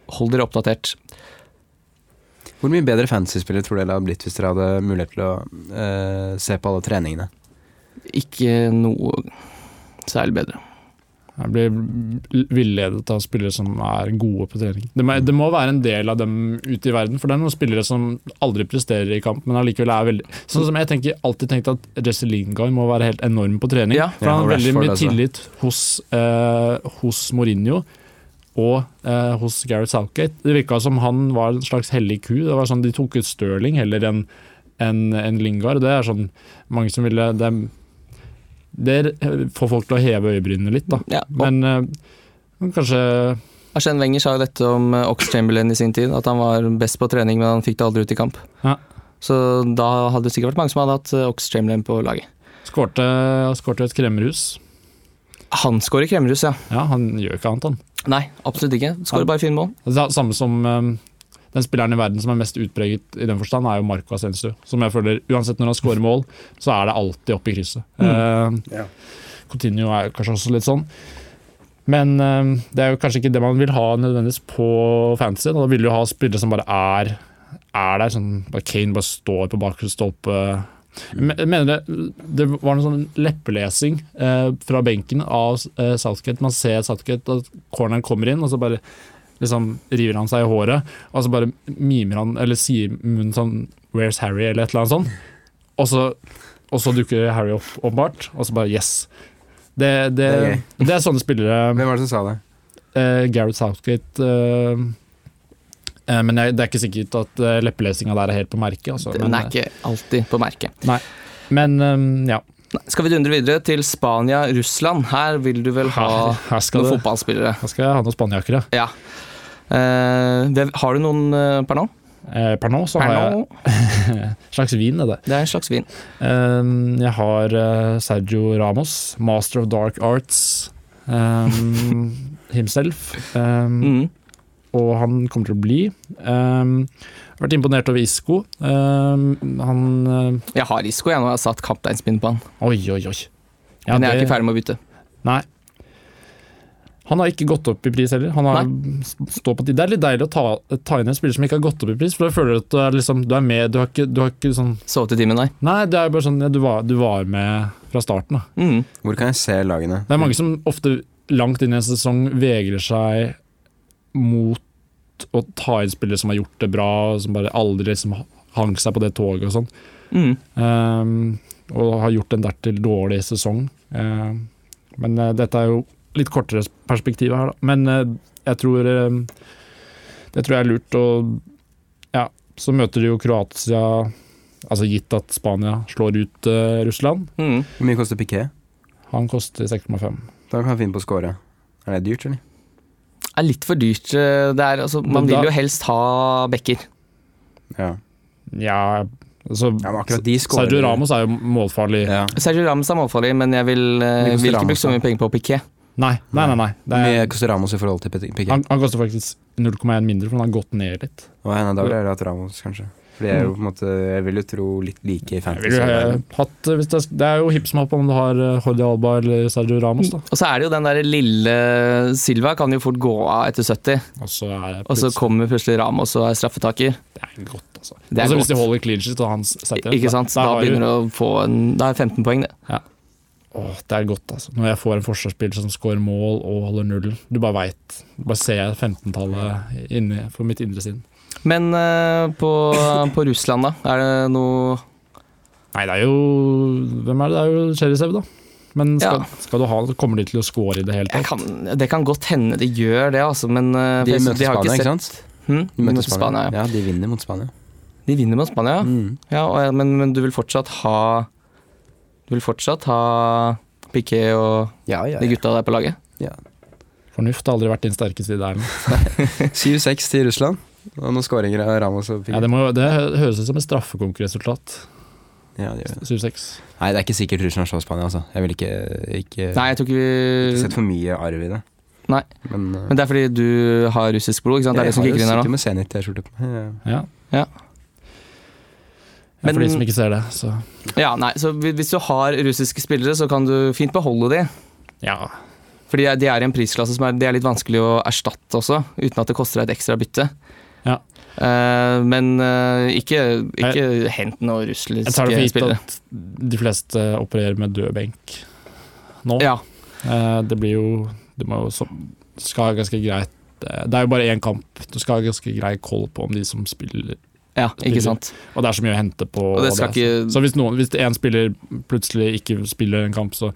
[SPEAKER 1] Hold dere oppdatert.
[SPEAKER 2] Hvor mye bedre fantasyspiller tror dere det hadde blitt hvis dere hadde mulighet til å eh, se på alle treningene?
[SPEAKER 1] Ikke noe særlig bedre.
[SPEAKER 3] Jeg blir l- villedet av spillere som er gode på trening. Det må, det må være en del av dem ute i verden, for det er noen spillere som aldri presterer i kamp, men allikevel er veldig Sånn som jeg tenker, alltid tenkt at Jesse Lingard må være helt enorm på trening.
[SPEAKER 1] Ja.
[SPEAKER 3] For han
[SPEAKER 2] Ja,
[SPEAKER 3] har
[SPEAKER 2] og
[SPEAKER 3] veldig
[SPEAKER 2] Rashford,
[SPEAKER 3] mye
[SPEAKER 2] altså.
[SPEAKER 3] tillit hos, eh, hos Mourinho og eh, hos Gareth Southgate. Det virka som han var en slags hellig ku. Det var sånn, De tok ut Stirling heller enn enn enn Lingard. Det er sånn mange som ville Det, det får folk til å heve øyebrynene litt, da.
[SPEAKER 1] Ja, og
[SPEAKER 3] Men eh, men kanskje
[SPEAKER 1] Arsène Wenger sa jo dette om eh, Ox Chamberlain i sin tid, at han var best på trening, men han fikk det aldri ut i kamp.
[SPEAKER 3] Ja.
[SPEAKER 1] Så da hadde det sikkert vært mange som hadde hatt eh, Ox Chamberlain på laget.
[SPEAKER 3] skårte, skårte et kremmerhus.
[SPEAKER 1] Han skårer kremmerhus, ja.
[SPEAKER 3] Ja, han gjør ikke annet, han.
[SPEAKER 1] Nei, absolutt ikke. Skårer bare fine mål.
[SPEAKER 3] Det er samme som eh, den spilleren i verden som er mest utpreget i den forstand, er jo Marco Ascensu. Som jeg føler, uansett når han skårer mål, så er det alltid oppe i krysset. Eh, Coutinho er kanskje også litt sånn. Men eh, det er jo kanskje ikke det man vil ha nødvendigvis på fantasy. Da vil du ha spillere som bare er, er der. Sånn, bare Kane bare står på bakre stolpe.
[SPEAKER 2] Mm.
[SPEAKER 3] Men- jeg Mener det, det var noe sånn leppelesing eh, fra benken av eh, Southgate. Man ser Southgate, at corneren kommer inn, og så bare liksom river han seg i håret, og så bare mimer han, eller sier i munnen sånn Where's Harry? eller et eller annet sånt. Og så, og så dukker Harry opp, åpenbart, og så bare yes. Det, det,
[SPEAKER 2] Det er
[SPEAKER 3] det, er sånne spillere
[SPEAKER 2] Hvem var det som sa det?
[SPEAKER 3] eh, Gareth Southgate eh, eh, Men jeg, det er ikke sikkert at eh, leppelesinga der er helt på merket. Altså,
[SPEAKER 1] Den
[SPEAKER 3] men
[SPEAKER 1] er ikke alltid på merket.
[SPEAKER 3] men eh, ja.
[SPEAKER 1] Nei, Skal vi dundre videre til Spania, Russland. Her vil du vel ha
[SPEAKER 3] Her, her, skal
[SPEAKER 1] noen
[SPEAKER 3] det,
[SPEAKER 1] fotballspillere.
[SPEAKER 3] her skal jeg ha noen spanjakker, ja.
[SPEAKER 1] Ja. Eh, det, har du noen eh, per nå?
[SPEAKER 3] Eh, per nå så
[SPEAKER 1] Per
[SPEAKER 3] har jeg
[SPEAKER 1] nå?
[SPEAKER 3] slags vin, er det.
[SPEAKER 1] Det er en slags vin.
[SPEAKER 3] Um, jeg har eh, Sergio Ramos, master of dark arts um, himself. Um,
[SPEAKER 1] Mm.
[SPEAKER 3] Og han kommer til å bli. Um, vært imponert over Isco. Um, han eh,
[SPEAKER 1] Jeg har Isco, jeg, nå har jeg satt kapteinspinn på han.
[SPEAKER 3] Oi, oi, oi. Ja,
[SPEAKER 1] Men jeg er
[SPEAKER 3] det-
[SPEAKER 1] ikke ferdig med å bytte.
[SPEAKER 3] Han har ikke gått opp i pris heller. Han har står på, det er litt deilig å ta, ta inn en spiller som ikke har gått opp i pris, for da føler du at du er, liksom, du er med. Du har ikke, du har ikke sånn
[SPEAKER 1] Sovet i timen, nei.
[SPEAKER 3] Nei, det er bare sånn ja, du, var, du var med fra starten, da.
[SPEAKER 1] Mm.
[SPEAKER 2] Hvor kan jeg se lagene?
[SPEAKER 3] Det er mange som ofte langt inn i en sesong vegrer seg mot å ta inn spillere som har gjort det bra, og som bare aldri liksom hang seg på det toget og sånn.
[SPEAKER 1] Mm.
[SPEAKER 3] Ehm, og har gjort en dertil dårlig sesong. Ehm, men eh, dette er jo litt kortere perspektiv her, da. Men eh, jeg tror eh, Det tror jeg er lurt å Ja, så møter de jo Kroatia, altså gitt at Spania slår ut eh, Russland.
[SPEAKER 1] Mm.
[SPEAKER 2] Hvor mye koster Piqué?
[SPEAKER 3] Han koster 6,5.
[SPEAKER 2] Da kan jeg finne på å score. Er det dyrt, eller?
[SPEAKER 1] Det er litt for dyrt. eh, Det er, altså, man
[SPEAKER 3] Men da-
[SPEAKER 1] vil jo helst ha bekker.
[SPEAKER 2] Ja.
[SPEAKER 3] Ja, altså
[SPEAKER 2] ja men akkurat de scorer.
[SPEAKER 3] Sergio Ramos er jo målfarlig.
[SPEAKER 2] Ja.
[SPEAKER 1] Sergio Ramos er målfarlig, men jeg vil, eh,
[SPEAKER 2] Mye koster
[SPEAKER 1] vil ikke bruke
[SPEAKER 2] Ramos,
[SPEAKER 1] så mye
[SPEAKER 2] da.
[SPEAKER 1] penger på Piqué.
[SPEAKER 3] Nei, nei, nei. nei. Det
[SPEAKER 2] Hvor mye
[SPEAKER 3] er,
[SPEAKER 2] koster Ramos i forhold til Piqué? Piqué?
[SPEAKER 3] han, han koster faktisk 0,1 mindre, for han har gått ned litt.
[SPEAKER 2] Og en av dagene er at Ramos, kanskje. Fordi jeg, er jo, på en måte, jeg vil jo tro litt like i
[SPEAKER 3] Jeg ville
[SPEAKER 2] fantasy.
[SPEAKER 3] jo, eh, hatt, eh, hvis det, er, det er jo hipp som happ om du har eh, Jordi Alba eller Sergio Ramos, da.
[SPEAKER 1] Og så er det jo den der lille Silva kan jo fort gå av etter 70,
[SPEAKER 3] Og så er
[SPEAKER 1] Mm.
[SPEAKER 3] det
[SPEAKER 1] og så
[SPEAKER 3] plutselig-
[SPEAKER 1] kommer plutselig Ramos og er straffetaker.
[SPEAKER 3] Det er godt, altså.
[SPEAKER 1] Det er
[SPEAKER 3] Altså, Hvis
[SPEAKER 1] godt.
[SPEAKER 3] de holder clean sheet og han setter
[SPEAKER 1] Ikke sant? Da begynner du å få en Da er 15 poeng, det.
[SPEAKER 3] Åh, det er godt, altså. Når jeg får en forsvarsspiller som scorer mål og holder null. Du bare veit. Bare ser 15-tallet inni for mitt indre sinn.
[SPEAKER 1] Men eh, på, på Russland, da? Er det noe
[SPEAKER 3] Nei, det er jo Hvem er det? Det er jo Cherisev, da. Men skal,
[SPEAKER 1] Ja.
[SPEAKER 3] skal du ha han, så kommer de til å score i det hele
[SPEAKER 1] jeg
[SPEAKER 3] tatt.
[SPEAKER 1] kan, Det kan godt hende det gjør det, altså, men eh, for
[SPEAKER 2] De
[SPEAKER 1] jeg-
[SPEAKER 2] møter
[SPEAKER 1] har
[SPEAKER 2] Spania, ikke
[SPEAKER 1] sett-
[SPEAKER 2] sant?
[SPEAKER 1] Hm?
[SPEAKER 2] De møter Spania.
[SPEAKER 1] Spania. ja.
[SPEAKER 2] Ja, de vinner mot Spania.
[SPEAKER 1] De vinner mot Spania, ja.
[SPEAKER 2] Mm.
[SPEAKER 1] Ja, og, men, men du vil fortsatt ha Du vil fortsatt ha Piqué og
[SPEAKER 2] Ja, ja,
[SPEAKER 1] de gutta der på laget?
[SPEAKER 3] Fornuft har aldri vært din sterke side her.
[SPEAKER 2] 7-6 til Russland. Og noen skåringer av Ramos og
[SPEAKER 3] Ja,
[SPEAKER 2] Piqué.
[SPEAKER 3] det, må, jo- det hø- høres ut som et straffekonkurresultat.
[SPEAKER 2] Ja, det gjør det.
[SPEAKER 3] 7-6.
[SPEAKER 2] Nei, det er ikke sikkert Russland slår Spania, altså. Jeg vil ikke, ikke,
[SPEAKER 1] Nei, jeg tror ikke
[SPEAKER 2] ikke
[SPEAKER 1] vi
[SPEAKER 2] sett for mye arv i det.
[SPEAKER 1] Nei.
[SPEAKER 2] Men, eh,
[SPEAKER 1] Men det er fordi du har russisk blod, ikke sant? Det er det som kicker inn her nå.
[SPEAKER 2] Jeg sitter med Zenit-T-skjorte på meg. Ja.
[SPEAKER 3] Ja.
[SPEAKER 1] Ja.
[SPEAKER 3] Ja, for
[SPEAKER 1] Men-
[SPEAKER 3] de som ikke ser det, så
[SPEAKER 1] Ja, nei, så hvi- Hvis du har russiske spillere, så kan du fint beholde de.
[SPEAKER 3] Ja.
[SPEAKER 1] Fordi de er- de er i en prisklasse som er, de er litt vanskelig å erstatte også, uten at det koster deg et ekstra bytte.
[SPEAKER 3] Ja.
[SPEAKER 1] Eh, men eh, ikke, ikke hent noen russiske
[SPEAKER 3] Jeg Eh, tar det for gitt
[SPEAKER 1] spillere.
[SPEAKER 3] at de fleste opererer med død benk nå.
[SPEAKER 1] Ja,
[SPEAKER 3] Eh, Det blir jo Du må jo så, skal ha ganske greit eh, Det er jo bare én kamp. Du skal ha ganske grei koll på om de som spiller
[SPEAKER 1] ja,
[SPEAKER 3] Spiller.
[SPEAKER 1] ikke sant.
[SPEAKER 3] Og det er så mye å hente på
[SPEAKER 1] Og det skal
[SPEAKER 3] det, altså.
[SPEAKER 1] ikke-
[SPEAKER 3] Så hvis noen Hvis en spiller plutselig ikke spiller en kamp, så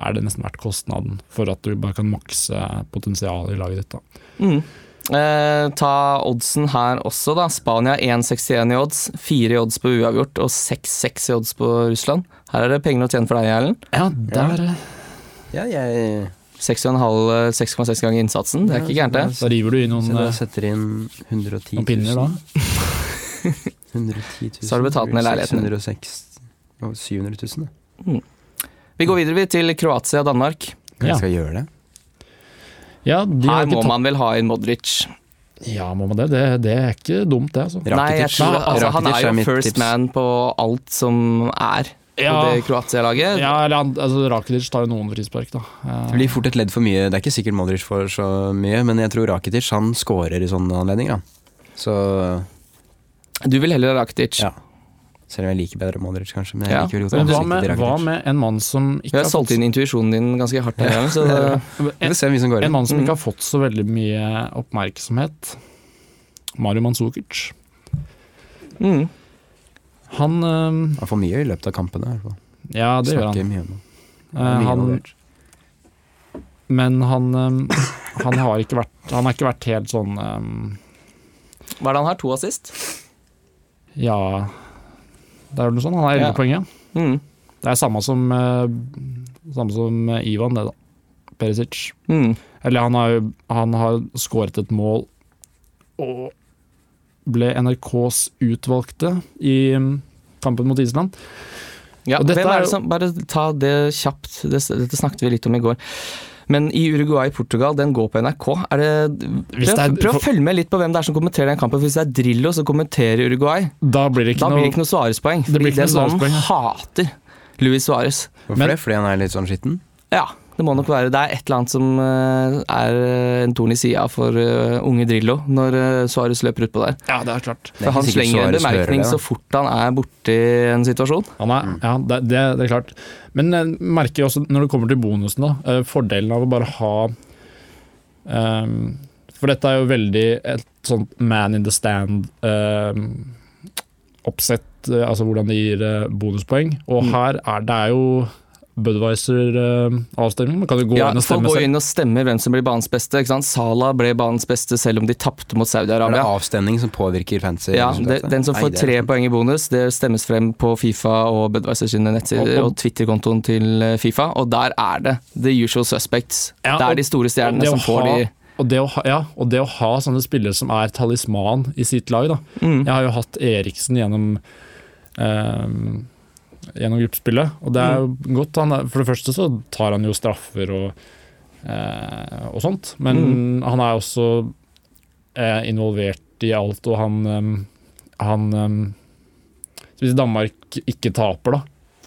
[SPEAKER 3] er det nesten verdt kostnaden for at du bare kan makse potensialet i laget ditt. Da.
[SPEAKER 1] Mm. Eh, ta oddsen her også, da. Spania 1,61 i odds, 4 i odds på uavgjort og 6,6 i odds på Russland. Her er det penger å tjene for deg, Erlend.
[SPEAKER 3] Ja,
[SPEAKER 2] der, Ja, jeg
[SPEAKER 1] 6,5 6,6 ganger innsatsen, det er ikke gærent, det.
[SPEAKER 2] Så
[SPEAKER 3] Da river du i noen
[SPEAKER 2] da
[SPEAKER 3] eh,
[SPEAKER 2] setter jeg inn 110 000.
[SPEAKER 3] noen pinner, da.
[SPEAKER 2] 110 000.
[SPEAKER 1] Så har du betalt ned leiligheten din.
[SPEAKER 2] 606 og 700 000, da.
[SPEAKER 1] Vi går videre vi, til Kroatia og Danmark.
[SPEAKER 2] Kanskje
[SPEAKER 3] Ja.
[SPEAKER 2] jeg skal gjøre det?
[SPEAKER 3] Ja, de har
[SPEAKER 1] Her
[SPEAKER 3] ikke
[SPEAKER 1] må
[SPEAKER 3] tatt-
[SPEAKER 1] man vel ha inn Modric.
[SPEAKER 3] Ja, må man det? det? Det er ikke dumt, det. altså.
[SPEAKER 2] Rakitic.
[SPEAKER 1] Nei, jeg tror,
[SPEAKER 3] Nei,
[SPEAKER 1] altså, han
[SPEAKER 2] Rakitic
[SPEAKER 1] er
[SPEAKER 2] er
[SPEAKER 1] jo
[SPEAKER 2] mitt
[SPEAKER 1] first
[SPEAKER 2] tips.
[SPEAKER 1] man på alt som er på
[SPEAKER 3] Ja,
[SPEAKER 1] det Kroatia-laget.
[SPEAKER 3] ja eller han- altså, Rakitic tar jo noen frispark, da. Eh,
[SPEAKER 2] Det blir fort et ledd for mye. Det er ikke sikkert Modric får så mye, men jeg tror Rakitic han scorer i sånne anledninger. Da. Så
[SPEAKER 1] Du vil heller ha Rakitic.
[SPEAKER 2] Ja. selv om jeg liker bedre Modric, kanskje. Men jeg
[SPEAKER 1] Ja.
[SPEAKER 2] liker vel godt
[SPEAKER 3] Men hva
[SPEAKER 2] ansiktet
[SPEAKER 3] med,
[SPEAKER 2] til
[SPEAKER 3] hva
[SPEAKER 2] Rakitic.
[SPEAKER 3] med en mann som
[SPEAKER 1] Vi
[SPEAKER 3] ikke
[SPEAKER 1] har solgt inn intuisjonen din ganske hardt, her, så det,
[SPEAKER 2] Vi får se hvor mye som går
[SPEAKER 3] En
[SPEAKER 2] inn.
[SPEAKER 3] mann som
[SPEAKER 1] Mm.
[SPEAKER 3] ikke har fått så veldig mye oppmerksomhet. Mario Manzukic.
[SPEAKER 1] mm.
[SPEAKER 3] Han øhm,
[SPEAKER 2] Han får mye i løpet av kampene. i hvert fall.
[SPEAKER 3] Ja, det gjør han.
[SPEAKER 2] Snakker mye om det.
[SPEAKER 3] Eh,
[SPEAKER 2] Mye
[SPEAKER 3] han
[SPEAKER 2] involvert.
[SPEAKER 3] men han øhm, han har ikke vært, han har ikke vært helt sånn ehm,
[SPEAKER 1] Hva er det han har? To assist?
[SPEAKER 3] Ja Det er vel noe sånn. Han har 11
[SPEAKER 1] Ja.
[SPEAKER 3] poeng, ja.
[SPEAKER 1] Mm.
[SPEAKER 3] Det er samme som, eh, samme som eh, Ivan, det, da. Perisic.
[SPEAKER 1] Mm.
[SPEAKER 3] Eller han har, jo- han har skåret et mål og ble NRKs utvalgte i mm, kampen mot Island.
[SPEAKER 1] Ja,
[SPEAKER 3] Og dette
[SPEAKER 1] hvem
[SPEAKER 3] er
[SPEAKER 1] er
[SPEAKER 3] jo-
[SPEAKER 1] det som, bare ta det kjapt, det, dette snakket vi litt om i går. Men i Uruguay-Portugal, den går på NRK. Er det,
[SPEAKER 3] Hvis
[SPEAKER 1] prøv,
[SPEAKER 3] det er-
[SPEAKER 1] prøv å følge med litt på hvem det er som kommenterer den kampen. for Hvis det er Drillo som kommenterer Uruguay,
[SPEAKER 3] Da blir det ikke
[SPEAKER 1] da blir det
[SPEAKER 3] noe
[SPEAKER 1] ikke noe Suárez-poeng.
[SPEAKER 3] Det blir
[SPEAKER 1] fordi
[SPEAKER 3] ikke
[SPEAKER 1] Den
[SPEAKER 3] noe
[SPEAKER 1] mannen hater Luis Suárez.
[SPEAKER 2] Hvorfor
[SPEAKER 3] Men-
[SPEAKER 2] det? Fordi han er litt sånn skitten?
[SPEAKER 1] Ja, det må nok være. Det er et eller annet som eh, er eh, en torn i sida for eh, unge Drillo når uh, Suárez løper utpå der.
[SPEAKER 3] Ja, det er klart.
[SPEAKER 2] Det er
[SPEAKER 1] For han
[SPEAKER 2] ikke sikkert
[SPEAKER 1] slenger en
[SPEAKER 2] Suarez hører
[SPEAKER 1] bemerkning
[SPEAKER 2] det, da.
[SPEAKER 1] så fort han er borti en situasjon.
[SPEAKER 3] Han er,
[SPEAKER 1] Mm.
[SPEAKER 3] ja, det, det, det er klart. Men jeg merker jo også, når det kommer til bonusen, da, eh, fordelen av å bare ha ehm, For dette er jo veldig et sånt man in the stand-oppsett, altså hvordan de gir eh, bonuspoeng. Og
[SPEAKER 1] Mm.
[SPEAKER 3] her er det er jo Budwiser-avstemning. Man kan jo gå
[SPEAKER 1] Ja,
[SPEAKER 3] inn og
[SPEAKER 1] folk
[SPEAKER 3] stemme
[SPEAKER 1] går
[SPEAKER 3] selv.
[SPEAKER 1] inn og stemmer hvem som blir banens beste. Ikke sant? Salah ble banens beste selv om de tapte mot
[SPEAKER 2] Er det
[SPEAKER 1] Saudi-Arabia.
[SPEAKER 2] avstemning som påvirker fancy?
[SPEAKER 1] Ja, det,
[SPEAKER 2] altså?
[SPEAKER 1] den som får tre poeng i bonus, det stemmes frem på Fifa og Budwiser sine nettsider
[SPEAKER 3] Og-
[SPEAKER 1] og Twitter-kontoen til eh, Fifa, og der er det the usual suspects.
[SPEAKER 3] Ja,
[SPEAKER 1] det
[SPEAKER 3] og-
[SPEAKER 1] er de store stjernene
[SPEAKER 3] det å
[SPEAKER 1] som får
[SPEAKER 3] ha-
[SPEAKER 1] de
[SPEAKER 3] Og det, å ha, ja, og det å ha sånne spillere som er talisman i sitt lag, da.
[SPEAKER 1] mm.
[SPEAKER 3] Jeg har jo hatt Eriksen gjennom ehm, Gjennom gruppespillet, og det er jo
[SPEAKER 1] Mm.
[SPEAKER 3] godt. Han er, for det første så tar han jo straffer og, eh, og sånt, men
[SPEAKER 1] Mm.
[SPEAKER 3] han er også eh, involvert i alt, og han ehm, Han ehm, så Hvis Danmark ikke taper, da,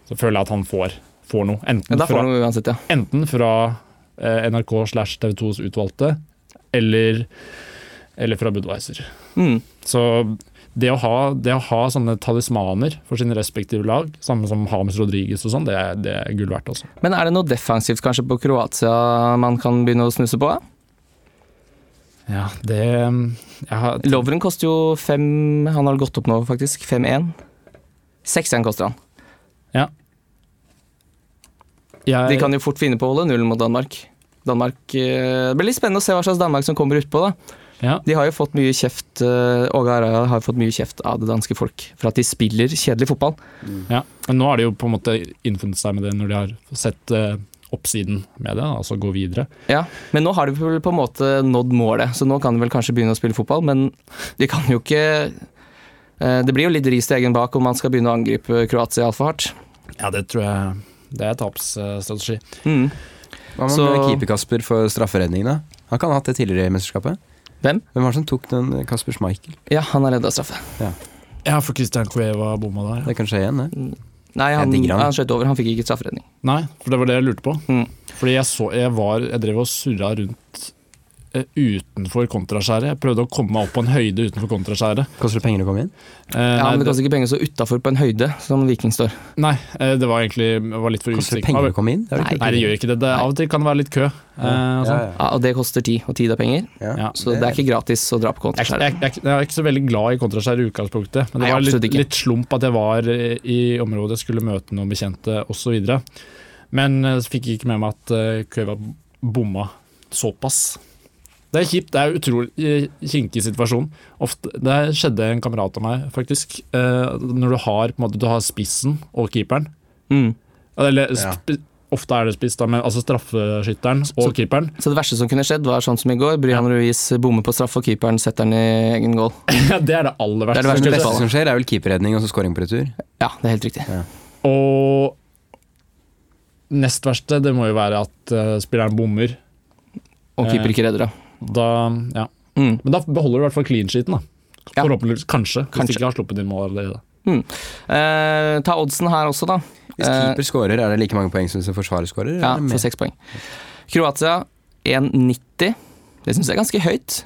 [SPEAKER 3] så føler jeg at han får, får noe.
[SPEAKER 1] Men
[SPEAKER 3] Enten
[SPEAKER 1] da får
[SPEAKER 3] fra,
[SPEAKER 1] han jo uansett, ja.
[SPEAKER 3] enten fra eh, NRK slash TV 2s utvalgte, eller, eller fra Budwiser.
[SPEAKER 1] Mm.
[SPEAKER 3] Så det å, ha, det å ha sånne talismaner for sine respektive lag, samme som Hames Rodriguez og sånn, det, er- det er gull verdt altså. også.
[SPEAKER 1] Men er det noe defensivt kanskje på Kroatia man kan begynne å snuse på? da?
[SPEAKER 3] Ja, det jeg har,
[SPEAKER 1] Lovren koster jo fem Han har gått opp nå, faktisk. 5-1. 6-1 koster han. De
[SPEAKER 3] jeg,
[SPEAKER 1] kan jo fort finne på å holde nullen mot Danmark. Danmark eh, Det blir litt spennende å se hva slags Danmark som kommer utpå, da.
[SPEAKER 3] ja,
[SPEAKER 1] De har jo fått mye kjeft eh, Åge Hareide har fått mye kjeft av det danske folk for at de spiller kjedelig fotball.
[SPEAKER 3] ja. Men nå har de jo på en måte innfunnet seg med det når de har sett eh, oppsiden med det, altså gå videre.
[SPEAKER 1] Ja, Men nå har de vel på en måte nådd målet, så nå kan de vel kanskje begynne å spille fotball, men de kan jo ikke eh, Det blir jo litt ris til egen bak om man skal begynne å angripe Kroatia altfor hardt.
[SPEAKER 3] Ja, det tror jeg det er tapsstrategi.
[SPEAKER 1] Mm.
[SPEAKER 2] Hva med
[SPEAKER 1] Så-
[SPEAKER 2] keeper Kasper for strafferedning, da? Han kan ha hatt det tidligere i mesterskapet.
[SPEAKER 1] Hvem?
[SPEAKER 2] Hvem var det som tok den eh, Kasper Schmeichel?
[SPEAKER 1] Ja, han har redda straffe.
[SPEAKER 3] Ja, for Christian Cueva bomma der.
[SPEAKER 2] Det kan skje igjen, det.
[SPEAKER 1] Nei, han,
[SPEAKER 2] Jeg digger han.
[SPEAKER 1] han skjøt over. Han fikk ikke strafferedning.
[SPEAKER 3] Nei, for det var det jeg lurte på.
[SPEAKER 1] Mm.
[SPEAKER 3] Fordi jeg så Jeg, var, jeg drev og surra rundt eh, utenfor kontraskjæret. Jeg prøvde å komme meg opp på en høyde utenfor kontraskjæret.
[SPEAKER 2] Koster det penger å komme inn?
[SPEAKER 3] Eh,
[SPEAKER 1] Ja,
[SPEAKER 3] nei,
[SPEAKER 1] men det
[SPEAKER 3] det,
[SPEAKER 1] koster ikke penger å stå utafor på en høyde, som Viking står.
[SPEAKER 3] nei, eh, det var egentlig det var litt for
[SPEAKER 2] Koster det
[SPEAKER 3] usikkert.
[SPEAKER 2] penger å
[SPEAKER 3] Av-
[SPEAKER 2] komme inn? Det er jo
[SPEAKER 1] Nei,
[SPEAKER 2] ikke-
[SPEAKER 3] Nei, det gjør ikke det. det av og til kan det være litt kø. Eh, og
[SPEAKER 2] Ja,
[SPEAKER 3] sånn.
[SPEAKER 2] ja,
[SPEAKER 1] Ja, og det koster tid, og tid er penger.
[SPEAKER 2] ja.
[SPEAKER 3] Ja,
[SPEAKER 1] altså. Så det er ikke gratis å dra på
[SPEAKER 3] Jeg, er ikke-
[SPEAKER 1] kontoskjæret.
[SPEAKER 3] jeg, jeg, jeg er ikke så veldig glad i kontraskjær i utgangspunktet, men det
[SPEAKER 1] Nei,
[SPEAKER 3] var
[SPEAKER 1] absolutt
[SPEAKER 3] litt,
[SPEAKER 1] ikke.
[SPEAKER 3] litt slump at jeg var eh, i området, skulle møte noen bekjente osv. Men eh, så fikk jeg ikke med meg at eh, Cueva bomma såpass. Det er kjipt, det er utrolig eh, kinkig situasjon. Ofte, det skjedde en kamerat av meg, faktisk. eh, Når du har, på en måte, du har spissen og keeperen,
[SPEAKER 1] Mm.
[SPEAKER 3] eller
[SPEAKER 2] Ja.
[SPEAKER 3] sp- ofte er det spiss, da, men altså straffeskytteren og
[SPEAKER 1] Så-
[SPEAKER 3] keeperen.
[SPEAKER 1] Så det verste som kunne skjedd, var sånn som i går. Brian Ruiz bommer på straff, og keeperen setter den i egen goal.
[SPEAKER 3] Ja, det er det aller
[SPEAKER 1] Det er
[SPEAKER 3] verste.
[SPEAKER 1] det
[SPEAKER 2] Det
[SPEAKER 1] verste.
[SPEAKER 3] skulle jeg si.
[SPEAKER 2] beste som skjer, er vel keeperredning og så scoring på retur.
[SPEAKER 1] Ja, det er helt riktig.
[SPEAKER 3] Og nest verste, det må jo være at eh, spilleren bommer.
[SPEAKER 1] Og keeper ikke redder det.
[SPEAKER 3] Da, ja.
[SPEAKER 1] Mm.
[SPEAKER 3] Men da beholder du i hvert fall clean sheeten, da.
[SPEAKER 1] Ja.
[SPEAKER 3] Forhåpentligvis, kanskje, hvis
[SPEAKER 1] Kanskje.
[SPEAKER 3] du ikke har sluppet inn mål allerede.
[SPEAKER 1] Eh, ta oddsen her også, da.
[SPEAKER 2] Hvis
[SPEAKER 1] Eh,
[SPEAKER 2] keeper scorer, er det like mange poeng som hvis en forsvarer scorer?
[SPEAKER 1] Ja,
[SPEAKER 2] eller mer?
[SPEAKER 1] for seks poeng. Kroatia 1,90. Det syns jeg er ganske høyt.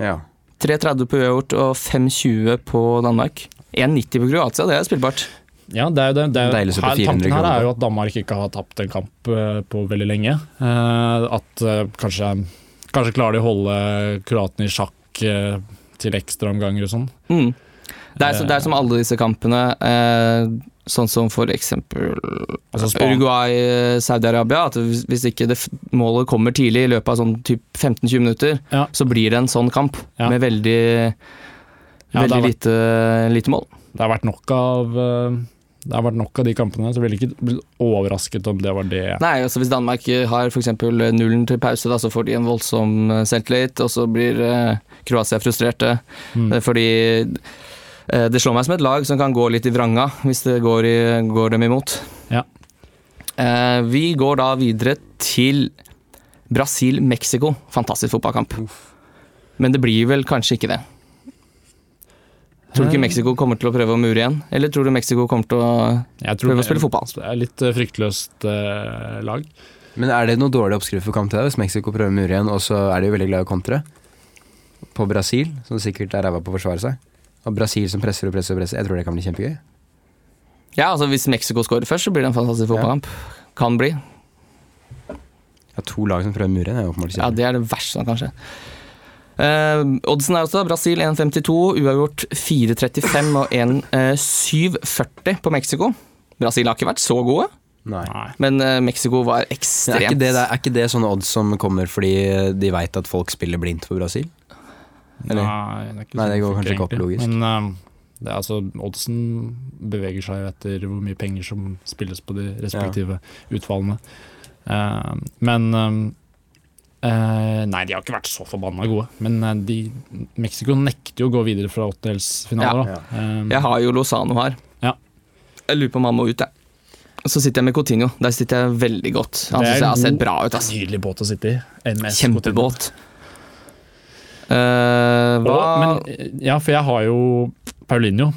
[SPEAKER 2] ja.
[SPEAKER 1] 3,30 på uavgjort og 5,20 på Danmark. 1,90 på Kroatia, det er spillbart.
[SPEAKER 3] Ja, det er jo det, det er,
[SPEAKER 2] Deilig å
[SPEAKER 3] jo-
[SPEAKER 2] se på
[SPEAKER 3] her,
[SPEAKER 2] 400
[SPEAKER 3] Tanken her
[SPEAKER 2] kroner.
[SPEAKER 3] er jo at Danmark ikke har tapt en kamp eh, på veldig lenge. Eh, at eh, kanskje, kanskje klarer de å holde kroatene i sjakk eh, til ekstraomganger og sånn.
[SPEAKER 1] Mm. Det er, som- det er som alle disse kampene, eh, sånn som for eksempel
[SPEAKER 3] Altså Span-
[SPEAKER 1] Uruguay, eh, Saudi-Arabia. At hvis hvis ikke det f målet kommer tidlig, i løpet av sånn typ 15-20 minutter,
[SPEAKER 3] Ja.
[SPEAKER 1] så blir det en sånn kamp
[SPEAKER 3] Ja.
[SPEAKER 1] med veldig,
[SPEAKER 3] Ja, det
[SPEAKER 1] veldig
[SPEAKER 3] har vært-
[SPEAKER 1] lite, lite mål.
[SPEAKER 3] Det har vært nok av eh, det har vært nok av de kampene, så jeg ville ikke blitt overrasket om det var det.
[SPEAKER 1] Nei, altså Hvis Danmark har f.eks. nullen til pause, da, så får de en voldsom eh, selvtillit, og så blir eh, Kroatia frustrerte.
[SPEAKER 3] Mm.
[SPEAKER 1] Eh, Fordi eh, det slår meg som et lag som kan gå litt i vranga hvis det går, i, går dem imot.
[SPEAKER 3] Ja.
[SPEAKER 1] Eh, Vi går da videre til Brasil-Mexico. Fantastisk fotballkamp. Men det blir vel kanskje ikke det. Tror du ikke
[SPEAKER 3] Eh.
[SPEAKER 1] Mexico kommer til å prøve å mure igjen? Eller tror du Mexico kommer til å
[SPEAKER 3] Jeg tror
[SPEAKER 1] prøve å spille fotball?
[SPEAKER 3] Det er litt eh, fryktløst eh, lag.
[SPEAKER 2] Men er det noe dårlig oppskrift for kamp til deg hvis Mexico prøver å mure igjen, og så er de jo veldig glad i å kontre? På Brasil, som sikkert er ræva på å forsvare seg. Og Brasil som presser og presser og presser. Jeg tror det kan bli kjempegøy.
[SPEAKER 1] Ja, altså Hvis Mexico scorer først, så blir det en fantastisk fotballkamp. Kan bli.
[SPEAKER 2] Ja, to lag som prøver å mure igjen, er jo åpenbart
[SPEAKER 1] Ja,
[SPEAKER 2] kjempegøy.
[SPEAKER 1] Det er det verste som kan skje. Eh, oddsen er også Brasil 1,52, uavgjort 4,35 og 1,740 på Mexico. Brasil har ikke vært så gode,
[SPEAKER 2] Nei.
[SPEAKER 3] Nei.
[SPEAKER 1] men eh, Mexico var
[SPEAKER 2] Men er,
[SPEAKER 1] ekstremt
[SPEAKER 2] ikke det, er ikke det sånne odds som kommer fordi de veit at folk spiller blindt for Brasil? Eller?
[SPEAKER 3] Nei, det, er ikke
[SPEAKER 2] Nei,
[SPEAKER 3] så
[SPEAKER 2] det går
[SPEAKER 3] fort,
[SPEAKER 2] kanskje ikke opp
[SPEAKER 3] egentlig.
[SPEAKER 2] logisk.
[SPEAKER 3] Men ehm, det er altså, oddsen beveger seg jo etter hvor mye penger som spilles på de respektive utfallene. Ehm, men ehm, eh, Nei, de har ikke vært så forbanna gode. Men eh, de, Mexico nekter jo å gå videre fra åttedelsfinaler.
[SPEAKER 2] Ja.
[SPEAKER 3] da. Ehm,
[SPEAKER 1] Jeg har jo Lozano her.
[SPEAKER 3] Ja.
[SPEAKER 1] Jeg lurer på om han må ut, jeg. Så sitter jeg med Coutinho. Der sitter jeg veldig godt. Han
[SPEAKER 3] Det er
[SPEAKER 1] syns jeg har
[SPEAKER 3] en
[SPEAKER 1] sett
[SPEAKER 3] god-
[SPEAKER 1] bra ut. Altså.
[SPEAKER 3] Nydelig båt å sitte i. MS
[SPEAKER 1] Kjempebåt. Eh, hva
[SPEAKER 3] Og, men, ja, for jeg har jo Paulinho,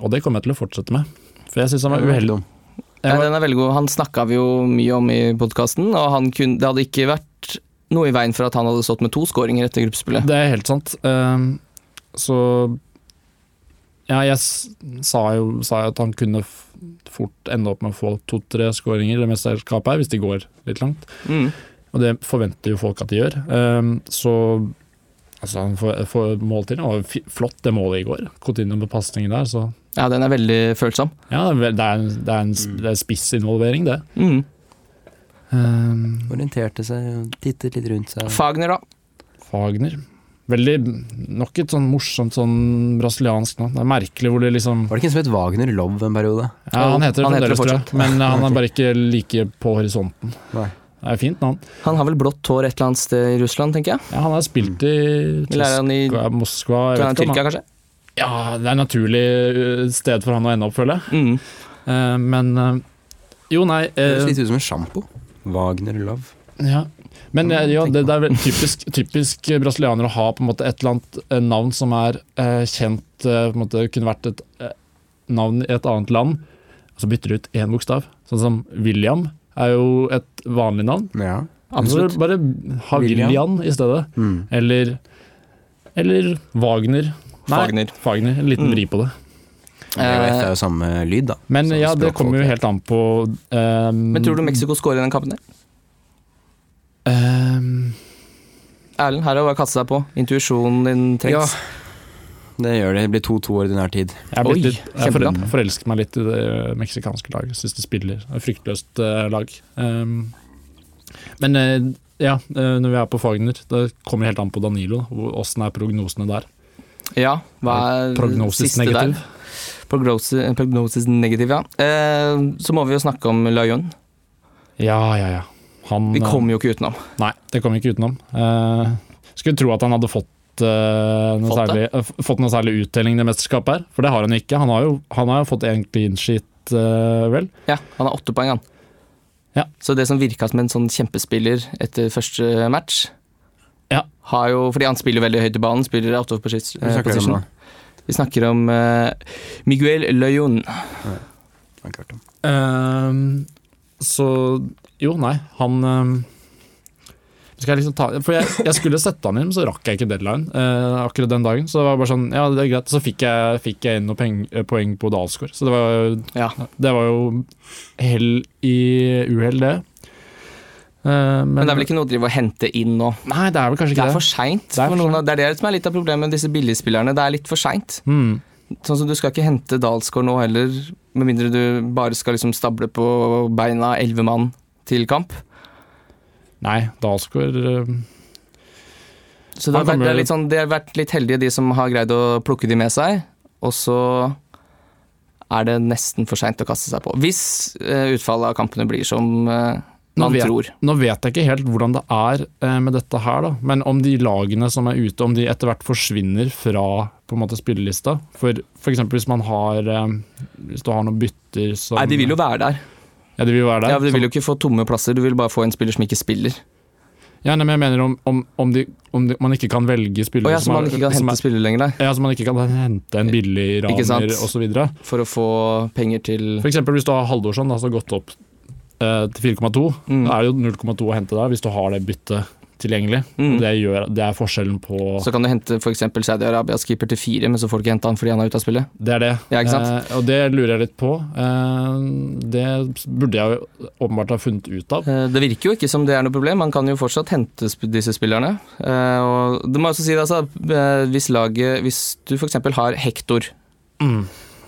[SPEAKER 3] og det kommer jeg til å fortsette med. For jeg syns han var uheldig.
[SPEAKER 2] Dum.
[SPEAKER 1] Ja, den er veldig god. Han snakka vi jo mye om i podkasten, og han kun, det hadde ikke vært noe i veien for at han hadde stått med to skåringer etter gruppespillet.
[SPEAKER 3] Det er helt sant. Ehm, så Ja, jeg s- sa jo, sa jo at han kunne f- fort ende opp med å få to-tre skåringer i det mesterskapet her, hvis de går litt langt.
[SPEAKER 1] Mm.
[SPEAKER 3] Og det forventer jo folk at de gjør. Ehm, så Altså, han får, får mål til. Det var fi- flott, det målet i går. Coutinho med pasningen der, så
[SPEAKER 1] Ja, den er veldig følsom.
[SPEAKER 3] Ja, det er vel- det er en, det er en, s- det er spissinvolvering, det.
[SPEAKER 1] Mm.
[SPEAKER 3] Ehm,
[SPEAKER 2] Orienterte seg, og tittet litt rundt seg.
[SPEAKER 1] Fagner, da.
[SPEAKER 3] Fagner. Veldig Nok et sånn morsomt sånn brasiliansk navn. Det er merkelig hvor det liksom
[SPEAKER 2] Var det ikke en som het Wagner Love en periode?
[SPEAKER 3] Ja, han heter det
[SPEAKER 1] Han heter det
[SPEAKER 3] fremdeles, tror jeg.
[SPEAKER 1] fortsatt.
[SPEAKER 3] Men eh, han er bare ikke like på horisonten.
[SPEAKER 2] Nei.
[SPEAKER 3] Det er fint navn.
[SPEAKER 1] Han har vel blått hår et eller annet sted i Russland, tenker jeg.
[SPEAKER 3] Ja, han har spilt i
[SPEAKER 1] Eller er
[SPEAKER 3] Tysk-
[SPEAKER 1] han i
[SPEAKER 3] Moskva jeg
[SPEAKER 1] kan han
[SPEAKER 3] vet ikke om
[SPEAKER 1] Tyrkia,
[SPEAKER 3] han-
[SPEAKER 1] kanskje?
[SPEAKER 3] Ja, det er et naturlig eh, sted for han å ende opp, føler jeg.
[SPEAKER 1] Mm.
[SPEAKER 3] Eh, Men eh, Jo, nei
[SPEAKER 2] Det
[SPEAKER 3] eh,
[SPEAKER 2] høres litt ut som en sjampo. Wagner Love.
[SPEAKER 3] ja. Men eh, ja, det, det er vel typisk, typisk brasilianer å ha på en måte et eller annet eh, navn som er eh, kjent eh, på en måte Kunne vært et eh, navn i et annet land, og så bytter du ut én bokstav. Sånn som William er jo et vanlig navn.
[SPEAKER 2] Ja.
[SPEAKER 1] Absolutt.
[SPEAKER 3] Så Bare ha
[SPEAKER 2] William.
[SPEAKER 3] William, i stedet.
[SPEAKER 2] Mm.
[SPEAKER 3] Eller, eller Wagner. Nei,
[SPEAKER 1] Fagner.
[SPEAKER 3] Wagner. En liten
[SPEAKER 1] Mm.
[SPEAKER 3] vri på det.
[SPEAKER 2] EOF er jo samme lyd, da.
[SPEAKER 3] Men
[SPEAKER 1] Sånn
[SPEAKER 2] Så
[SPEAKER 3] ja, det
[SPEAKER 2] språkfolk
[SPEAKER 3] kommer jo
[SPEAKER 2] er-
[SPEAKER 3] helt an på ehm,
[SPEAKER 1] Men tror du Mexico scorer i den kampen der?
[SPEAKER 3] ehm,
[SPEAKER 1] Erlend, her er det bare å kaste seg på. Intuisjonen din trengs.
[SPEAKER 2] Det gjør det. Det blir 2-2 ordinær tid.
[SPEAKER 3] Jeg, har blitt
[SPEAKER 1] Oi,
[SPEAKER 3] litt, jeg
[SPEAKER 1] kjempebra.
[SPEAKER 3] forel- forelsket meg litt i det meksikanske laget. Syns det spiller. Et Fryktløst eh, lag. Ehm, men eh, ja, eh, når vi er på Fagner, det kommer helt an på Danilo. Åssen er prognosene der?
[SPEAKER 1] Ja. Hva er
[SPEAKER 3] Prognosis
[SPEAKER 1] siste der?
[SPEAKER 3] negativ?
[SPEAKER 1] Prognosis, prognosis negativ, ja. Eh, så må vi jo snakke om Lyon.
[SPEAKER 3] Ja, ja, ja. Han,
[SPEAKER 1] Vi
[SPEAKER 3] eh,
[SPEAKER 1] kommer jo ikke utenom.
[SPEAKER 3] Nei, det kom vi ikke utenom. Eh, skulle tro at han hadde fått, eh, noe
[SPEAKER 1] Fått
[SPEAKER 3] særlig,
[SPEAKER 1] det?
[SPEAKER 3] eh, f- fått noe særlig uttelling i det mesterskapet her, for det har han ikke. Han har jo, han har jo fått én clean sheet, eh, vel.
[SPEAKER 1] Ja, han har åtte poeng, han.
[SPEAKER 3] Ja.
[SPEAKER 1] Så det som virka som en sånn kjempespiller etter første match
[SPEAKER 3] Ja.
[SPEAKER 1] har jo, Fordi han spiller veldig høyt i banen, spiller out of posi- eh,
[SPEAKER 2] Vi snakker om
[SPEAKER 1] position.
[SPEAKER 2] det.
[SPEAKER 1] Vi snakker om eh, Miguel Leon.
[SPEAKER 2] Jeg har ikke hørt om.
[SPEAKER 3] Eh, så jo, nei, han eh, skal jeg liksom ta, for jeg, jeg skulle sette han inn, men så rakk jeg ikke deadline eh, akkurat den dagen. Så det var bare sånn, ja det er greit. Så fikk jeg, fikk jeg inn noen peng, eh, poeng på Dalsgaard, så det var jo
[SPEAKER 1] Ja.
[SPEAKER 3] Det var jo hell i uhell, det. Eh,
[SPEAKER 1] Men det er vel ikke noe å drive og hente inn nå.
[SPEAKER 3] Nei, det er vel kanskje
[SPEAKER 1] Det
[SPEAKER 3] ikke
[SPEAKER 1] er
[SPEAKER 3] det.
[SPEAKER 1] for seint.
[SPEAKER 3] Det er
[SPEAKER 1] for
[SPEAKER 3] for
[SPEAKER 1] noen av- Det er det som er litt av problemet med disse billigspillerne. Det er litt for seint.
[SPEAKER 3] Hmm.
[SPEAKER 1] sånn som Du skal ikke hente Dalsgaard nå heller, med mindre du bare skal liksom stable på beina elleve mann til kamp.
[SPEAKER 3] Nei, Dalsgaard eh,
[SPEAKER 1] Så det har,
[SPEAKER 3] Han
[SPEAKER 1] vært,
[SPEAKER 3] kommer-
[SPEAKER 1] det, er litt sånn, de har vært litt heldige, de som har greid å plukke de med seg. Og så er det nesten for seint å kaste seg på. Hvis eh, utfallet av kampene blir som eh,
[SPEAKER 3] Nå
[SPEAKER 1] man
[SPEAKER 3] vet-
[SPEAKER 1] tror.
[SPEAKER 3] Nå vet jeg ikke helt hvordan det er eh, med dette her, da. Men om de lagene som er ute, om de etter hvert forsvinner fra på en måte spillelista. For f.eks. hvis man har eh, Hvis du har noen bytter som
[SPEAKER 1] Nei, de vil jo være der.
[SPEAKER 3] Ja, de vil være der.
[SPEAKER 1] Ja, du vil jo ikke få tomme plasser, du vil bare få en spiller som ikke spiller.
[SPEAKER 3] Som- ja, nei, men jeg mener om, om, om, de, om de, man ikke kan velge
[SPEAKER 1] Og
[SPEAKER 3] spillere
[SPEAKER 1] ja, så man ikke kan
[SPEAKER 3] som
[SPEAKER 1] hente
[SPEAKER 3] er,
[SPEAKER 1] spillere lenger, nei.
[SPEAKER 3] ja, som man ikke kan hente en billig
[SPEAKER 1] Ikke sant?
[SPEAKER 3] raner osv.
[SPEAKER 1] For å få penger til
[SPEAKER 3] F.eks. hvis du har Halvorsson, da, som har gått opp eh, til 4,2.
[SPEAKER 1] Mm.
[SPEAKER 3] Da er det jo 0,2 å hente der, hvis du har det byttet tilgjengelig.
[SPEAKER 1] Mm.
[SPEAKER 3] Det, gjør, det er forskjellen på
[SPEAKER 1] Så kan du hente f.eks. Saudi-Arabias keeper til fire, men så får du ikke hente han fordi han er ute av spillet.
[SPEAKER 3] Det er det.
[SPEAKER 1] Ja, ikke sant?
[SPEAKER 3] Eh, og det lurer jeg litt på. Eh, det burde jeg jo åpenbart ha funnet ut av.
[SPEAKER 1] Eh, Det virker jo ikke som det er noe problem, man kan jo fortsatt hente sp- disse spillerne. Eh, Og det må jeg også si det, altså, eh, hvis laget Hvis du f.eks. har Hector,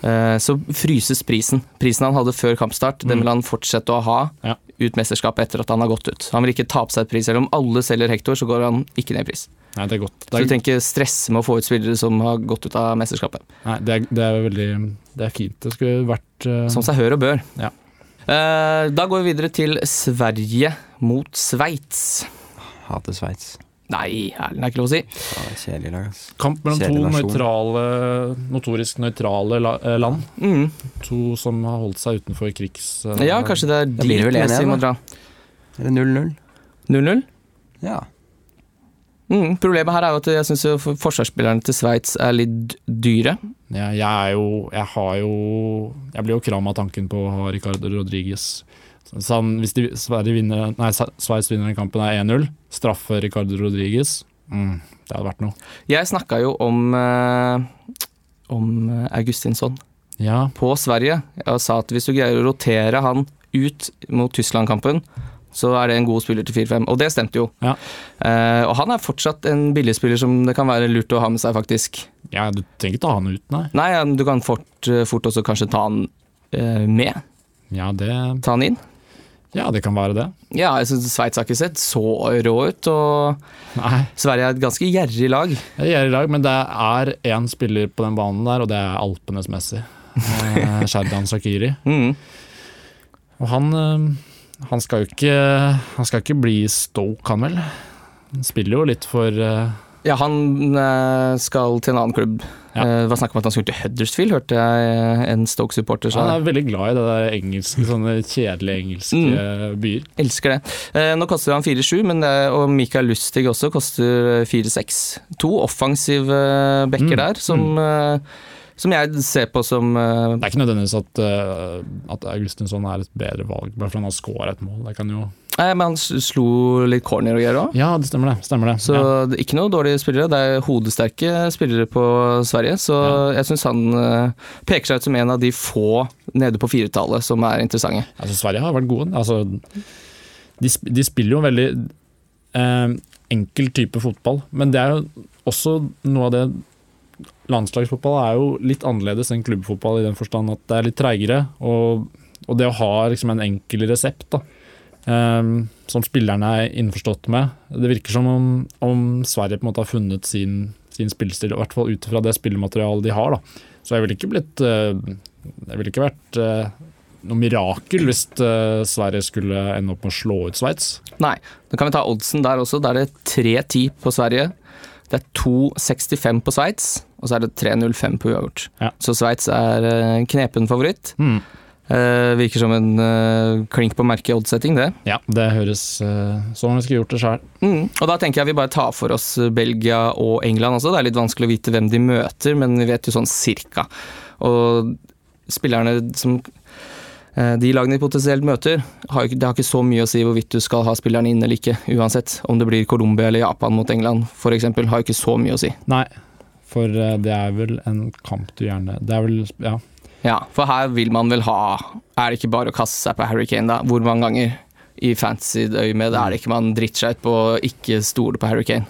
[SPEAKER 1] eh, så fryses prisen. Prisen han hadde før kampstart, den
[SPEAKER 3] Mm.
[SPEAKER 1] vil han fortsette å ha
[SPEAKER 3] Ja.
[SPEAKER 1] ut mesterskapet etter at han har gått ut. Han vil ikke tape seg et pris, selv om alle selger Hector, så går han ikke ned i pris.
[SPEAKER 3] Nei, det er godt.
[SPEAKER 1] Så
[SPEAKER 3] Det
[SPEAKER 1] du
[SPEAKER 3] er,
[SPEAKER 1] trenger ikke stresse med å få ut spillere som har gått ut av mesterskapet.
[SPEAKER 3] nei, det er, det er veldig Det er fint. Det skulle vært eh,
[SPEAKER 1] Som seg hør og bør.
[SPEAKER 3] Ja.
[SPEAKER 1] Eh, Da går vi videre til Sverige mot Sveits.
[SPEAKER 2] Hater Sveits.
[SPEAKER 1] Nei, Erlend er ikke lov å si.
[SPEAKER 2] Ja, det er Kjedelig lag, ass.
[SPEAKER 3] kamp mellom to
[SPEAKER 2] Kjedelig nasjon.
[SPEAKER 3] nøytrale, notorisk nøytrale la, eh, land.
[SPEAKER 1] Mm.
[SPEAKER 3] To som har holdt seg utenfor krigs... eh,
[SPEAKER 1] Ja, kanskje det er dit
[SPEAKER 2] blir det vel en
[SPEAKER 1] Messi
[SPEAKER 2] igjen,
[SPEAKER 1] må dra.
[SPEAKER 2] Eller 0-0.
[SPEAKER 1] 0-0?
[SPEAKER 2] Ja.
[SPEAKER 1] Mm. Problemet her er jo at jeg syns forsvarsspillerne til Sveits er litt dyre.
[SPEAKER 3] Ja, jeg er jo Jeg har jo Jeg blir jo kram av tanken på å ha Ricardo Rodriguez. Så han, hvis de, Sverige vinner, nei, Sa- Sveits vinner den kampen, er 1-0. Straffe Ricardo Rodriguez. Mm, det hadde vært noe.
[SPEAKER 1] Jeg snakka jo om eh, om eh, Augustinsson
[SPEAKER 3] Ja,
[SPEAKER 1] på Sverige og sa at hvis du greier å rotere han ut mot Tyskland-kampen, så er det en god spiller til 4-5. Og det stemte jo.
[SPEAKER 3] Ja.
[SPEAKER 1] Eh, og han er fortsatt en billigspiller som det kan være lurt å ha med seg, faktisk.
[SPEAKER 3] ja du trenger ikke ta han ut, nei.
[SPEAKER 1] Nei, ja, men du kan fort, eh, fort også kanskje ta han eh, med.
[SPEAKER 3] Ja, det,
[SPEAKER 1] Ta han inn.
[SPEAKER 3] ja, det kan være det.
[SPEAKER 1] Ja, jeg synes Sveits har ikke sett så rå ut, og
[SPEAKER 3] Nei,
[SPEAKER 1] Sverige er et ganske gjerrig lag.
[SPEAKER 3] jeg gjør det i dag, men det er én spiller på den banen der, og det er Alpenes Messi. Eh, Sherdan Shakiri.
[SPEAKER 1] Mm.
[SPEAKER 3] Og han, eh, han skal jo ikke Han skal ikke bli Stoke, han vel? Han spiller jo litt for eh,
[SPEAKER 1] Ja, han eh, skal til en annen klubb.
[SPEAKER 3] Ja.
[SPEAKER 1] Eh, Det var snakk om at han skulle til Huddersfield, hørte jeg eh, en Stoke-supporter sa.
[SPEAKER 3] Han er veldig glad i det der engelske, sånne kjedelige engelske
[SPEAKER 1] Mm.
[SPEAKER 3] byer.
[SPEAKER 1] Elsker det. Eh, Nå koster han 4-7, men, eh, og Mikael Lustig også koster eh, 4-6. To offensive eh,
[SPEAKER 3] Mm.
[SPEAKER 1] backer der, som, eh, som jeg ser på som eh,
[SPEAKER 3] Det er ikke nødvendigvis at, eh, at Augustinsson er et bedre valg, bare fordi han har scora et mål. Det kan jo
[SPEAKER 1] Nei, men han s- slo litt corner og greier òg.
[SPEAKER 3] Ja, det stemmer det. Stemmer det.
[SPEAKER 1] Så
[SPEAKER 3] ja.
[SPEAKER 1] det er ikke noe dårlige spillere, det er hodesterke spillere på Sverige. Så jeg syns han eh, peker seg ut som en av de få nede på firetallet som er interessante.
[SPEAKER 3] Altså, Sverige har vært gode. Altså, de, sp- de spiller jo en veldig eh, enkel type fotball, men det er jo også noe av det Landslagsfotball er jo litt annerledes enn klubbfotball i den forstand at det er litt treigere, og, og det å ha liksom en enkel resept da, eh, som spillerne er innforstått med Det virker som om, om Sverige på en måte har funnet sin, sin spillestil, i hvert fall ut fra det spillematerialet de har. Da. Så jeg ville ikke blitt eh, Jeg ville ikke vært eh, noe mirakel hvis eh, Sverige skulle ende opp med å slå ut Sveits.
[SPEAKER 1] Nei, da kan vi ta oddsen der også. Da er det 3-10 på Sverige. Det er 2-65 på Sveits, og så er det 3-05 på uavgjort.
[SPEAKER 3] Ja.
[SPEAKER 1] Så Sveits er eh, knepen favoritt. Eh, virker som en eh, klink på merket oddsetting, det.
[SPEAKER 3] Ja, det høres eh, som om vi skulle gjort det sjøl.
[SPEAKER 1] Mm. Og da tenker jeg vi bare tar for oss eh, Belgia og England også. Det er litt vanskelig å vite hvem de møter, men vi vet jo sånn cirka. Og spillerne som eh, de lagene de potensielt møter, har, jo ikke- det har ikke så mye å si hvorvidt du skal ha spillerne inn eller ikke, uansett. Om det blir Colombia eller Japan mot England, f.eks., har jo ikke så mye å si.
[SPEAKER 3] Nei, for eh, det er vel en kamp du gjerne Det er vel Ja.
[SPEAKER 1] Ja, For her vil man vel ha Er det ikke bare å kaste seg på Harry Kane, da? Hvor mange ganger i fantasy-øyemed er det ikke man driter seg ut på å ikke stole på Harry Kane?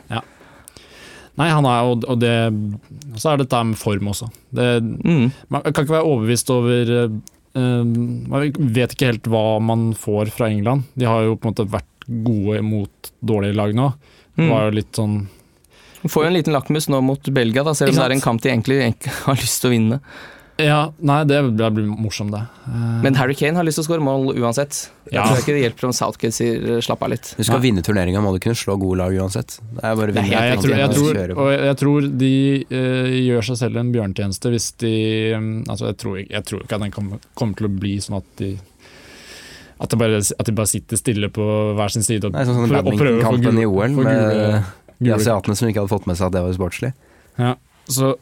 [SPEAKER 3] Nei, han er jo Og det og Så er det dette med form også. Det,
[SPEAKER 1] Mm.
[SPEAKER 3] man kan ikke være overbevist over eh, eh, Man vet ikke helt hva man får fra England. De har jo på en måte vært gode mot dårlige lag nå. Det
[SPEAKER 1] Mm.
[SPEAKER 3] var jo litt sånn
[SPEAKER 1] Får jo en liten lakmus nå mot Belgia, da, selv om
[SPEAKER 3] Ikke
[SPEAKER 1] det er en
[SPEAKER 3] sant?
[SPEAKER 1] kamp de egentlig, egentlig har lyst til å vinne.
[SPEAKER 3] Ja, nei, det blir blir morsomt, det. Eh,
[SPEAKER 1] Men Harry Kane har lyst til å skåre mål uansett. Jeg
[SPEAKER 3] Ja.
[SPEAKER 1] tror ikke det hjelper om Southgate sier eh, 'slapp av litt'.
[SPEAKER 2] Du skal
[SPEAKER 3] Nei.
[SPEAKER 2] vinne turneringa, må du kunne slå gode lag uansett. Det er bare å vinne.
[SPEAKER 3] ja, jeg, tror, jeg, tror,
[SPEAKER 2] Kjøre på.
[SPEAKER 3] og jeg, jeg tror de eh, gjør seg selv en bjørnetjeneste hvis de eh, altså jeg, tror, ikke- jeg tror ikke at den kommer, kommer til å bli sånn at de at de, bare, at de bare sitter stille på hver sin side og,
[SPEAKER 2] Nei, sånn som
[SPEAKER 3] prø- og prøver å få
[SPEAKER 2] badmintonkampen i
[SPEAKER 3] gul-
[SPEAKER 2] OL
[SPEAKER 3] for
[SPEAKER 2] med
[SPEAKER 3] gule-
[SPEAKER 2] de
[SPEAKER 3] gule
[SPEAKER 2] asiatene som ikke hadde fått med seg at det var sportslig.
[SPEAKER 3] Så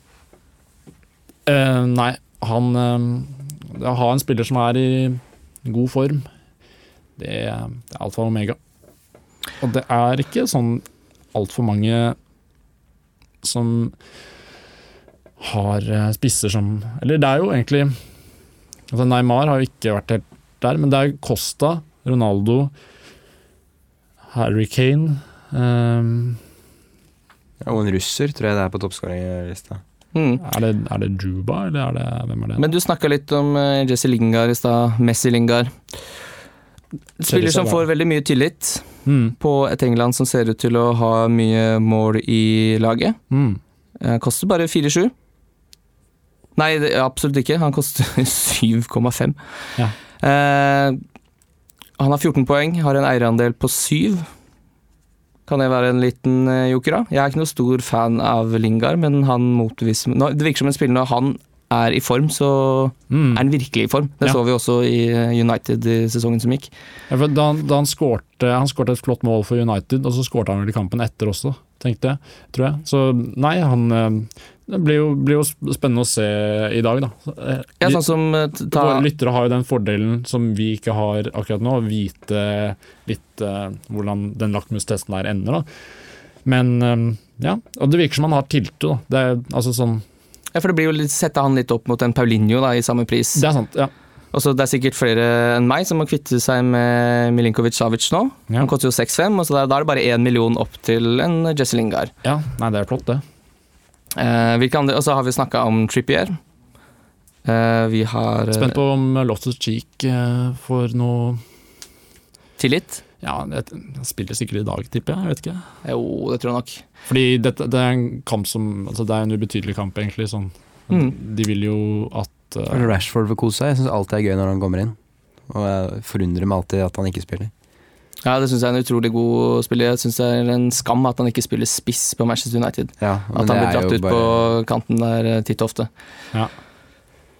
[SPEAKER 3] eh, Nei, han eh, det Å ha en spiller som er i god form, det, er- det er alfa og omega. Og det er ikke sånn altfor mange som har eh, spisser som Eller det er jo egentlig altså Neymar har jo ikke vært helt der, men det er Costa, Ronaldo, Harry Kane eh,
[SPEAKER 2] Ja, og en russer tror jeg det er på toppskåringlista.
[SPEAKER 1] Mm.
[SPEAKER 3] er, det, er det Juba, eller er det, hvem er det?
[SPEAKER 1] Men du snakka litt om eh, Jesse Lingard i stad. Messi Lingard. Spiller som får veldig mye tillit
[SPEAKER 3] Mm.
[SPEAKER 1] på et England som ser ut til å ha mye mål i laget.
[SPEAKER 3] Mm.
[SPEAKER 1] Eh, Koster bare 4-7. Nei, det, absolutt ikke. Han koster 7,5.
[SPEAKER 3] Ja.
[SPEAKER 1] Eh, han har 14 poeng, har en eierandel på 7. Kan det være en liten eh, joker, da? Jeg er ikke noe stor fan av Lingard, men han motbeviser nå, Det virker som en spiller når han er i form, så
[SPEAKER 3] Mm.
[SPEAKER 1] er han virkelig i form. Det
[SPEAKER 3] Ja.
[SPEAKER 1] så vi også i eh, United i sesongen som gikk.
[SPEAKER 3] Ja, for da, han- da han skårte han skårte et flott mål for United, og så skårte han vel i kampen etter også, tenkte jeg. Tror jeg. Så nei, han eh, Det blir jo, blir jo sp- spennende å se i dag, da. Så, eh,
[SPEAKER 1] Ja,
[SPEAKER 3] vi-
[SPEAKER 1] sånn som eh, t- ta,
[SPEAKER 3] Våre lyttere har jo den fordelen som vi ikke har akkurat nå, å vite litt eh, hvordan den lakmustesten der ender, da. Men eh, ja, og det virker som han har tiltro, da. Det er, altså, sånn,
[SPEAKER 1] ja, for det blir jo litt, sette han litt opp mot en Paulinho da, i samme pris.
[SPEAKER 3] det er sant, ja.
[SPEAKER 1] Og så Altså, Det er sikkert flere enn meg som må kvitte seg med Milinkovic Savic nå.
[SPEAKER 3] Ja,
[SPEAKER 1] Han koster jo 6-5, og så da da er det bare 1 million opp til en Jesse Lingard.
[SPEAKER 3] ja nei, det er flott, det.
[SPEAKER 1] Eh, hvilke andre, og så har vi snakka om Trippier. Eh, vi har eh,
[SPEAKER 3] Spent på om Loftus Cheek eh, får noe
[SPEAKER 1] eh, tillit.
[SPEAKER 3] Ja, det han spiller sikkert i dag, tipper jeg. jeg vet ikke.
[SPEAKER 1] Jo, det tror jeg nok.
[SPEAKER 3] Fordi dette, det er en kamp som altså Det er en ubetydelig kamp, egentlig. Sånn.
[SPEAKER 1] Mm.
[SPEAKER 3] De vil jo at eh,
[SPEAKER 2] Eller Rashford får kose seg. Jeg syns alltid det er gøy når han kommer inn. Og jeg forundrer meg alltid at han ikke spiller.
[SPEAKER 1] Ja, Det syns jeg er en utrolig god spiller. Jeg synes det er en skam at han ikke spiller spiss på Manchester United.
[SPEAKER 2] Ja,
[SPEAKER 1] At han blir dratt ut på kanten der eh, titt og ofte.
[SPEAKER 3] Ja.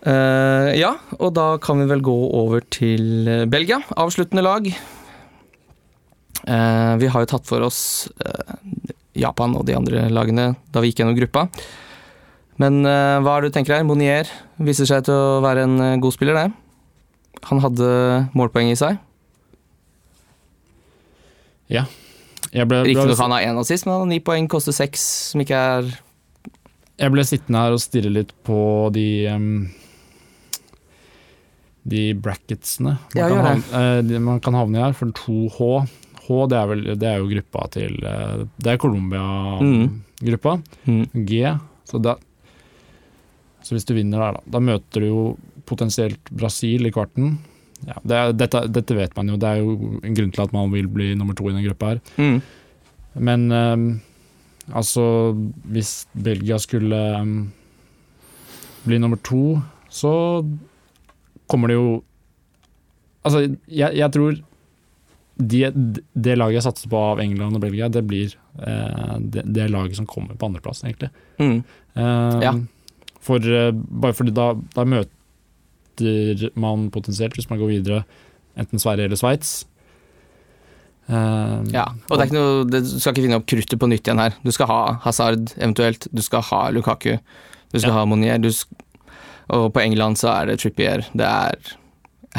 [SPEAKER 1] Eh, ja, og da kan vi vel gå over til eh, Belgia. Avsluttende lag. Eh, vi har jo tatt for oss eh, Japan og de andre lagene da vi gikk gjennom gruppa. Men eh, hva er det du tenker her? Monier viser seg til å være en eh, god spiller, det. Han hadde målpoeng i seg.
[SPEAKER 3] jeg, ble,
[SPEAKER 1] Riktignok
[SPEAKER 3] ble,
[SPEAKER 1] han har én assist, men han har ni poeng, koster seks, som ikke er
[SPEAKER 3] jeg ble sittende her og stirre litt på de em, De bracketsene man,
[SPEAKER 1] Ja,
[SPEAKER 3] kan
[SPEAKER 1] gjør
[SPEAKER 3] havne, eh, de- man kan havne i her, for 2H H det er, vel, det er jo gruppa til eh, Det er
[SPEAKER 1] Mm.
[SPEAKER 3] Colombia-gruppa.
[SPEAKER 1] mm.
[SPEAKER 3] G. Så, da, så hvis du vinner der, da, da møter du jo potensielt Brasil i kvarten. Ja, det er, dette, dette vet man jo, det er jo en grunn til at man vil bli nummer to i den gruppa her.
[SPEAKER 1] Mm.
[SPEAKER 3] Men ehm, altså, hvis Belgia skulle ehm, bli nummer to, så kommer det jo Altså, jeg, jeg tror de, det laget jeg satser på av England og Belgia, det blir eh, det, det laget som kommer på andreplass, egentlig.
[SPEAKER 1] Mm.
[SPEAKER 3] Eh,
[SPEAKER 1] Ja.
[SPEAKER 3] For, eh, bare fordi da, da møter man potensielt, hvis man går videre, enten Sverige eller Sveits. Eh,
[SPEAKER 1] Ja, og det er ikke noe, det, du skal ikke finne opp kruttet på nytt igjen her. Du skal ha Hazard eventuelt, du skal ha Lukaku, du skal
[SPEAKER 3] Ja.
[SPEAKER 1] ha Monier. Du sk og på England så er det Trippier, det er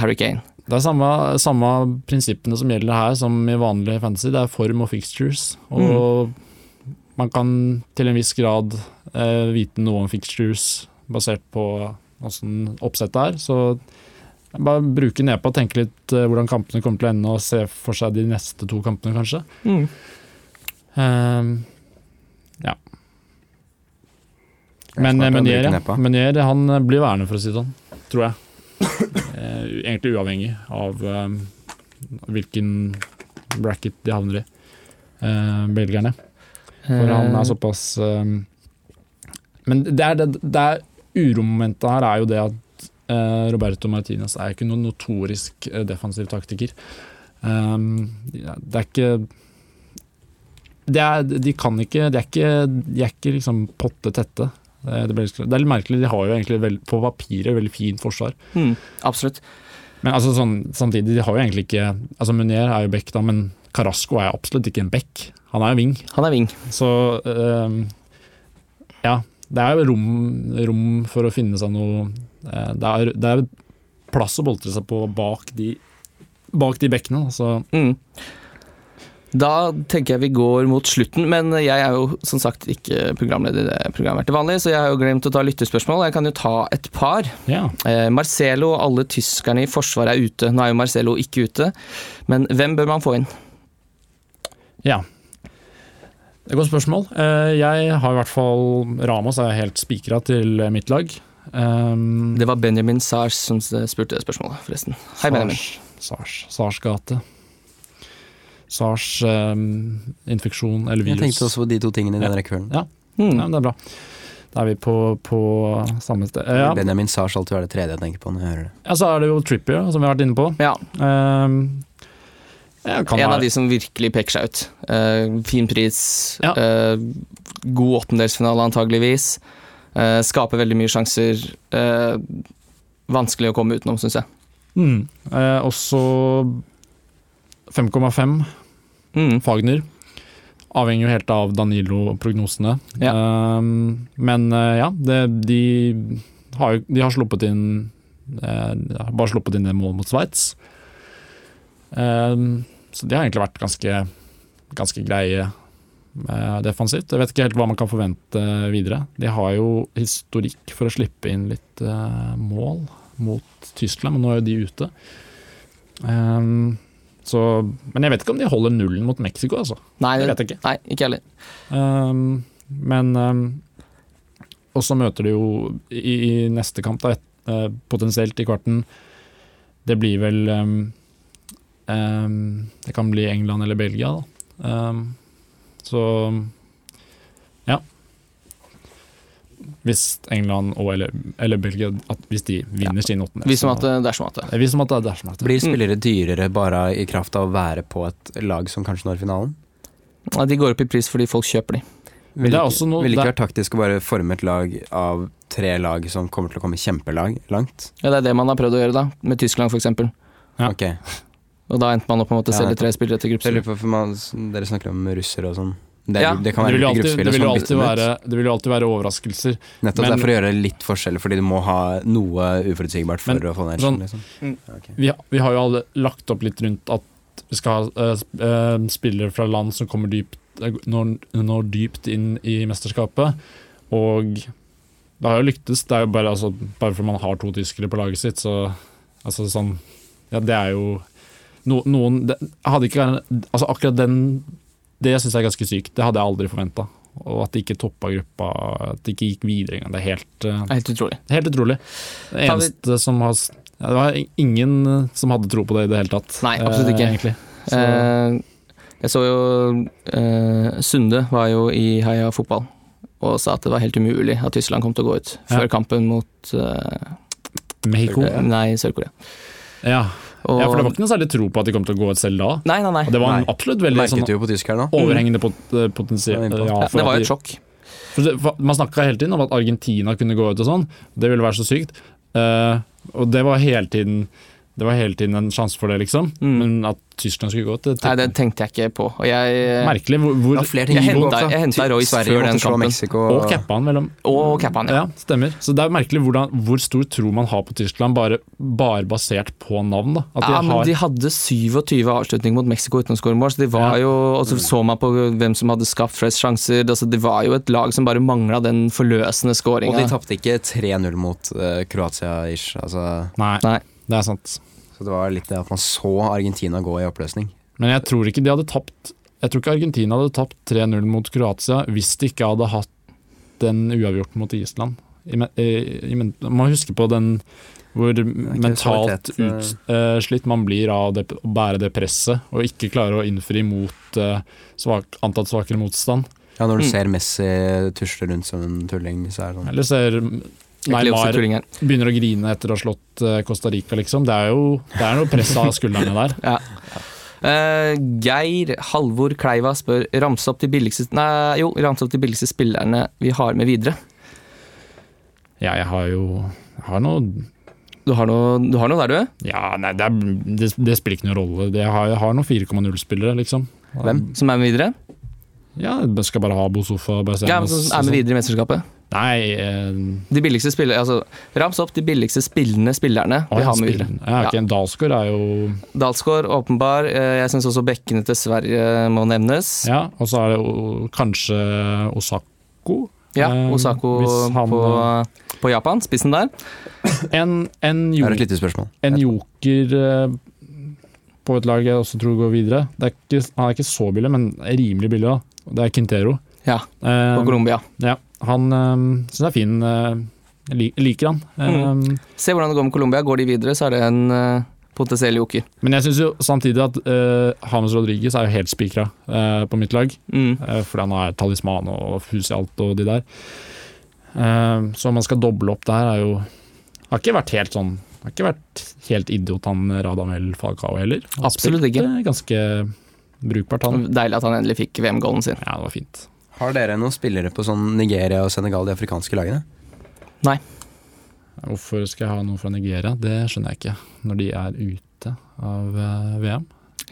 [SPEAKER 1] Harry Kane.
[SPEAKER 3] Det er samme, samme prinsippene som gjelder her som i vanlig fantasy. Det er form og fixtures. Og
[SPEAKER 1] Mm.
[SPEAKER 3] man kan til en viss grad eh, vite noe om fixtures basert på åssen oppsettet er. Så bare bruke nepa og tenke litt eh, hvordan kampene kommer til å ende, og se for seg Ehm, de neste to kampene, kanskje. Eh, ja. Men
[SPEAKER 2] smart,
[SPEAKER 3] eh,
[SPEAKER 2] han bruker
[SPEAKER 3] Meunier, ja.
[SPEAKER 2] neppa.
[SPEAKER 3] Meunier han eh, blir værende, for å si det sånn. Tror jeg. Eh, Egentlig uavhengig av eh, hvilken bracket de havner i, eh, belgierne. For han
[SPEAKER 1] Eh.
[SPEAKER 3] er såpass eh, Men det er, det, det er uromomentet her er jo det at eh, Roberto Martinez er ikke noen notorisk eh, defensiv taktiker. Um, ja, det er ikke det er, De kan ikke De er ikke, de er ikke liksom potte tette. Det er, det blir- det er litt merkelig. De har jo egentlig vel- på papiret veldig fint forsvar.
[SPEAKER 1] Mm, absolutt.
[SPEAKER 3] Men altså sånn, samtidig, de har jo egentlig ikke Altså Munier er jo back, da, men Carasco er absolutt ikke en back. Han er jo wing.
[SPEAKER 1] Han er wing.
[SPEAKER 3] Så eh, ja. Det er jo rom, rom for å finne seg noe eh, det, er, det er plass å boltre seg på bak de, bak de bekkene. da, Så
[SPEAKER 1] Mm. Da tenker jeg vi går mot slutten, men jeg er jo som sagt ikke programleder i det programmet her til vanlig, så jeg har jo glemt å ta lyttespørsmål. Jeg kan jo ta et par.
[SPEAKER 3] ja.
[SPEAKER 1] Eh, Marcelo og alle tyskerne i forsvaret er ute. Nå er jo Marcelo ikke ute, men hvem bør man få inn?
[SPEAKER 3] ja. Det er et godt spørsmål. Eh, jeg har i hvert fall Ramos er helt spikra til mitt lag. Um,
[SPEAKER 1] Det var Benjamin Sars som spurte det spørsmålet, forresten. Hei, Benjamin.
[SPEAKER 3] Sars, Sars, Sars gate. Sars ehm, infeksjon eller
[SPEAKER 2] Jeg
[SPEAKER 3] virus.
[SPEAKER 2] tenkte også på de to tingene i den rekkefølgen.
[SPEAKER 1] Mm.
[SPEAKER 3] Ja, men det er bra. Da er vi på, på samme sted. Eh, Ja,
[SPEAKER 2] Benjamin Sars alltid er det tredje jeg tenker på når jeg hører det.
[SPEAKER 3] ja, så er det jo Trippier, som vi har vært inne på.
[SPEAKER 1] Ja,
[SPEAKER 3] Ehm, ja, kan
[SPEAKER 1] en
[SPEAKER 3] være-
[SPEAKER 1] av de som virkelig peker seg ut. Eh, fin pris,
[SPEAKER 3] Ja.
[SPEAKER 1] eh, god åttendelsfinale antageligvis. Eh, skaper veldig mye sjanser. Eh, vanskelig å komme utenom, syns jeg.
[SPEAKER 3] Mm. Eh, også 5,5
[SPEAKER 1] Mm.
[SPEAKER 3] Fagner. Avhenger jo helt av Danilo-prognosene. Ehm, men eh, ja, det, de, har, jo- de har sluppet inn eh, de har Bare sluppet inn det målet mot Sveits. Ehm, så de har egentlig vært ganske, ganske greie eh, defensivt. Jeg vet ikke helt hva man kan forvente videre. De har jo historikk for å slippe inn litt eh, mål mot Tyskland, men nå er jo de ute. Ehm, så, men jeg vet ikke om de holder nullen mot Mexico, altså.
[SPEAKER 1] Nei,
[SPEAKER 3] Det
[SPEAKER 1] nei,
[SPEAKER 3] vet jeg ikke.
[SPEAKER 1] ikke jeg heller.
[SPEAKER 3] Ehm, men ehm, Og så møter de jo i, i neste kamp, da, et, eh, potensielt i kvarten Det blir vel ehm, ehm, Det kan bli England eller Belgia, da. Ehm, så ja. Hvis England og eller, eller Belgia at Hvis de vinner sin åttende.
[SPEAKER 1] Vi som at eh,
[SPEAKER 3] så-
[SPEAKER 1] det er som at det.
[SPEAKER 3] Vi som at det er dersom at det
[SPEAKER 2] Blir spillere dyrere bare i kraft av å være på et lag som kanskje når finalen?
[SPEAKER 1] Nei, eh, De går opp i pris fordi folk kjøper de.
[SPEAKER 3] Men det er også noe-
[SPEAKER 2] vil ikke
[SPEAKER 3] det-
[SPEAKER 2] være taktisk å bare forme et lag av tre lag som kommer til å komme kjempelag langt?
[SPEAKER 1] Ja, det er det man har prøvd å gjøre, da. Med Tyskland, f.eks.
[SPEAKER 3] Ja.
[SPEAKER 2] Ok.
[SPEAKER 1] Og da endte man opp med å måtte
[SPEAKER 2] Ja,
[SPEAKER 1] selge
[SPEAKER 2] nettopp.
[SPEAKER 1] tre spillere til
[SPEAKER 2] Jeg lurer
[SPEAKER 1] gruppespill.
[SPEAKER 2] på, for man, dere snakker om russere og sånn. Det,
[SPEAKER 1] Ja,
[SPEAKER 2] det kan
[SPEAKER 3] det
[SPEAKER 2] være
[SPEAKER 3] vil jo
[SPEAKER 2] litt
[SPEAKER 3] alltid,
[SPEAKER 2] gruppespill.
[SPEAKER 3] det
[SPEAKER 2] og
[SPEAKER 3] vil
[SPEAKER 2] sånn
[SPEAKER 3] jo
[SPEAKER 2] bytte
[SPEAKER 3] alltid,
[SPEAKER 2] den ut.
[SPEAKER 3] være, det vil jo alltid være overraskelser.
[SPEAKER 2] Nettopp
[SPEAKER 3] Men-
[SPEAKER 2] derfor å gjøre litt forskjell, fordi du må ha noe uforutsigbart for
[SPEAKER 3] Men,
[SPEAKER 2] å få ned
[SPEAKER 3] sånn-
[SPEAKER 2] skjermen, liksom. Ok.
[SPEAKER 3] vi, vi har jo alle lagt opp litt rundt at vi skal ha eh, sp- eh, spillere fra land som kommer dypt, eh, når, når dypt inn i mesterskapet. Og det har jo lyktes. Det er jo bare, altså, bare fordi man har to tyskere på laget sitt, så altså, sånn, ja, Det er jo no, noen det, hadde ikke, vært- altså, Akkurat den Det syns jeg er ganske sykt. Det hadde jeg aldri forventa. Og at de ikke toppa gruppa, at de ikke gikk videre engang. Det er helt eh,
[SPEAKER 1] Helt utrolig.
[SPEAKER 3] Helt utrolig. Det
[SPEAKER 1] Kan vi-
[SPEAKER 3] eneste som har ja, Det var ingen eh, som hadde tro på det i det hele tatt.
[SPEAKER 1] Nei, absolutt ikke.
[SPEAKER 3] Eh, egentlig. Så,
[SPEAKER 1] Eh, jeg så jo eh, Sunde var jo i Heia Fotball og sa at det var helt umulig at Tyskland kom til å gå ut før
[SPEAKER 3] Ja.
[SPEAKER 1] kampen mot eh,
[SPEAKER 3] Mexico. Ja.
[SPEAKER 1] Nei, Sør-Korea.
[SPEAKER 3] ja,
[SPEAKER 1] Og-
[SPEAKER 3] for det var ikke noe særlig tro på at de kom til å gå ut selv da.
[SPEAKER 1] Nei, nei, nei.
[SPEAKER 3] Og Det var en
[SPEAKER 2] Nei.
[SPEAKER 3] absolutt veldig sånn
[SPEAKER 2] Merket du jo på tyskerne nå?
[SPEAKER 3] overhengende pot potensial.
[SPEAKER 2] Det var innpå.
[SPEAKER 1] Ja,
[SPEAKER 3] for
[SPEAKER 1] det var
[SPEAKER 3] at
[SPEAKER 1] jo
[SPEAKER 3] de-
[SPEAKER 1] et sjokk.
[SPEAKER 3] for det- for Man snakka hele tiden om at Argentina kunne gå ut og sånn. Det ville være så sykt. Eh, og det var hele tiden Det var hele tiden en sjanse for det, liksom.
[SPEAKER 1] Mm.
[SPEAKER 3] Men at Tyskland skulle gå ut, det,
[SPEAKER 1] Nei, det tenkte jeg ikke på. Og jeg, eh,
[SPEAKER 3] merkelig. Hvor,
[SPEAKER 2] Det
[SPEAKER 3] hvor
[SPEAKER 2] var flere ting
[SPEAKER 1] jeg
[SPEAKER 2] som gikk
[SPEAKER 1] hentet-
[SPEAKER 2] opp, da.
[SPEAKER 1] jeg hentet Royce
[SPEAKER 2] Sverige
[SPEAKER 1] før
[SPEAKER 2] måtte
[SPEAKER 1] den
[SPEAKER 2] slå
[SPEAKER 1] kampen.
[SPEAKER 2] Mexico,
[SPEAKER 3] Og cappa han mellom
[SPEAKER 1] og Kappan, ja.
[SPEAKER 3] Ja, stemmer. Så det er merkelig hvordan, hvor stor tro man har på Tyskland, bare, bare basert på navn. da. At de
[SPEAKER 1] ja, men
[SPEAKER 3] har,
[SPEAKER 1] de hadde 27 avslutninger mot Mexico uten å skåre mål, så de var
[SPEAKER 3] Ja.
[SPEAKER 1] jo Og så så man på hvem som hadde skapt flest sjanser. Altså, det var jo et lag som bare mangla den forløsende
[SPEAKER 2] Og de
[SPEAKER 1] skåringa.
[SPEAKER 2] tapte ikke 3-0 mot eh, Kroatia-ish. Altså,
[SPEAKER 3] nei,
[SPEAKER 1] Nei.
[SPEAKER 3] det er sant.
[SPEAKER 2] så det var litt det at man så Argentina gå i oppløsning.
[SPEAKER 3] Men jeg tror ikke de hadde tapt Jeg tror ikke Argentina hadde tapt 3-0 mot Kroatia hvis de ikke hadde hatt den uavgjorten mot Island. I, men- eh, i, men- man husker på den hvor mentalt
[SPEAKER 2] kvalitet, eh.
[SPEAKER 3] utslitt man blir av det, å bære det presset, og ikke klare å innfri mot eh, svak, antatt svakere motstand.
[SPEAKER 2] Ja, når du
[SPEAKER 1] Mm.
[SPEAKER 2] ser Messi tusle rundt som en tulling, så er det sånn
[SPEAKER 3] Eller ser
[SPEAKER 1] Jeg kler også
[SPEAKER 3] Neymar
[SPEAKER 1] tulling her.
[SPEAKER 3] begynner å grine etter å ha slått eh, Costa Rica, liksom. Det er jo det er noe press av skuldrene der.
[SPEAKER 1] Ja. Eh, Geir Halvor Kleiva spør ramse opp de billigste Nei, jo, ramse opp de billigste spillerne vi har med videre.
[SPEAKER 3] Ja, jeg har jo jeg har noe
[SPEAKER 1] Du har noe, du har noe der, du?
[SPEAKER 3] Ja, nei, det, er, det, det spiller ikke noen rolle. Det- Jeg har, jeg har noen 4,0-spillere, liksom.
[SPEAKER 2] Hvem?
[SPEAKER 1] Som er med videre?
[SPEAKER 3] Ja, jeg skal bare ha Bosofa Barcenas.
[SPEAKER 1] Ja, som
[SPEAKER 3] altså.
[SPEAKER 1] er med videre i mesterskapet.
[SPEAKER 3] sånn. Nei eh,
[SPEAKER 1] De billigste spillerne Altså, rams opp de billigste spillende spillerne
[SPEAKER 3] å,
[SPEAKER 1] vi
[SPEAKER 3] ja,
[SPEAKER 1] har med videre.
[SPEAKER 3] spilleren. Ja, ok, Dalsgaard er jo
[SPEAKER 1] Dalsgaard, åpenbar. Eh, Jeg syns også bekkene til Sverige må nevnes.
[SPEAKER 3] Ja, og så er det jo kanskje Osako.
[SPEAKER 1] Ja,
[SPEAKER 3] Eh,
[SPEAKER 1] Osako
[SPEAKER 3] hvis han- eh,
[SPEAKER 1] på, på Japan, spissen der.
[SPEAKER 3] En, en,
[SPEAKER 2] Det
[SPEAKER 3] jo,
[SPEAKER 2] er et lite spørsmål.
[SPEAKER 3] en joker eh, på et lag jeg også tror går videre. Det er ikke, han er ikke så billig, men rimelig billig. da. Det er Quintero.
[SPEAKER 1] Ja, på
[SPEAKER 3] Eh,
[SPEAKER 1] Colombia.
[SPEAKER 3] ja, han eh, syns jeg er fin. Eh, jeg lik- liker han. Eh,
[SPEAKER 1] Se hvordan det går med Colombia. Går de videre, så er det en eh, potensiell joker.
[SPEAKER 3] Men jeg syns jo samtidig at uh, Hames Rodriguez er jo helt spikra eh, på mitt lag.
[SPEAKER 1] Mm.
[SPEAKER 3] Eh, fordi han er talisman og hus i alt og de der. Eh, så om man skal doble opp der, er jo Har ikke vært helt sånn Har ikke vært helt idiot, han Radamel Falcao heller. Han
[SPEAKER 1] Absolutt
[SPEAKER 3] spilte
[SPEAKER 1] ikke.
[SPEAKER 3] Ganske brukbart, han.
[SPEAKER 1] Deilig at han endelig fikk VM-goalen sin.
[SPEAKER 3] Ja, det var fint.
[SPEAKER 2] Har dere noen spillere på sånn Nigeria og Senegal, de afrikanske lagene?
[SPEAKER 3] Hvorfor skal jeg ha noe fra Nigeria? Det skjønner jeg ikke, når de er ute av eh, VM.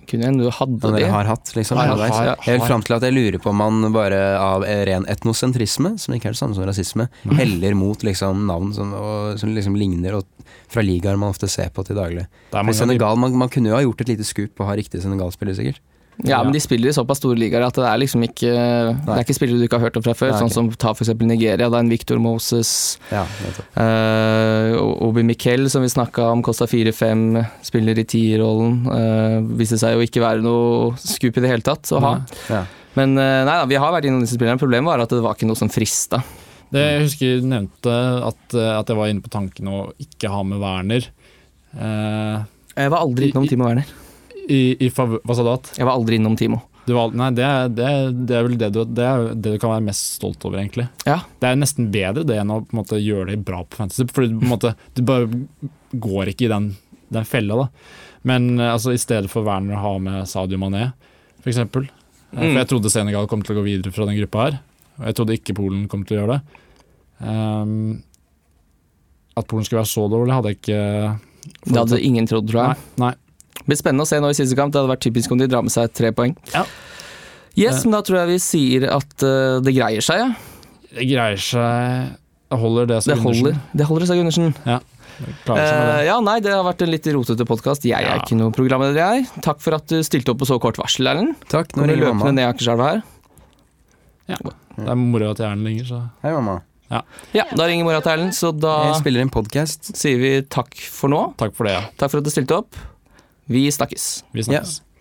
[SPEAKER 1] Kunne hende du hadde det.
[SPEAKER 2] Ja, dere har hatt, liksom?
[SPEAKER 1] Har hatt,
[SPEAKER 2] underveis.
[SPEAKER 1] har-
[SPEAKER 2] Helt fram til at jeg lurer på om man bare av ren etnosentrisme, som ikke er det samme som rasisme, heller mot liksom navn som, og, som liksom ligner og fra ligaer man ofte ser på til daglig.
[SPEAKER 3] Det er
[SPEAKER 2] Men
[SPEAKER 3] mange av de-
[SPEAKER 2] Senegal, man, man kunne jo ha gjort et lite skup og ha riktig Senegal-spiller, sikkert.
[SPEAKER 1] Ja, men de spiller i såpass store ligaer at det er liksom ikke Det
[SPEAKER 2] Nei.
[SPEAKER 1] er ikke spillere du ikke har hørt om fra før.
[SPEAKER 2] Nei, ok.
[SPEAKER 1] Sånn som ta f.eks. Nigeria. Det er en Victor Moses,
[SPEAKER 2] Ja, nettopp.
[SPEAKER 1] eh, Obi Miquel som vi snakka om, kosta 4-5, spiller i tierrollen. Uh, viste seg jo ikke være noe skup i det hele tatt å ha.
[SPEAKER 3] Nei.
[SPEAKER 2] ja.
[SPEAKER 1] Men eh, nei da, vi har vært innom disse spillerne. Problemet var at det var ikke noe som frista.
[SPEAKER 3] Det, jeg husker du nevnte at, eh, at jeg var inne på tanken å ikke ha med Werner. Eh,
[SPEAKER 1] Jeg var aldri innom Timo Werner.
[SPEAKER 3] i, i favør, hva sa du at?
[SPEAKER 1] Jeg var aldri innom Timo.
[SPEAKER 3] Du valg- nei, det er, det, er, det er vel det du, det er det du kan være mest stolt over, egentlig.
[SPEAKER 1] Ja.
[SPEAKER 3] Det er nesten bedre det enn å på en måte, gjøre det bra på fantasy, for du, på en måte, du bare går ikke i den, den fella. Da. Men eh, altså, i stedet for Werner å ha med Sadio Mané, for eksempel. Eh,
[SPEAKER 1] Mm.
[SPEAKER 3] For jeg trodde Senegal kom til å gå videre fra den gruppa her, og jeg trodde ikke Polen kom til å gjøre det. Ehm, at Polen skulle være så dårlig, hadde jeg ikke
[SPEAKER 1] Det hadde ingen trodd, tror jeg.
[SPEAKER 3] Nei, nei.
[SPEAKER 1] Det blir spennende å se nå i siste kamp. Det hadde vært typisk om de drar med seg tre poeng.
[SPEAKER 3] Ja. Eh.
[SPEAKER 1] Yes, men da tror jeg vi sier at eh, det greier seg, ja.
[SPEAKER 3] Det greier seg Det holder, det. som
[SPEAKER 1] Det holder, det holder seg, Gundersen.
[SPEAKER 3] Klarer seg med det.
[SPEAKER 1] Eh, ja, nei, det har vært en litt rotete podkast. Jeg er
[SPEAKER 3] Ja.
[SPEAKER 1] ikke noe programleder, jeg. Takk for at du stilte opp på så kort varsel, Erlend.
[SPEAKER 2] Takk. Nå
[SPEAKER 1] Når du
[SPEAKER 2] ringer
[SPEAKER 1] løpende
[SPEAKER 2] mamma.
[SPEAKER 1] ned Akerselva her.
[SPEAKER 3] Det er moro at hjernen ligger, så
[SPEAKER 2] Hei, mamma.
[SPEAKER 1] Ja, da ringer mora til Erlend, så da
[SPEAKER 2] Jeg spiller en podkast.
[SPEAKER 1] sier vi takk for nå.
[SPEAKER 3] takk for det. Ja.
[SPEAKER 1] Takk for at du stilte opp. Vi snakkes.
[SPEAKER 3] Vi snakkes.